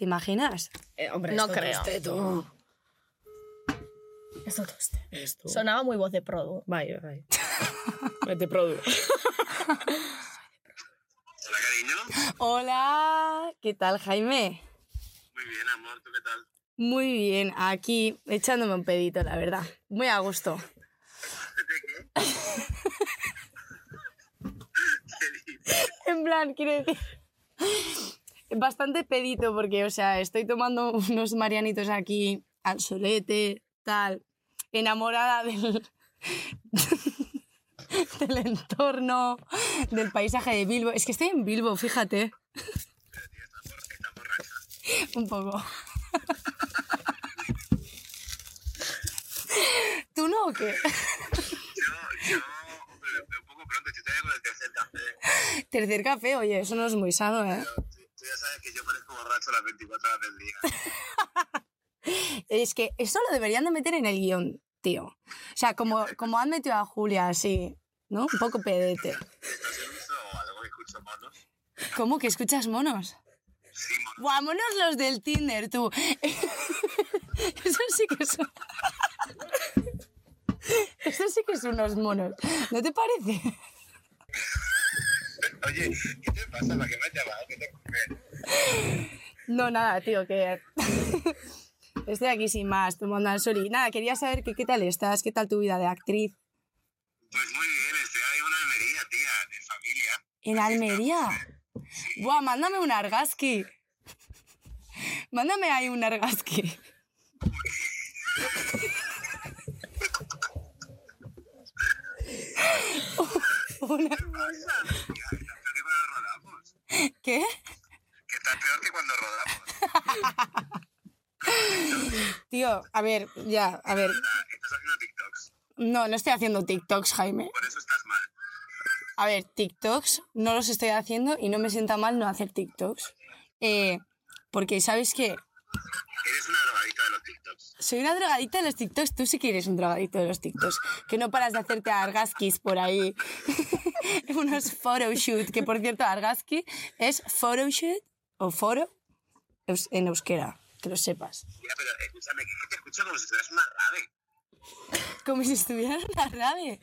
Speaker 8: ¿Te imaginas?
Speaker 2: Eh, hombre, no creo.
Speaker 3: Esto toste. Esto.
Speaker 2: Sonaba muy voz de produ.
Speaker 3: Bai, bai. Bete produ.
Speaker 12: Hola, cariño.
Speaker 8: Hola, ¿qué tal, Jaime?
Speaker 12: Muy bien, amor, ¿tú qué tal?
Speaker 8: Muy bien, aquí echándome un pedito, la verdad. Muy a gusto. *laughs* en plan, quiero decir... Bastante pedito porque, o sea, estoy tomando *laughs* unos marianitos aquí al solete, tal, enamorada del, *laughs* del entorno, del paisaje de Bilbo. Es que estoy en
Speaker 12: *laughs*
Speaker 8: Bilbo, fíjate. Un poco. *laughs* ¿Tú no o qué?
Speaker 12: Yo, yo, hombre, me veo un poco pronto, estoy todavía con el tercer café.
Speaker 8: Tercer café, oye, eso no es muy sano, ¿eh?
Speaker 12: Tú, tú ya sabes que yo parezco borracho las 24 horas del día.
Speaker 8: Es que eso lo deberían de meter en el guión, tío. O sea, como, como han metido a Julia así, ¿no? Un poco pedete.
Speaker 12: ¿Estás en uso o algo que escucho monos?
Speaker 8: ¿Cómo que escuchas monos?
Speaker 12: Sí, monos.
Speaker 8: Vámonos los del Tinder, tú. *laughs* Eso sí que son... Eso sí que son unos monos. ¿No te parece?
Speaker 12: Oye, ¿qué te pasa? ¿Para qué me has llamado? ¿Qué te ocurre?
Speaker 8: No, nada, tío, que... *laughs* Estoy aquí sin más, tomando al sol y nada, quería saber que, qué tal estás, qué tal tu vida de actriz.
Speaker 12: Pues muy bien, estoy ahí en una almería, tía, de familia.
Speaker 8: ¿En Almería? Buah, mándame un argazqui. Mándame ahí un argazqui. *laughs* Una-
Speaker 12: Tía, ¿estás peor que cuando rodamos?
Speaker 8: ¿Qué?
Speaker 12: Que estás peor que cuando rodamos.
Speaker 8: Tío, a ver, ya, a ver.
Speaker 12: Ah, Estás haciendo TikToks.
Speaker 8: No, no estoy haciendo TikToks, Jaime.
Speaker 12: Por eso estás mal.
Speaker 8: A ver, TikToks no los estoy haciendo y no me sienta mal no hacer TikToks. Eh, porque, ¿sabes qué?
Speaker 12: Eres una drogadita de los TikToks.
Speaker 8: Soy una drogadita de los TikToks, tú sí que eres un drogadito de los TikToks, que no paras de hacerte argaskis por ahí. *laughs* Unos photoshoot, que por cierto, argaski es photoshoot o foro eus- en euskera, que lo sepas.
Speaker 12: Ya, pero escúchame, que es que te escucho como si fueras una rave.
Speaker 8: Como si estuviera en la rave.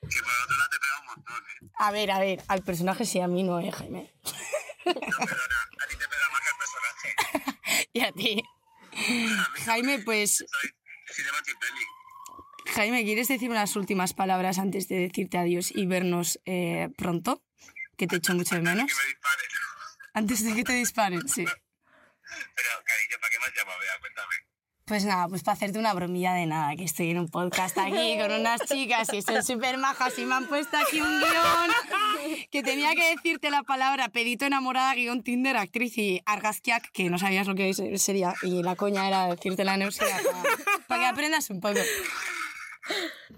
Speaker 12: Que por otro lado te pega un montón, ¿eh?
Speaker 8: A ver, a ver, al personaje sí, a mí no, eh, Jaime.
Speaker 12: A ti te pega más que al personaje.
Speaker 8: Y a ti. Jaime, pues,
Speaker 12: Soy, soy de Monty Pelli.
Speaker 8: Jaime, ¿quieres decir unas últimas palabras antes de decirte adiós y vernos eh, pronto? Que te echo mucho de menos.
Speaker 12: Que me disparen.
Speaker 8: Antes de que te disparen,
Speaker 12: *laughs*
Speaker 8: sí.
Speaker 12: Pero, cariño, ¿para qué me has llamado? Vea, cuéntame.
Speaker 8: Pues nada, pues para hacerte una bromilla de nada, que estoy en un podcast aquí con unas chicas y son súper majas y me han puesto aquí un guión que tenía que decirte la palabra pedito enamorada, guión Tinder, actriz y argazkiak, que no sabías lo que se- sería y la coña era decirte la neusia para, que aprendas un poco.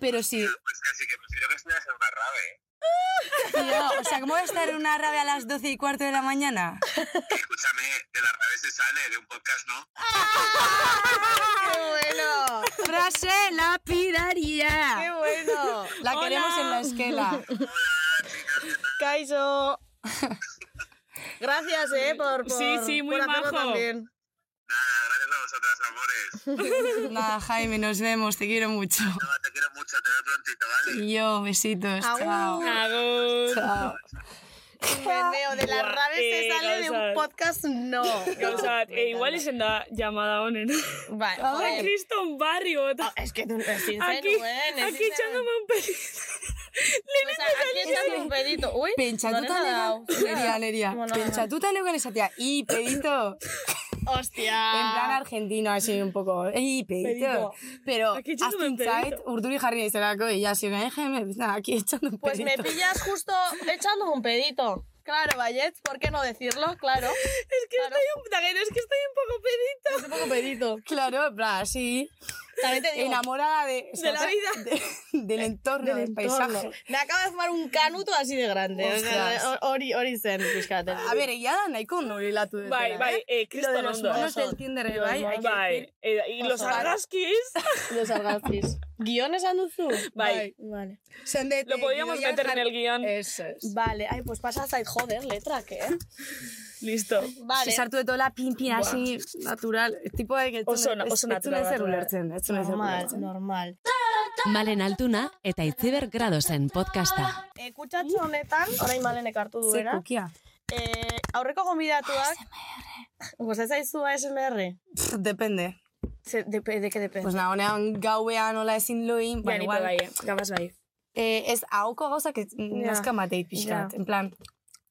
Speaker 8: Pero sí,
Speaker 12: Pues casi que prefiero que estuvieras en una rave. ¿eh?
Speaker 8: tío, o sea, ¿cómo va a estar en una rave a las 12 y cuarto de la mañana?
Speaker 12: Escúchame, de la rave se sale, de un podcast no.
Speaker 8: Frase lapidaria. ¡Qué
Speaker 2: *laughs*
Speaker 8: bueno! La queremos en la esquela.
Speaker 2: Kaiso. Gracias, eh, por, por
Speaker 13: Sí, sí, muy
Speaker 2: por hacerlo
Speaker 13: majo.
Speaker 2: también.
Speaker 12: Nada, gracias a vosotras, *laughs* amores.
Speaker 8: Nada, Jaime, nos vemos, te quiero mucho.
Speaker 12: No, te quiero mucho, te veo prontito, ¿vale?
Speaker 8: Y yo,
Speaker 14: Ah,
Speaker 8: besitos. Chao.
Speaker 3: *laughs* Agur.
Speaker 8: Chao.
Speaker 2: Meneo de la
Speaker 3: Buah,
Speaker 2: rave se
Speaker 3: eh,
Speaker 2: sale de un
Speaker 3: gauzak.
Speaker 2: podcast, no.
Speaker 3: Gauza bat, e, igual izen da llamada honen.
Speaker 2: Bai,
Speaker 3: Hau
Speaker 2: joder.
Speaker 3: kriston barri bota.
Speaker 2: Es ¿eh? que tú ezin
Speaker 3: Aki,
Speaker 2: zenuen, ezin
Speaker 3: aki
Speaker 2: zenuen.
Speaker 3: txango man *laughs*
Speaker 2: O sea, aquí esan un pedito.
Speaker 8: *laughs*
Speaker 2: Ui,
Speaker 8: Pentsatuta
Speaker 2: doneta
Speaker 8: neukan,
Speaker 2: dau.
Speaker 8: leria, leria,
Speaker 2: Bueno.
Speaker 8: pentsatuta neukan esatea, i, pedito,
Speaker 2: *laughs* Hostia.
Speaker 8: En plan argentino, así un poco. ¡Ey, pedito!
Speaker 14: Ah. Pedito.
Speaker 8: Pero
Speaker 14: Aquí echando
Speaker 8: azken
Speaker 14: un pedito.
Speaker 8: zait, urduri jarri naizelako, y así, déjeme, aquí echando un pedito.
Speaker 2: Pues me pillas justo echando un pedito. Claro, Vallet, ¿por qué no decirlo? Claro.
Speaker 14: Es que
Speaker 2: Claro.
Speaker 14: estoy un taguero, es que estoy un poco pedito
Speaker 8: un poco pedito. *laughs* Claro, en plan, así.
Speaker 2: También te digo, *laughs*
Speaker 8: Enamorada de,
Speaker 14: de la vida.
Speaker 8: de- *laughs* del entorno, del, paisaje.
Speaker 2: me acabo de fumar un canuto así de grande.
Speaker 8: Ostras.
Speaker 2: Hor- Hori, hori zen, pixkate.
Speaker 8: A ber, egia da nahiko norilatu dutela,
Speaker 14: Bai, bai,
Speaker 8: eh?
Speaker 14: eh,
Speaker 8: Lo de
Speaker 14: kriston
Speaker 8: los
Speaker 14: ondo.
Speaker 8: monos del Tinder, eh, bai, hay que decir.
Speaker 14: Bai, eh, y los
Speaker 2: Oso.
Speaker 14: argazkis,
Speaker 2: Los argazkis. Guion esan duzu?
Speaker 14: bai.
Speaker 2: Vale.
Speaker 8: Sendete,
Speaker 14: Lo podíamos
Speaker 8: gidoian
Speaker 14: meter en
Speaker 8: jarri-
Speaker 14: el guión.
Speaker 8: Eso es.
Speaker 2: Vale, ay, pues pasa zait, joder, letrak, eh?
Speaker 14: Listo.
Speaker 2: Vale.
Speaker 8: Si sartu etola pinpin hasi natural, tipo de que
Speaker 14: Oso na- oso natural,
Speaker 8: Ez zuen ezer
Speaker 14: natural.
Speaker 8: ulertzen, ez zuen ezer
Speaker 2: Normal,
Speaker 8: ulertzen.
Speaker 2: normal.
Speaker 6: Malen Altuna eta Itziber Gradosen podcasta.
Speaker 2: E, kutsatxo honetan, orain malenek hartu
Speaker 8: Ze
Speaker 2: duena,
Speaker 8: kukia.
Speaker 2: e, aurreko gonbidatuak... Pues ez aizu ASMR.
Speaker 8: Pff, Depende.
Speaker 2: Ze, de, de, que depende.
Speaker 8: Pues na, honean gauean hola ezin loin,
Speaker 14: Ja,
Speaker 8: baina
Speaker 14: nipe
Speaker 8: igual,
Speaker 14: bai, eh. Gabaz bai.
Speaker 8: eh, ez ahoko gauzak ez nazka mateit pixkat, en plan,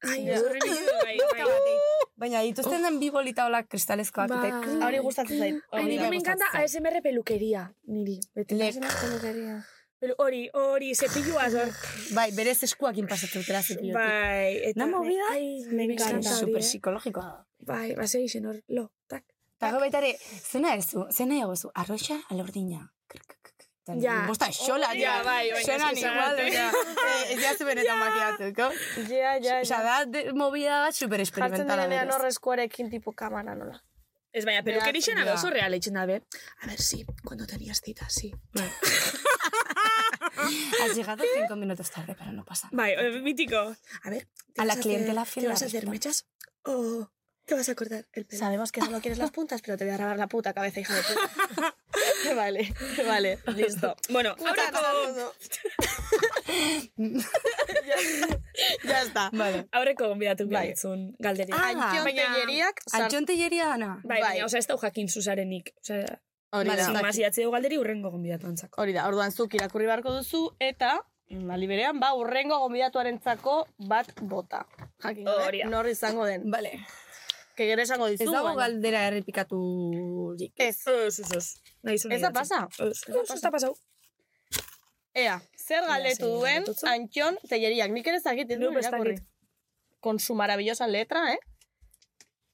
Speaker 14: Ai,
Speaker 2: Ja.
Speaker 14: zorrimido,
Speaker 3: *laughs*
Speaker 14: bai,
Speaker 8: nazka mateit. Baina dituzten den bi bolita hola kristalezkoak. eta
Speaker 3: Bai.
Speaker 8: kling.
Speaker 2: Hori gustatzen zait.
Speaker 3: Ay,
Speaker 2: Hori
Speaker 8: Ay,
Speaker 3: niri
Speaker 2: da.
Speaker 3: me encanta ASMR peluquería, niri. Beti
Speaker 8: Lek.
Speaker 3: ASMR peluquería.
Speaker 14: Pero hori, hori, zepilluaz
Speaker 3: *laughs*
Speaker 14: hor.
Speaker 8: Bai, berez eskuakin pasatzen dutela zepiotik.
Speaker 14: Bai, eta...
Speaker 8: Na movida?
Speaker 3: Ay, me encanta. ¿eh?
Speaker 8: Super
Speaker 3: Super
Speaker 8: psikologikoa da.
Speaker 3: Bai, base izen hor, lo, tak.
Speaker 8: Eta gero baita ere, zena ezu, zena egozu, arroxa alordina. Krr, krr, krr, krr. Eta
Speaker 3: Ja.
Speaker 8: Bosta xola,
Speaker 14: Ja, bai, baina
Speaker 8: Suenan
Speaker 14: ez
Speaker 8: igual,
Speaker 14: ezagate.
Speaker 8: ja. Eh, Ez jaztu benetan makiatuko.
Speaker 2: Ja, ja,
Speaker 8: Osa,
Speaker 2: ja.
Speaker 8: da de- movida bat super
Speaker 2: Jartzen
Speaker 8: experimentala
Speaker 2: direnean
Speaker 8: berez.
Speaker 2: horre eskuarekin tipo kamara nola.
Speaker 14: Ez baina, pelukerixen
Speaker 8: Ja.
Speaker 14: ala oso real eitzen dabe.
Speaker 3: A ver, sí, cuando tenías cita, sí.
Speaker 8: Has llegado cinco minutos tarde, pero no pasa. nada.
Speaker 14: Bai, eh, mitiko.
Speaker 3: A ver,
Speaker 8: A la
Speaker 3: vas
Speaker 8: clientela
Speaker 3: hacer-
Speaker 8: fiel
Speaker 3: ¿Te
Speaker 8: la
Speaker 3: vas a hacer
Speaker 8: respeto.
Speaker 3: mechas o te vas a cortar el pelo?
Speaker 2: Sabemos que solo quieres las puntas, pero te voy a grabar la puta cabeza, hija de
Speaker 3: *laughs*
Speaker 2: puta. *laughs* vale, vale, listo.
Speaker 14: Bueno, aurreko,
Speaker 2: *laughs* Ahora ya, ya está.
Speaker 8: Vale.
Speaker 14: aurreko gonbidatu
Speaker 2: Bai.
Speaker 14: bilatzun galderi.
Speaker 8: Ah,
Speaker 2: Antxon
Speaker 14: baina-
Speaker 2: Telleriak sart-
Speaker 8: Antxon telleria dana.
Speaker 14: Bai,
Speaker 2: bai.
Speaker 14: baina, oza, ez da jakin zuzarenik. Oza,
Speaker 2: Hori
Speaker 8: Vale,
Speaker 2: da.
Speaker 8: sin
Speaker 14: mas idatzi dugu galderi urrengo gonbidatu antzako.
Speaker 2: Hori da, orduan zuk irakurri beharko duzu eta mm, aldi berean, ba, urrengo gonbidatuarentzako bat bota. Jakin
Speaker 14: Hori
Speaker 2: gabe,
Speaker 14: da.
Speaker 2: nor izango den.
Speaker 8: Vale.
Speaker 2: Que gero esango dizu.
Speaker 8: Ez dago
Speaker 2: baina-
Speaker 8: galdera errepikaturik.
Speaker 2: Ez.
Speaker 14: Ez, ez, ez. Nahi zuen
Speaker 2: Ez da
Speaker 14: idatzi.
Speaker 2: pasa.
Speaker 14: Ez, ez da pasau.
Speaker 2: Ea, zer galdetu
Speaker 14: zein
Speaker 2: duen
Speaker 14: galdetu zu?
Speaker 2: Antxon Telleriak. Nik ere zakit, ez
Speaker 14: Nope,
Speaker 2: duen
Speaker 14: ez dakit.
Speaker 2: irakurri. Con su maravillosa letra, eh?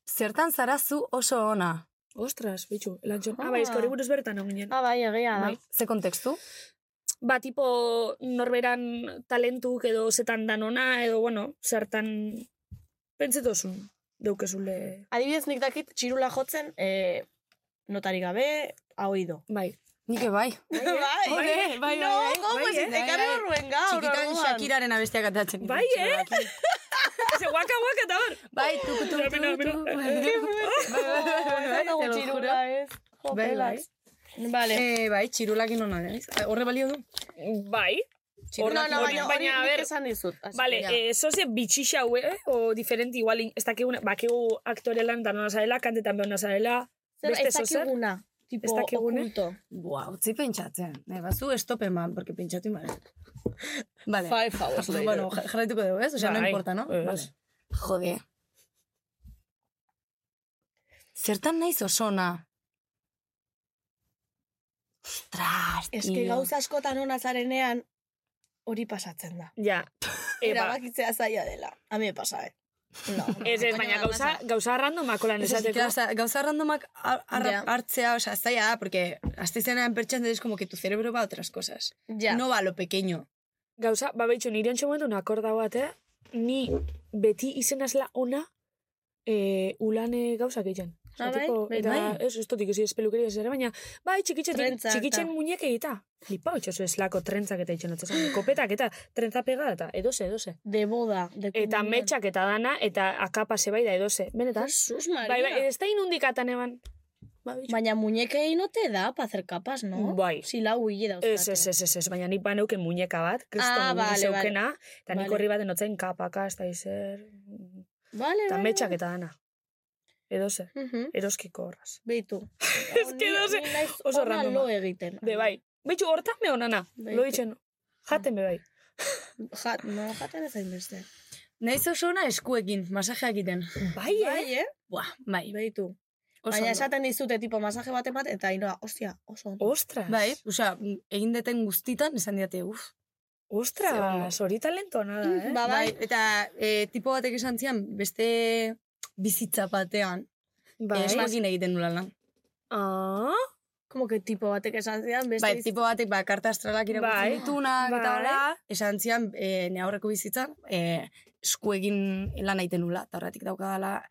Speaker 8: Zertan zara zu oso ona.
Speaker 3: Ostras, bicho, el ancho.
Speaker 14: Ah, bai, ez hori buruz bertan hau ginen.
Speaker 2: Ah, bai, egia da.
Speaker 14: Bai.
Speaker 8: Ze kontekstu?
Speaker 3: Ba, tipo, norberan talentuk edo zetan danona, edo, bueno, zertan pentsetozun daukezule.
Speaker 2: Adibidez, nik dakit txirula jotzen, eh, notari gabe, a
Speaker 8: *laughs*
Speaker 2: oído.
Speaker 3: Bai.
Speaker 8: Nik bai.
Speaker 2: Bai, bai,
Speaker 8: Joder, bai,
Speaker 2: no,
Speaker 8: bai, bai,
Speaker 2: gogo, ez
Speaker 8: bai, eh?
Speaker 2: ekarri
Speaker 8: Bai, bai.
Speaker 2: horruen gaur,
Speaker 8: Txikitan
Speaker 2: orduan. *laughs*
Speaker 8: Shakiraren abestiak atatzen.
Speaker 14: Bai, eh? *laughs* Ze guaka guaka eta hor.
Speaker 8: Bai, tuku, tuku, tuku,
Speaker 14: Mira, mira,
Speaker 8: tuku.
Speaker 14: mira.
Speaker 2: Ez
Speaker 8: Bai,
Speaker 2: daukagu
Speaker 8: te lo juro.
Speaker 2: txirula, ez. Jo,
Speaker 8: Bai,
Speaker 2: pelas. Vale.
Speaker 8: Eh, bai, txirulakin hona, naiz. Horre balio du?
Speaker 14: Bai.
Speaker 2: No,
Speaker 14: Horrekin
Speaker 2: no,
Speaker 14: hori-
Speaker 2: baina, hori
Speaker 14: baina, a
Speaker 2: nik
Speaker 14: ber,
Speaker 2: esan dizut. Así
Speaker 14: Vale,
Speaker 2: que ya.
Speaker 14: eh, soze bitxixa hau, eh? O diferente, igual, in- ez ba, dakiguna, bakigu aktore lan da nona zarela, kantetan behona zarela.
Speaker 2: Zer,
Speaker 14: beste
Speaker 2: ez
Speaker 14: zo zer?
Speaker 2: dakiguna. Tipo,
Speaker 14: Ez dakiguna?
Speaker 2: okulto.
Speaker 8: Buah, utzi pentsatzen. Ne, bazu estope man, porque pentsatu imare. Vale.
Speaker 2: Five hours later.
Speaker 8: Bueno, ja- jarraituko dugu, ez? Osea, no
Speaker 14: Bai,
Speaker 8: importa, no?
Speaker 14: ez.
Speaker 8: Vale. Jode. Zertan naiz osona? Ostras,
Speaker 2: Es que
Speaker 8: tío.
Speaker 2: gauza askotan ona zarenean, hori pasatzen da.
Speaker 14: Ja. E, ba,
Speaker 2: Erabakitzea zaila dela. A mi me pasa, eh. No,
Speaker 3: *laughs*
Speaker 2: no,
Speaker 14: ez, ez, baina gauza, gauza randomako lan
Speaker 8: Ez, ez,
Speaker 14: esateko.
Speaker 8: gauza, gauza randomak ar- arra-
Speaker 2: Ja.
Speaker 8: hartzea, osea, zaila da, porque hasta izenean pertsan es como que tu cerebro va a otras cosas.
Speaker 2: Ja.
Speaker 8: No va a lo pequeño.
Speaker 3: Gauza, ba, behitxo, nire ontsa momentu akorda bat, eh? Ni beti izenazla ona e, ulane gauzak egiten.
Speaker 2: Ah, bai?
Speaker 3: Tipo,
Speaker 2: Bai,
Speaker 3: eta,
Speaker 2: bai.
Speaker 3: ez, ez totik, ez pelukeri ez ere, baina, bai, txikitzen,
Speaker 2: Trentzak,
Speaker 3: txikitzen
Speaker 2: ta.
Speaker 3: muñek egita. Flipa, itxosu eslako trentzak eta itxen atzazan, kopetak eta trentza pega eta edoze, edoze.
Speaker 2: De boda. De
Speaker 3: Eta metxak eta dana, eta akapa bai da edoze. Benetan,
Speaker 2: Jesus,
Speaker 3: bai, bai,
Speaker 2: Maria.
Speaker 3: ez da inundikatan eban. Ba, bitxo.
Speaker 2: Baina muñekei no te da pa hacer capas, no?
Speaker 3: Bai.
Speaker 2: Si lau hile dauzkate.
Speaker 3: Ez, ez, ez, ez, ez, baina nik baneuken muñeka bat, kriston
Speaker 2: Ah,
Speaker 3: ah,
Speaker 2: vale,
Speaker 3: zeukena, eta nik
Speaker 2: Vale.
Speaker 3: horri baten notzain kapaka, ez da izer,
Speaker 2: Vale,
Speaker 3: eta
Speaker 2: vale,
Speaker 3: metxak eta dana. Edo ze,
Speaker 2: vale. Mhm.
Speaker 3: eroskiko horraz.
Speaker 2: Beitu.
Speaker 3: *laughs* Ez que no sé, oso randoma.
Speaker 2: lo egiten.
Speaker 3: Be bai, betxu hortan me honana,
Speaker 2: Bai.
Speaker 3: lo ditzen, jaten be bai.
Speaker 2: Ja, no, jaten ez hainbeste.
Speaker 8: Naiz osona eskuekin, masajeak egiten.
Speaker 3: Bai, eh?
Speaker 2: Ah. Bai, eh?
Speaker 8: Buah, bai.
Speaker 2: Beitu. Baina esaten dizute tipo masaje baten bat, eta inoa, ostia, oso. ondo.
Speaker 15: Ostras.
Speaker 8: Bai, osea, egin deten guztitan esan diate, uff.
Speaker 15: Ostras, hori talentoa nada, eh?
Speaker 2: Ba, bai,
Speaker 8: eta e, tipo batek esan zian, beste bizitza batean,
Speaker 15: Bai.
Speaker 8: e, esmakin egiten nula lan.
Speaker 15: Ah,
Speaker 2: Como que tipo batek esan zidan, beste
Speaker 8: Bai, tipo batek, ba, karta astralak irakurtzen
Speaker 15: Bai.
Speaker 8: ditunak, eta
Speaker 15: Bai.
Speaker 8: hola, esan zian, e, ne aurreko bizitzan, e, eskuekin lan egiten nula, eta horretik daukadala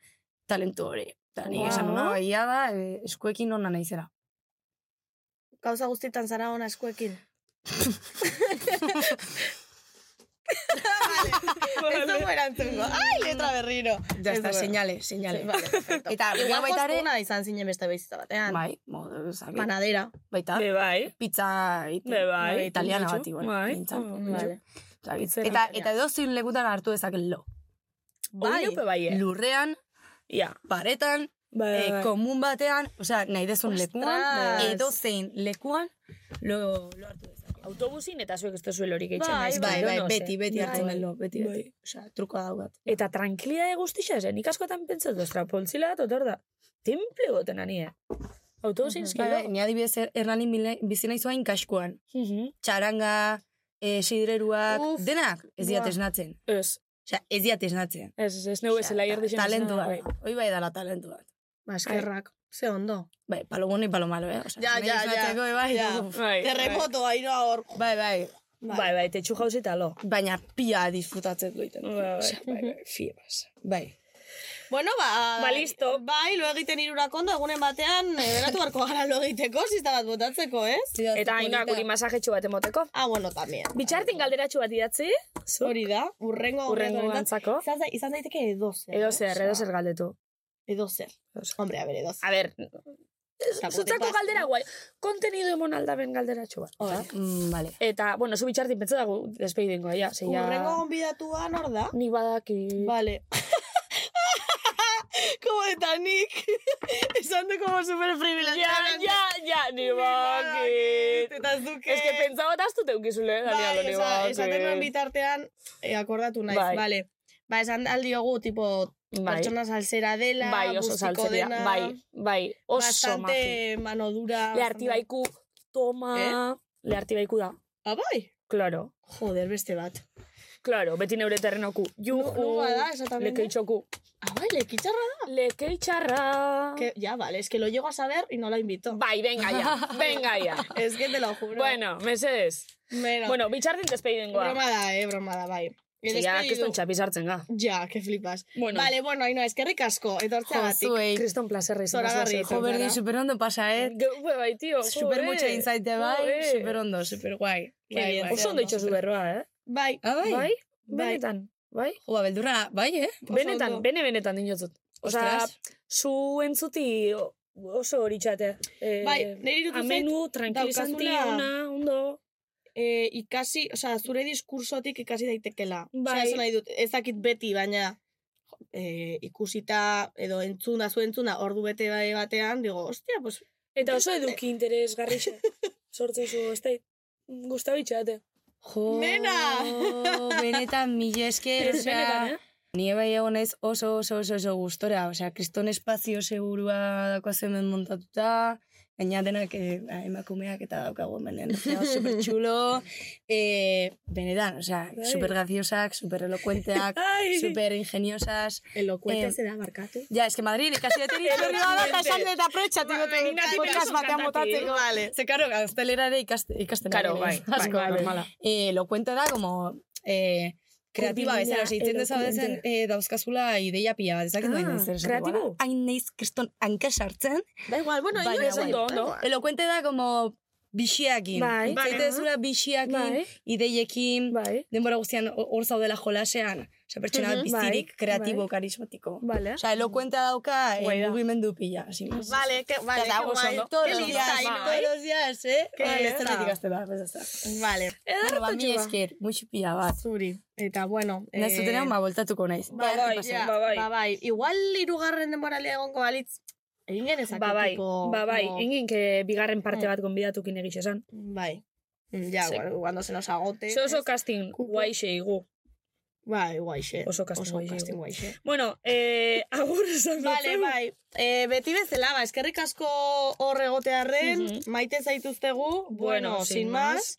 Speaker 8: talentu hori. Eta nik
Speaker 15: Wow.
Speaker 8: esan nuna, baia da, e, eskuekin ona naizela.
Speaker 2: gauza guztietan zara ona
Speaker 8: *laughs*
Speaker 2: eskuekin. vale. *laughs* Ez dugu erantzungo. Ai, letra berriro.
Speaker 8: Ja,
Speaker 2: Ez
Speaker 8: eta
Speaker 2: dugu.
Speaker 8: senale, senale. *laughs*
Speaker 2: Vale, perfecto.
Speaker 8: Eta,
Speaker 2: Igual
Speaker 8: gero baita ere-
Speaker 2: jostuna izan zinen beste bizitza batean.
Speaker 8: Bai, modu, zabi.
Speaker 2: Panadera.
Speaker 8: Baita,
Speaker 15: be bai.
Speaker 8: pizza eh,
Speaker 15: Be bai.
Speaker 8: italiana
Speaker 15: Bitxu.
Speaker 8: bat igual.
Speaker 15: Bai.
Speaker 8: nintzen,
Speaker 15: Oh,
Speaker 8: bitxu.
Speaker 2: vale.
Speaker 8: Zabi.
Speaker 15: Pizzera.
Speaker 8: Eta, eta edo zein lekutan hartu dezak lo.
Speaker 15: Bai. Oine bai, eh?
Speaker 8: Lurrean,
Speaker 15: Ja.
Speaker 8: paretan,
Speaker 15: Bai,
Speaker 8: eh,
Speaker 15: bai.
Speaker 8: komun batean, osea, nahi dezun lekuan,
Speaker 2: Ostras.
Speaker 8: edo zein lekuan, lo, lo hartu dezak.
Speaker 3: Autobusin eta zuek ez duzu lorik
Speaker 2: Bai,
Speaker 3: egiten.
Speaker 8: Bai, bai,
Speaker 3: no sé.
Speaker 8: beti, beti hartzen den lo, beti, beti. Osea, truko daugat.
Speaker 3: Eta tranquilidade guztia zen, nik askotan pentsatu, ostra, poltzila bat otor da. Temple goten ani, eh? Autobusin uh
Speaker 8: Bai, bai, ni adibidez Er- Hernanin bile- bizi nahi zuain kaskuan. Txaranga, eh, sidreruak,
Speaker 2: Uf,
Speaker 8: denak ez diat
Speaker 2: buah.
Speaker 8: esnatzen.
Speaker 3: Ez,
Speaker 8: Osea, ez diat esnatzen.
Speaker 3: ez, ez, ez neu bezala
Speaker 8: Ta-
Speaker 3: ierdixen.
Speaker 8: Talentu bat. Hoi bai dala talentu bat.
Speaker 2: Ba, eskerrak. Ze ondo.
Speaker 8: Bai, palo bueno y palo malo, eh? Osea,
Speaker 2: Ja,
Speaker 8: nahi
Speaker 2: ja, ja.
Speaker 8: esnatzeko, eh, bai,
Speaker 2: Ja.
Speaker 8: uf.
Speaker 3: Bai,
Speaker 2: Terremoto, airoa hor.
Speaker 8: Bai, bai.
Speaker 3: bai, bai, tetxu jauzi eta lo.
Speaker 8: Baina pia disfrutatzen duiten.
Speaker 3: Bai, bai, bai, fie basa.
Speaker 8: Bai.
Speaker 2: Bueno, ba...
Speaker 3: Ba, listo.
Speaker 2: Bai, lo egiten irurak ondo, egunen batean, eh, beratu barko gara lo egiteko, zista bat botatzeko, ez?
Speaker 3: Eta haina guri masajetxu bat emoteko.
Speaker 2: Ah, bueno, tamien.
Speaker 3: Bitxartin galderatxu bat idatzi, zu,
Speaker 2: Hori da, urrengo...
Speaker 3: Hurrengo
Speaker 2: honetan-
Speaker 3: gantzako.
Speaker 2: Izan, da- izan daiteke edo zer.
Speaker 3: edo zer, edo zer galdetu.
Speaker 2: Edo zer. Hombre, a ber, edo zer.
Speaker 3: A ber,
Speaker 2: Tampoco te
Speaker 3: zutzako
Speaker 2: pases.
Speaker 3: galdera guai. Kontenido emon aldaben galderatxu bat.
Speaker 8: Mm, vale.
Speaker 3: Eta, bueno, zu bitxartin pentsa dago despeidengo, ja, zeia...
Speaker 2: Urrengo gonbidatuan hor da.
Speaker 3: Nik badaki...
Speaker 2: Vale. como eta nik. Esan du como super
Speaker 3: Ja, ja, ja, ni bakit.
Speaker 2: Eta ez duke.
Speaker 3: Ez que pentsaba eta aztu teukizule, Daniel,
Speaker 2: Bai,
Speaker 3: ni
Speaker 2: esa- esaten nuen
Speaker 3: bakit.
Speaker 2: bitartean, eh, akordatu naiz,
Speaker 3: Bai.
Speaker 2: vale. Ba, esan aldiogu, tipo,
Speaker 3: Bai.
Speaker 2: pertsona salsera dela,
Speaker 3: Bai, oso
Speaker 2: bustiko
Speaker 3: saltzeria,
Speaker 2: dena,
Speaker 3: bai, bai, oso magi.
Speaker 2: bastante mano dura.
Speaker 3: Leharti baiku, toma,
Speaker 2: Eh?
Speaker 3: leharti baiku da.
Speaker 2: Ah, bai?
Speaker 3: Claro,
Speaker 2: Joder, beste bat.
Speaker 3: claro, beti neure terrenoku. Juhu,
Speaker 2: Nua da, exactamente.
Speaker 3: lekeitxoku.
Speaker 2: Ah, bai, lekitxarra da.
Speaker 3: Lekeitxarra.
Speaker 2: Que, ya, vale, es que lo llego a saber y no la invito.
Speaker 3: Bai, venga
Speaker 2: *laughs*
Speaker 3: ya, venga ya.
Speaker 2: Es que te lo juro.
Speaker 3: Bueno, mesedes.
Speaker 2: Bueno,
Speaker 3: Bueno, bitxartin despeidengoa.
Speaker 2: broma da, eh, broma da, bai.
Speaker 3: Zeia,
Speaker 2: Despedidu.
Speaker 3: keston txapi sartzen ga.
Speaker 2: Ja, que flipas.
Speaker 3: Bueno.
Speaker 2: Vale, bueno, ahí no, eskerrik asko, etortzeagatik.
Speaker 8: Jozuei.
Speaker 3: Kriston plazerra izan. da,
Speaker 2: Zoragarri.
Speaker 3: zera.
Speaker 8: Jo, berdin,
Speaker 2: Zara.
Speaker 8: superondo pasa, eh?
Speaker 3: Geu, bai, tio. jo,
Speaker 8: Super
Speaker 3: eh.
Speaker 8: mutxe inzaite bai,
Speaker 3: Jo, eh.
Speaker 8: superondo, super guai.
Speaker 2: Qué bien.
Speaker 3: Oso ondo itxosu berroa, eh?
Speaker 2: Bai,
Speaker 8: Ah, bai?
Speaker 3: Bai?
Speaker 2: Bai.
Speaker 3: Benetan, bai?
Speaker 8: Jo, ba, beldurra, bai, eh?
Speaker 3: Benetan,
Speaker 2: ondo.
Speaker 3: bene benetan dinotzut. Osa,
Speaker 8: Ostras.
Speaker 3: zu entzuti oso hori txate. Eh,
Speaker 2: bai, niri irutu zait,
Speaker 3: amenu, tranquilizanti,
Speaker 2: daukazula-
Speaker 3: una, ondo.
Speaker 2: eh, ikasi, o sea, zure diskursotik ikasi daitekela. Bai.
Speaker 3: Bai.
Speaker 2: Osea, eso nahi dut, ez dakit beti, baina jo, eh, ikusita edo entzunda, zu entzuna, ordu bete bai batean, digo, hostia, pues,
Speaker 3: Eta oso eduki interesgarri
Speaker 2: *laughs*
Speaker 3: xe. Sortzen zu, ez da, guztabitxate.
Speaker 8: Jo,
Speaker 2: Nena!
Speaker 8: *laughs* benetan, mila esker,
Speaker 3: Benetan,
Speaker 8: osea,
Speaker 3: eh?
Speaker 8: Ni bai egon naiz oso, oso, oso, oso gustora. Osea, kriston espazio segurua dako zemen montatuta, gaina denak eh, ba, emakumeak eta daukagu hemen energia
Speaker 3: *laughs*
Speaker 8: super txulo. Eh, benetan, osea, super graciosak, super elokuenteak,
Speaker 3: Bai. Ai.
Speaker 8: super ingeniosas.
Speaker 2: elokuente
Speaker 8: Eh,
Speaker 2: zera barkatu.
Speaker 8: Ja, eske Madrid, ikasi
Speaker 3: *laughs*
Speaker 8: dut nire berri bada, eta esan dut aprotxa,
Speaker 3: Nati
Speaker 8: podcast
Speaker 3: Pegaso
Speaker 8: batean
Speaker 3: kantatik.
Speaker 8: botatzeko. Vale. Ze, karo, gaztelera ere ikasten. ikasten
Speaker 3: Karo,
Speaker 8: ari
Speaker 3: bai,
Speaker 8: naiz.
Speaker 3: bai,
Speaker 8: Asko,
Speaker 3: bai,
Speaker 8: normala. Eh, elokuente da, como... Eh, kreatiba
Speaker 3: Kurbina,
Speaker 8: bezala, ose, itzen dezabezen
Speaker 3: elokuente.
Speaker 8: eh, dauzkazula ideia pila bat, ezakit
Speaker 3: Ah,
Speaker 8: ah, baina zer. esateko
Speaker 3: kreatibo.
Speaker 8: gara. Hain naiz kriston hanka sartzen.
Speaker 2: Da igual, bueno,
Speaker 8: Baina,
Speaker 2: inoiz
Speaker 8: bai,
Speaker 3: Ondo, ondo.
Speaker 8: Elokuente da, como bixiakin.
Speaker 3: Bai.
Speaker 8: Itzen dezula bixiakin,
Speaker 3: Bai.
Speaker 8: ideiekin,
Speaker 3: Bai,
Speaker 8: denbora guztian hor zaudela jolasean. Osea, pertsona bat
Speaker 3: Mhm, bai,
Speaker 8: bizirik, kreatibo,
Speaker 3: bai.
Speaker 8: karismatiko.
Speaker 3: bale.
Speaker 8: Osa, elokuentea dauka
Speaker 3: Guai
Speaker 8: eh,
Speaker 3: da.
Speaker 8: mugimendu pila, sin más.
Speaker 2: Vale, que, vale,
Speaker 8: Eta
Speaker 2: que
Speaker 8: oso
Speaker 2: guai.
Speaker 8: ondo.
Speaker 2: Qué
Speaker 8: Todos los
Speaker 2: lista,
Speaker 8: días,
Speaker 2: Ainhoa, eh?
Speaker 8: todos los días, eh?
Speaker 2: Qué
Speaker 8: Vale,
Speaker 2: lista.
Speaker 8: zergatik aste da, pues ez da.
Speaker 2: Vale,
Speaker 8: Bueno, ba, mi Eh, esker, muxu pila bat.
Speaker 2: zuri. Eta, bueno... eh,
Speaker 8: Nahi zuten hau, ba, voltatuko naiz.
Speaker 2: Ba, bai, ja,
Speaker 3: ba, bai.
Speaker 2: ba, bai. Igual irugarren denboralea egonko balitz, egin genezake
Speaker 3: Ba, bai,
Speaker 2: tipo... Eh.
Speaker 3: ba, bai,
Speaker 2: como-
Speaker 3: ingin que bigarren parte bat gonbidatukin egiz esan.
Speaker 2: Bai. Mm, Ja,
Speaker 3: Sí.
Speaker 2: bueno, cuando se nos agote...
Speaker 3: Zozo
Speaker 2: Eh, ez?
Speaker 3: casting
Speaker 2: Kuku.
Speaker 3: guai xeigu.
Speaker 2: Bai, guaixe.
Speaker 3: Oso casting
Speaker 2: Oso
Speaker 3: guaixe.
Speaker 2: casting guaixe.
Speaker 3: Bueno, eh, *laughs* agur esan
Speaker 2: Vale, bai. Eh, beti bezala, ba, eskerrik asko hor egotearren, maite zaituztegu, bueno,
Speaker 3: Mhm. Bueno, sin
Speaker 2: sin más.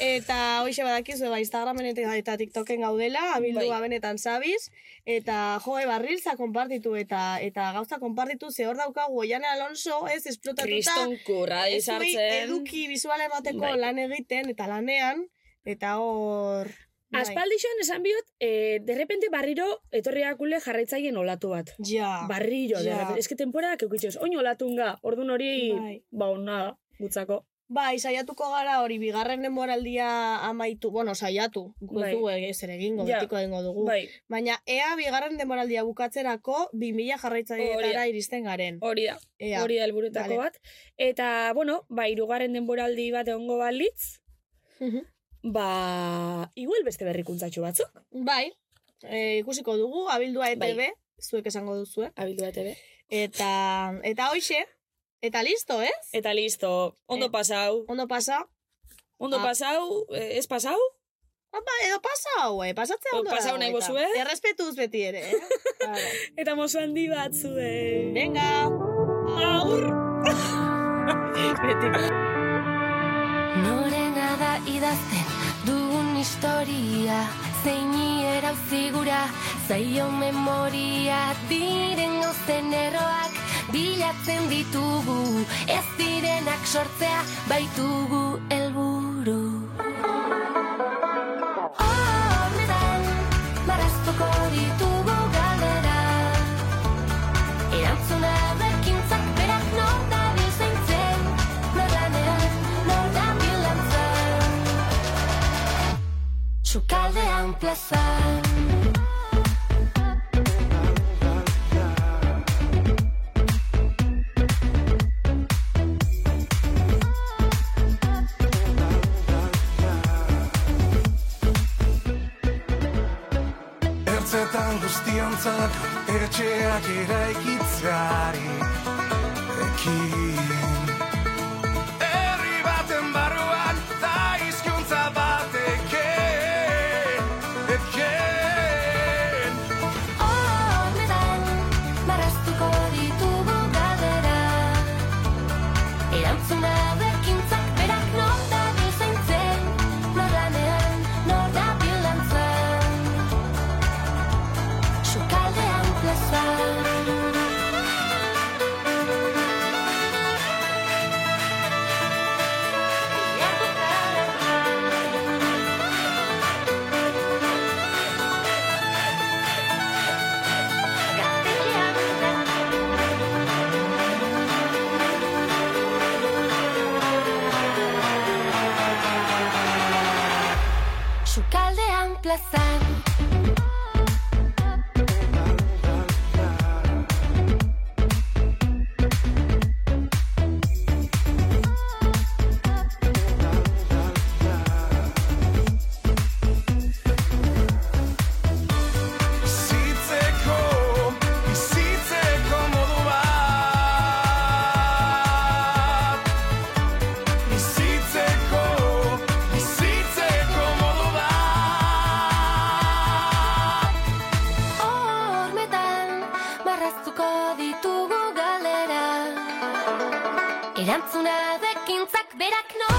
Speaker 2: Eta hoxe badakizu, ba, Instagramen eta, eta TikToken gaudela, abildu
Speaker 3: Bai.
Speaker 2: benetan zabiz, eta joe barrilza konpartitu eta eta gauza konpartitu, ze hor daukagu Oian Alonso, ez, esplotatuta,
Speaker 3: Kriston kurra
Speaker 2: zuei
Speaker 3: izartzen.
Speaker 2: eduki bizuala emateko
Speaker 3: Bai.
Speaker 2: lan egiten eta lanean, eta hor... bai.
Speaker 16: Aspaldixoan esan biot, eh, derrepente barriro etorriakule jarraitzaien olatu bat.
Speaker 2: Ja.
Speaker 3: Bai.
Speaker 16: Barriro,
Speaker 2: Ja.
Speaker 16: derrepente. Ez que temporadak eukitxoz, oin olatunga, ordun hori,
Speaker 2: Bai.
Speaker 16: ba, ona da, gutzako.
Speaker 2: Bai, saiatuko gara hori bigarren denboraldia amaitu, bueno, saiatu, guk
Speaker 16: Bai.
Speaker 2: ez dugu ere zer egingo,
Speaker 16: Ja.
Speaker 2: betiko egingo dugu.
Speaker 16: Bai,
Speaker 2: Baina ea bigarren denboraldia bukatzerako 2000
Speaker 3: Hori da.
Speaker 2: jarraitzaileetara iristen garen.
Speaker 3: Hori da,
Speaker 2: Ea.
Speaker 3: hori da
Speaker 2: Vale.
Speaker 3: helburuetako bat. Eta, bueno, ba, irugarren denboraldi bat egongo balitz,
Speaker 2: Mhm.
Speaker 3: ba, igual beste berrikuntzatxo batzuk,
Speaker 2: Bai, e, ikusiko dugu, abildua ETB,
Speaker 3: Bai.
Speaker 2: zuek esango duzue.
Speaker 3: abildu bat ere.
Speaker 2: Eta, eta hoxe, eta listo, ez?
Speaker 3: Eta listo, ondo
Speaker 2: Eh.
Speaker 3: pasau,
Speaker 2: Ondo pasa?
Speaker 3: ondo
Speaker 2: Ah.
Speaker 3: pasau, eh, ez pasau,
Speaker 2: Apa, edo pasau, eh? Pasatzea
Speaker 3: Edo
Speaker 2: ondo
Speaker 3: pasau
Speaker 2: dago,
Speaker 3: nahi
Speaker 2: eta
Speaker 3: bozue.
Speaker 2: Errespetuz beti ere,
Speaker 3: *laughs*
Speaker 2: eh? Claro.
Speaker 3: eta mozo handi batzue.
Speaker 2: Venga!
Speaker 3: Agur!
Speaker 17: Norena da idazten dugun historia Zeini erauzi gura zaio memoria Diren gauzen erroak bilatzen ditugu Ez direnak sortzea baitugu helburu Horretan marraztuko ditugu galderak Erantzuna berkintzak berak non dabil zaintzen Norlanean, non dabil lantzan Txukaldean plazan
Speaker 12: Ertzetan guztiontzat etxeak eraikitzeari ekin Herri baten barruan da izkuntza bat eken, eken
Speaker 17: Horretan, marraztuko ditugu galdera Erantzuna berkintzak berak non dabil zaintzen Norlanean, non dabil lantzan Txukaldean plazan Sukaldean plazan
Speaker 12: Bizitzeko, bizitzeko modu bat Bizitzeko, bizitzeko modu bat
Speaker 17: Hormetan marraztuko ditugu galera Erantzuna dekintzak berak no